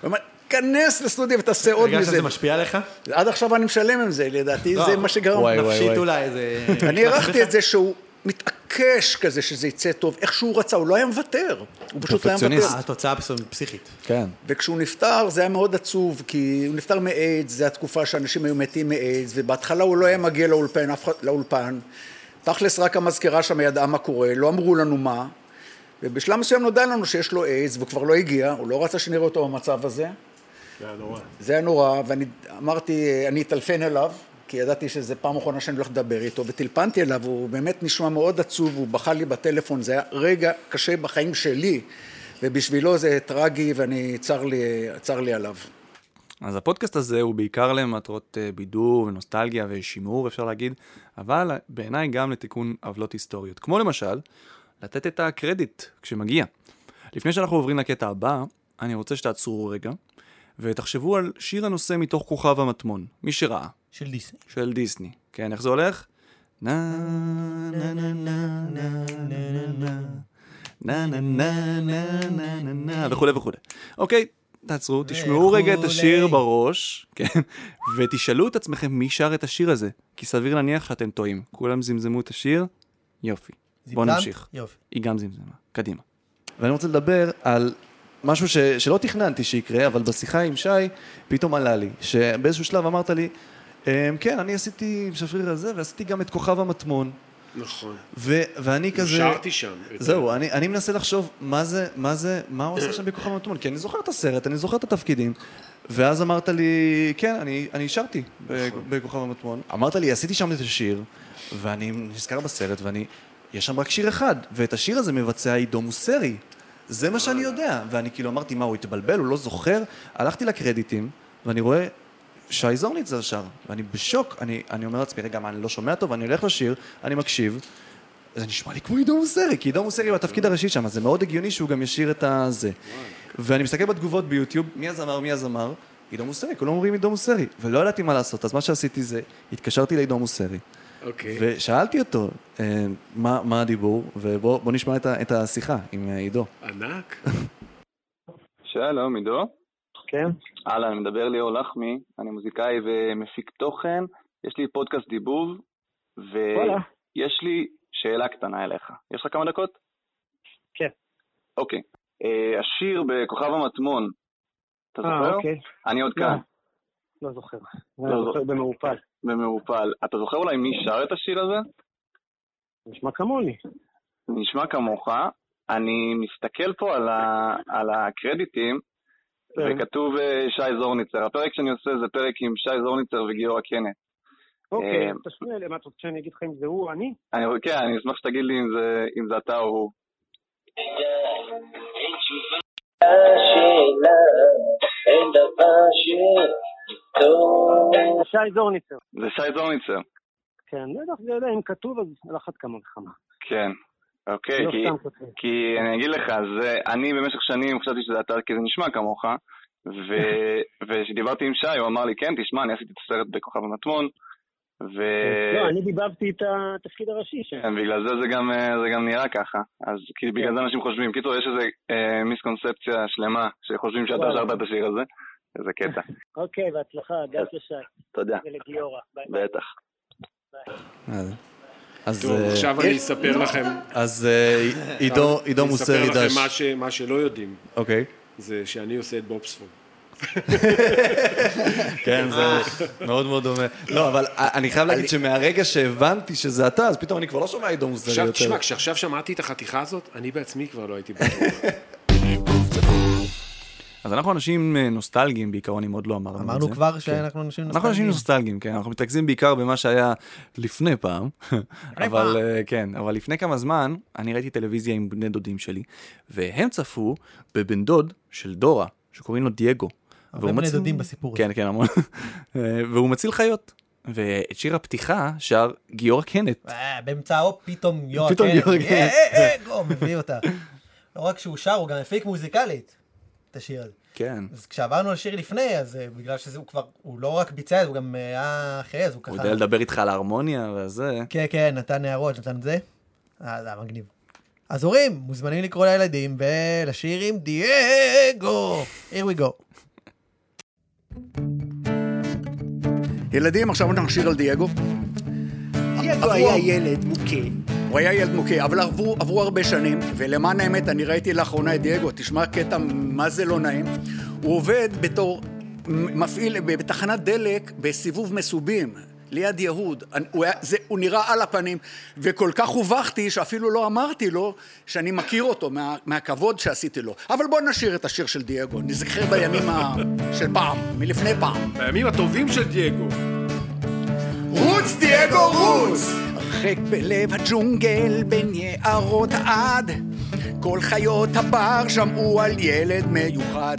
אמר, כנס לסטודיו ותעשה עוד מזה. הרגשת שזה משפיע עליך? עד עכשיו אני משלם עם זה, לדעתי לא, זה מה שגרם. וואי, וואי, נפשית וואי. אולי, זה- אני הערכתי את זה שהוא מתעקש כזה שזה יצא טוב, איך שהוא רצה, הוא לא היה מוותר. הוא פשוט לא היה מוותר. אה, התוצאה פסול- פסיכית. כן. וכשהוא נפטר זה היה מאוד עצוב, כי הוא נפטר מאיידס, זו התקופה שאנשים היו מתים מאיידס, ובהתחלה הוא לא היה מגיע לאולפן, אף אחד, לאולפן. תכלס רק המזכירה שם ידעה מה קורה, לא אמרו לנו מה, ובשלב מסוים נודע לנו שיש לו איידס, והוא כבר לא הגיע, הוא לא רצה שנראה אותו במצב הזה. זה היה נורא. זה היה נורא, ואני אמרתי, אה, אני אטלפן אליו, כי ידעתי שזו פעם אחרונה שאני הולך לדבר איתו, וטלפנתי אליו, הוא באמת נשמע מאוד עצוב, הוא בכה לי בטלפון, זה היה רגע קשה בחיים שלי, ובשבילו זה טרגי, ואני, צר לי, צר לי עליו. אז הפודקאסט הזה הוא בעיקר למטרות אה, בידור ונוסטלגיה ושימור, אפשר להגיד, אבל בעיניי גם לתיקון עוולות היסטוריות. כמו למשל, לתת את הקרדיט כשמגיע. לפני שאנחנו עוברים לקטע הבא, אני רוצה שתעצרו רגע, ותחשבו על שיר הנושא מתוך כוכב המטמון, מי שראה. של דיסני. של דיסני. כן, איך זה הולך? נה, נה, נה, נה, נה, נה, נה. נה נה נה נה נה נה נה וכולי וכולי. אוקיי, תעצרו, תשמעו רגע את השיר בראש, כן, ותשאלו את עצמכם מי שר את השיר הזה, כי סביר להניח שאתם טועים. כולם זמזמו את השיר? יופי. בואו זמזמת? נמשיך. יופי. היא גם זמזמה. קדימה. ואני רוצה לדבר על משהו ש, שלא תכננתי שיקרה, אבל בשיחה עם שי, פתאום עלה לי, שבאיזשהו שלב אמרת לי, "אמ, כן, אני עשיתי עם שפריר הזה, ועשיתי גם את כוכב המטמון. נכון. ו, ואני כזה... שרתי שם. זהו, אני, אני מנסה לחשוב מה זה, מה זה, מה הוא עשה שם בכוכב המטמון, כי אני זוכר את הסרט, אני זוכר את התפקידים. ואז אמרת לי, כן, אני, אני שרתי בכ- בכוכב המטמון. אמרת לי, עשיתי שם את השיר, ואני נזכר בסרט, ואני, יש שם רק שיר אחד, ואת השיר הזה מבצע עידו מוסרי. זה מה שאני יודע. ואני כאילו אמרתי, מה, הוא התבלבל, הוא לא זוכר? הלכתי לקרדיטים, ואני רואה שי זורניצר שר, ואני בשוק, אני, אני אומר לעצמי, רגע, מה, אני לא שומע טוב, אני הולך לשיר, אני מקשיב, זה נשמע לי כמו עידו מוסרי, כי עידו מוסרי הוא התפקיד הראשי שם, אז זה מאוד הגיוני שהוא גם ישיר את הזה. ואני מסתכל בתגובות ביוטיוב, מי הזמר, מי הזמר, עידו מוסרי, כולם אומרים עידו מוסרי, ולא ידעתי מה לעשות, אז מה שעשיתי זה, התקשרתי לעידו מוסרי, אוקיי. ושאלתי אותו, אה, מה, מה הדיבור, ובוא בוא נשמע את, ה- את השיחה עם אה, עידו. ענק. שלום, עידו. כן? אהלן, מדבר ליאור לחמי, אני מוזיקאי ומפיק תוכן, יש לי פודקאסט דיבוב, וואלה. ויש לי שאלה קטנה אליך. יש לך כמה דקות? כן. אוקיי. אה, השיר בכוכב המטמון, אתה זוכר? אה, אוקיי. אני עוד לא, כאן, לא זוכר. לא אני זוכר. זוכר במעופל. במעופל. אתה זוכר אולי מי שר את השיר הזה? נשמע כמוני. זה נשמע כמוך. אני מסתכל פה על, ה, על הקרדיטים, כן. וכתוב אה, שי זורניצר. הפרק שאני עושה זה פרק עם שי זורניצר וגיורא קנט. אוקיי, אה, תשמיע לי, מה אתה רוצה שאני אגיד לך אם זה הוא או אני? אני, כן, אני אשמח שתגיד לי אם זה, אם זה אתה או הוא. שי זורניצר. זה שי זורניצר, כן, לא יודע, לא יודע, אם כתוב אז על אחת כמה וכמה. כן. אוקיי, לא כי, סתם כותב. כי אני אגיד לך, זה, אני במשך שנים חשבתי שזה אתה כי זה נשמע כמוך, ו, וכשדיברתי עם שי הוא אמר לי, כן, תשמע, אני עשיתי את הסרט בכוכב המטמון, ו... לא, אני דיבבתי את התפקיד הראשי כן. כן, שם. בגלל זה זה גם, אה, זה גם נראה ככה, אז כאילו בגלל זה אנשים חושבים. קיצור, יש איזו אה, מיסקונספציה שלמה, שחושבים שאתה וואלה. שרת את השיר הזה, איזה קטע. אוקיי, בהצלחה, גש לשי. תודה. ולגיורא. ביי. בטח. אז... טוב, אה, עכשיו אני אספר לכם. אז אה, עידו, עידו מוסרי אני אספר דש. לכם מה ש- מה שלא יודעים, אוקיי. זה שאני עושה את בובספורד. כן, אה. זה מאוד מאוד דומה. לא, אבל אני חייב להגיד שמהרגע שהבנתי שזה אתה, אז פתאום אני כבר לא שומע עידו מוסרי עכשיו, יותר. תשמע, כשעכשיו שמעתי את החתיכה הזאת, אני בעצמי כבר לא הייתי בטוח. אז אנחנו אנשים אה, נוסטלגיים בעיקרון, אם עוד לא אמרנו את זה. אמרנו כבר כן. שאנחנו אנשים אנחנו אנשים נוסטלגיים. נוסטלגיים, כן, אנחנו מתרכזים בעיקר במה שהיה לפני פעם, אבל אה, כן, אבל לפני כמה זמן אני ראיתי טלוויזיה עם בני דודים שלי, והם צפו בבן דוד של דורה, שקוראים לו דייגו. הרבה והוא בני מציל- דודים בסיפור כן, כן, המון. אה, והוא מציל חיות. ואת שיר הפתיחה שר גיורא קנט. אה, באמצעו פתאום כן. אה, יואק. פתאום יואק. כן. גו, מביא אותה. לא רק שהוא שר, הוא גם הפיק מוזיקלית את השיר הזה. כן. אז כשעברנו על שיר לפני, אז אה, בגלל שזה הוא כבר, הוא לא רק ביצע, הוא גם אה, היה אחרי, אז הוא ככה... הוא יודע לדבר איתך על ההרמוניה וזה. כן, כן, נתן הערות, נתן זה. אה, זה היה מגניב. אז הורים, מוזמנים לקרוא לילדים ולשיר עם דייגו. Here we go. ילדים, עכשיו אנחנו נשיר על דייגו. דייגו עברו- היה ילד מוכה. הוא היה ילד מוכה, אבל עברו, עברו הרבה שנים, ולמען האמת, אני ראיתי לאחרונה את דייגו, תשמע קטע מה זה לא נעים. הוא עובד בתור מ- מפעיל בתחנת דלק בסיבוב מסובים. ליד יהוד, אני- הוא, היה, זה, הוא נראה על הפנים, וכל כך הובכתי שאפילו לא אמרתי לו שאני מכיר אותו מה, מהכבוד שעשיתי לו. אבל בואו נשאיר את השיר של דייגו, נזכר בימים ה... של פעם, מלפני פעם. בימים הטובים של דייגו. רוץ דייגו רוץ! הרחק בלב הג'ונגל בין יערות העד כל חיות הבר שמעו על ילד מיוחד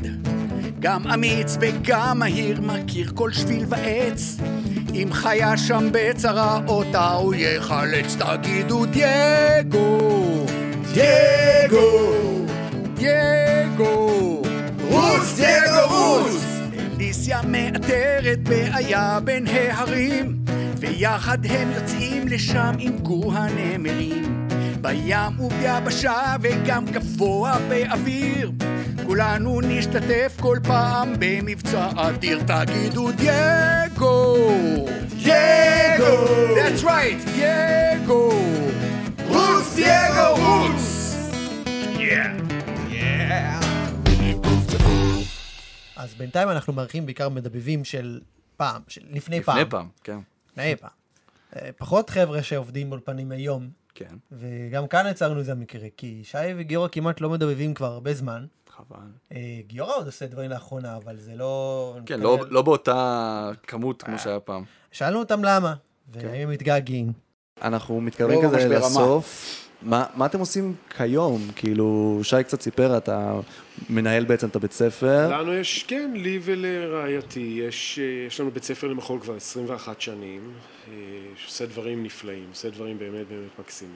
גם אמיץ וגם מהיר מכיר כל שביל ועץ אם חיה שם בצרה אותה הוא יחלץ תגידו דייגו דייגו דייגו רוץ דייגו רוץ אליסיה מאתרת בעיה בין ההרים ויחד הם יוצאים לשם עם גור הנמרים בים וביבשה וגם גבוה באוויר כולנו נשתתף כל פעם במבצע אדיר תגידו דייגו דייגו That's right דייגו רוץ דייגו רוץ אז בינתיים אנחנו מארחים בעיקר מדבבים של פעם, של לפני פעם. לפני פעם, כן. לפני פעם. אה, פחות חבר'ה שעובדים באולפנים היום. כן. וגם כאן יצרנו איזה מקרה, כי שי וגיורא כמעט לא מדבבים כבר הרבה זמן. חבל. אה, גיורא עוד עושה דברים לאחרונה, אבל זה לא... כן, לא- לא באותה כמות אה. כמו שהיה פעם. שאלנו אותם למה, והם מתגעגעים. אנחנו מתקרבים לא כזה ממש ברמה. לסוף, מה, מה אתם עושים כיום? כאילו, שי קצת סיפר, אתה מנהל בעצם את הבית לא. ספר. לנו יש, כן, לי ולרעייתי, יש, אה, יש לנו בית ספר למחול כבר 21 שנים, אה, שעושה דברים נפלאים, עושה דברים באמת באמת מקסימים,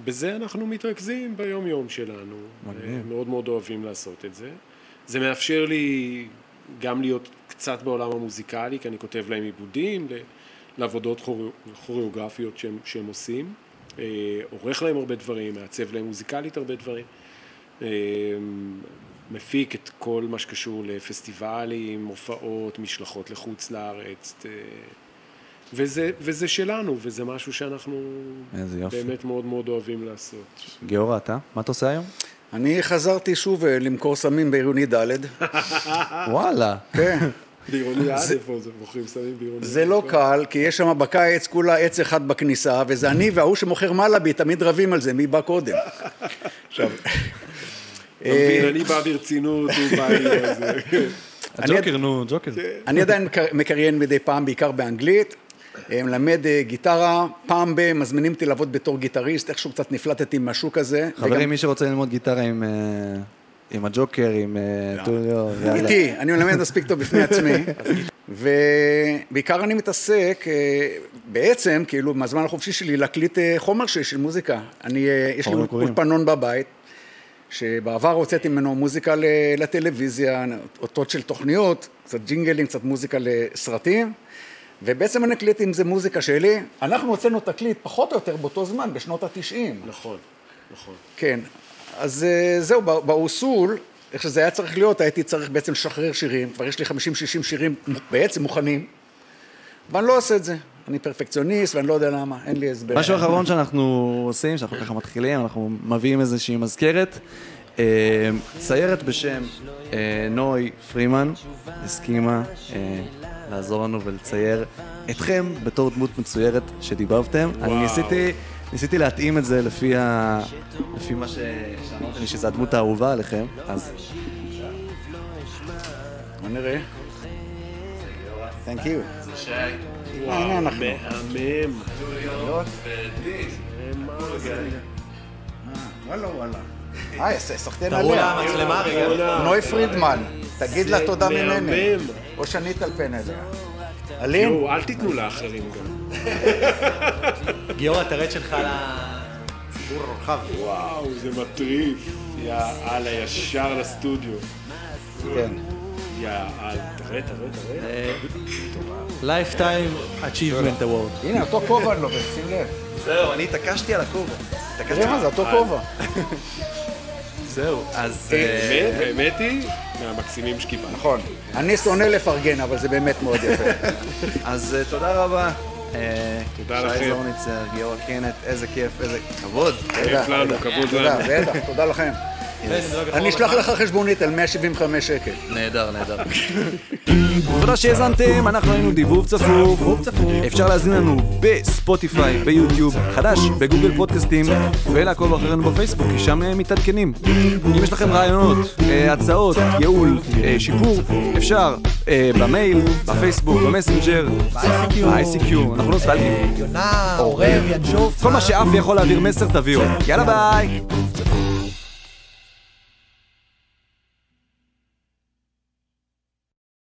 ובזה אנחנו מתרכזים ביום-יום שלנו. מגניב. אה, מאוד מאוד אוהבים לעשות את זה. זה מאפשר לי גם להיות קצת בעולם המוזיקלי, כי אני כותב להם עיבודים, ל- לעבודות כוריאו- כוריאוגרפיות שהם, שהם עושים, אה, עורך להם הרבה דברים, מעצב להם מוזיקלית הרבה דברים. אה, מפיק את כל מה שקשור לפסטיבלים, הופעות, משלחות לחוץ לארץ, אה, וזה, וזה שלנו, וזה משהו שאנחנו איזה יופי. באמת מאוד מאוד אוהבים לעשות. גיאורא, אתה? מה אתה עושה היום? אני חזרתי שוב אה, למכור סמים בעירוני ד'. וואלה. כן. בעירוני א', זה- או זה מוכרים סמים בעירוני זה לא קל, כי יש שם בקיץ כולה עץ אחד בכניסה, וזה אני וההוא שמוכר מלאבי, תמיד רבים על זה, מי בא קודם. עכשיו... אתה אה, מבין, אני בא ברצינות, הוא בא לי על זה. הג'וקר, נו, ג'וקר. אני עדיין מקר- מקריין מדי פעם, בעיקר באנגלית. אה, מלמד אה, גיטרה, פעם ב... מזמינים אותי לעבוד בתור גיטריסט, איכשהו קצת נפלטתי מהשוק הזה. חברים, וגם- מי שרוצה ללמוד גיטרה עם, אה, עם הג'וקר, עם אה, טוליו, יאללה. איתי, אני מלמד מספיק טוב בפני עצמי. ובעיקר אני מתעסק, אה, בעצם, כאילו, מהזמן החופשי שלי, להקליט אה, חומר שלי של מוזיקה. אני, אה, יש לי חומרים מקוריים. אולפנון בבית, שבעבר הוצאתי ממנו מוזיקה ל- לטלוויזיה, אותות של תוכניות, קצת ג'ינגלים, קצת מוזיקה לסרטים. ובעצם אני אקליט אם זה מוזיקה שלי. אנחנו הוצאנו תקליט פחות או יותר באותו זמן, בשנות התשעים. נכון, נכון. כן, אז אה, זהו, בא- באוסול, איך שזה היה צריך להיות, הייתי צריך בעצם לשחרר שירים, כבר יש לי 50-60 שירים מ- בעצם מוכנים, ואני לא עושה את זה. אני פרפקציוניסט ואני לא יודע למה, אין לי הסבר. משהו אחרון שאנחנו עושים, שאנחנו ככה מתחילים, אנחנו מביאים איזושהי מזכרת. אה, ציירת בשם אה, נוי פרימן הסכימה אה, לעזור לנו ולצייר אתכם בתור דמות מצוירת שדיבבתם. אני ניסיתי, ניסיתי להתאים את זה לפי, ה, לפי מה ש- שאמרתם לי, שזו הדמות האהובה עליכם, אז... בוא נראה. Thank you. זה שי. הנה אנחנו. מהמם. וואלה וואלה. היי, אה, סחטיין תראו עליה. לה המצלמה רגע. נוי פרידמן, תגיד לה זה תודה ממני. מהמם. או שאני אטלפן אליה. אלין? אלין? אל תיתנו לאחרים גם. גיורא, תרד שלך לציבור הרחב. וואו, זה מטריף. יאללה, ישר לסטודיו. כן. יאללה, תראה, תראה, תראה. לייפטיים achievement award. הנה, אותו כובע אני לובש, שים לב. זהו, אני התעקשתי על הכובע. התעקשתי תראה מה על- זה, אה. אותו כובע. זהו, אז... אה, באמת, באמת היא מהמקסימים שקיבלנו. נכון. אני שונא לפרגן, אבל זה באמת מאוד יפה. אז אה, תודה רבה. אה, תודה שי לכם. זורניצר, גיאורא קנט, איזה כיף, איזה כבוד. תודה, תודה. תודה, בטח, תודה לכם. אני אשלח לך חשבונית על 175 שקל. נהדר, נהדר. תודה שהאזנתם, אנחנו היינו דיבוב צפוף. אפשר להזין לנו בספוטיפיי, ביוטיוב, חדש, בגוגל פודקאסטים, ולעקוב אחרינו בפייסבוק, כי שם אה, מתעדכנים. אם יש לכם רעיונות, אה, הצעות, ייעול, אה, שיפור, אפשר אה, במייל, בפייסבוק, במסנג'ר, ב-ICQ, אנחנו לא סטלגים. יונה, עורב, ינשוף. כל מה שאף יכול להעביר מסר תביאו. יאללה ביי!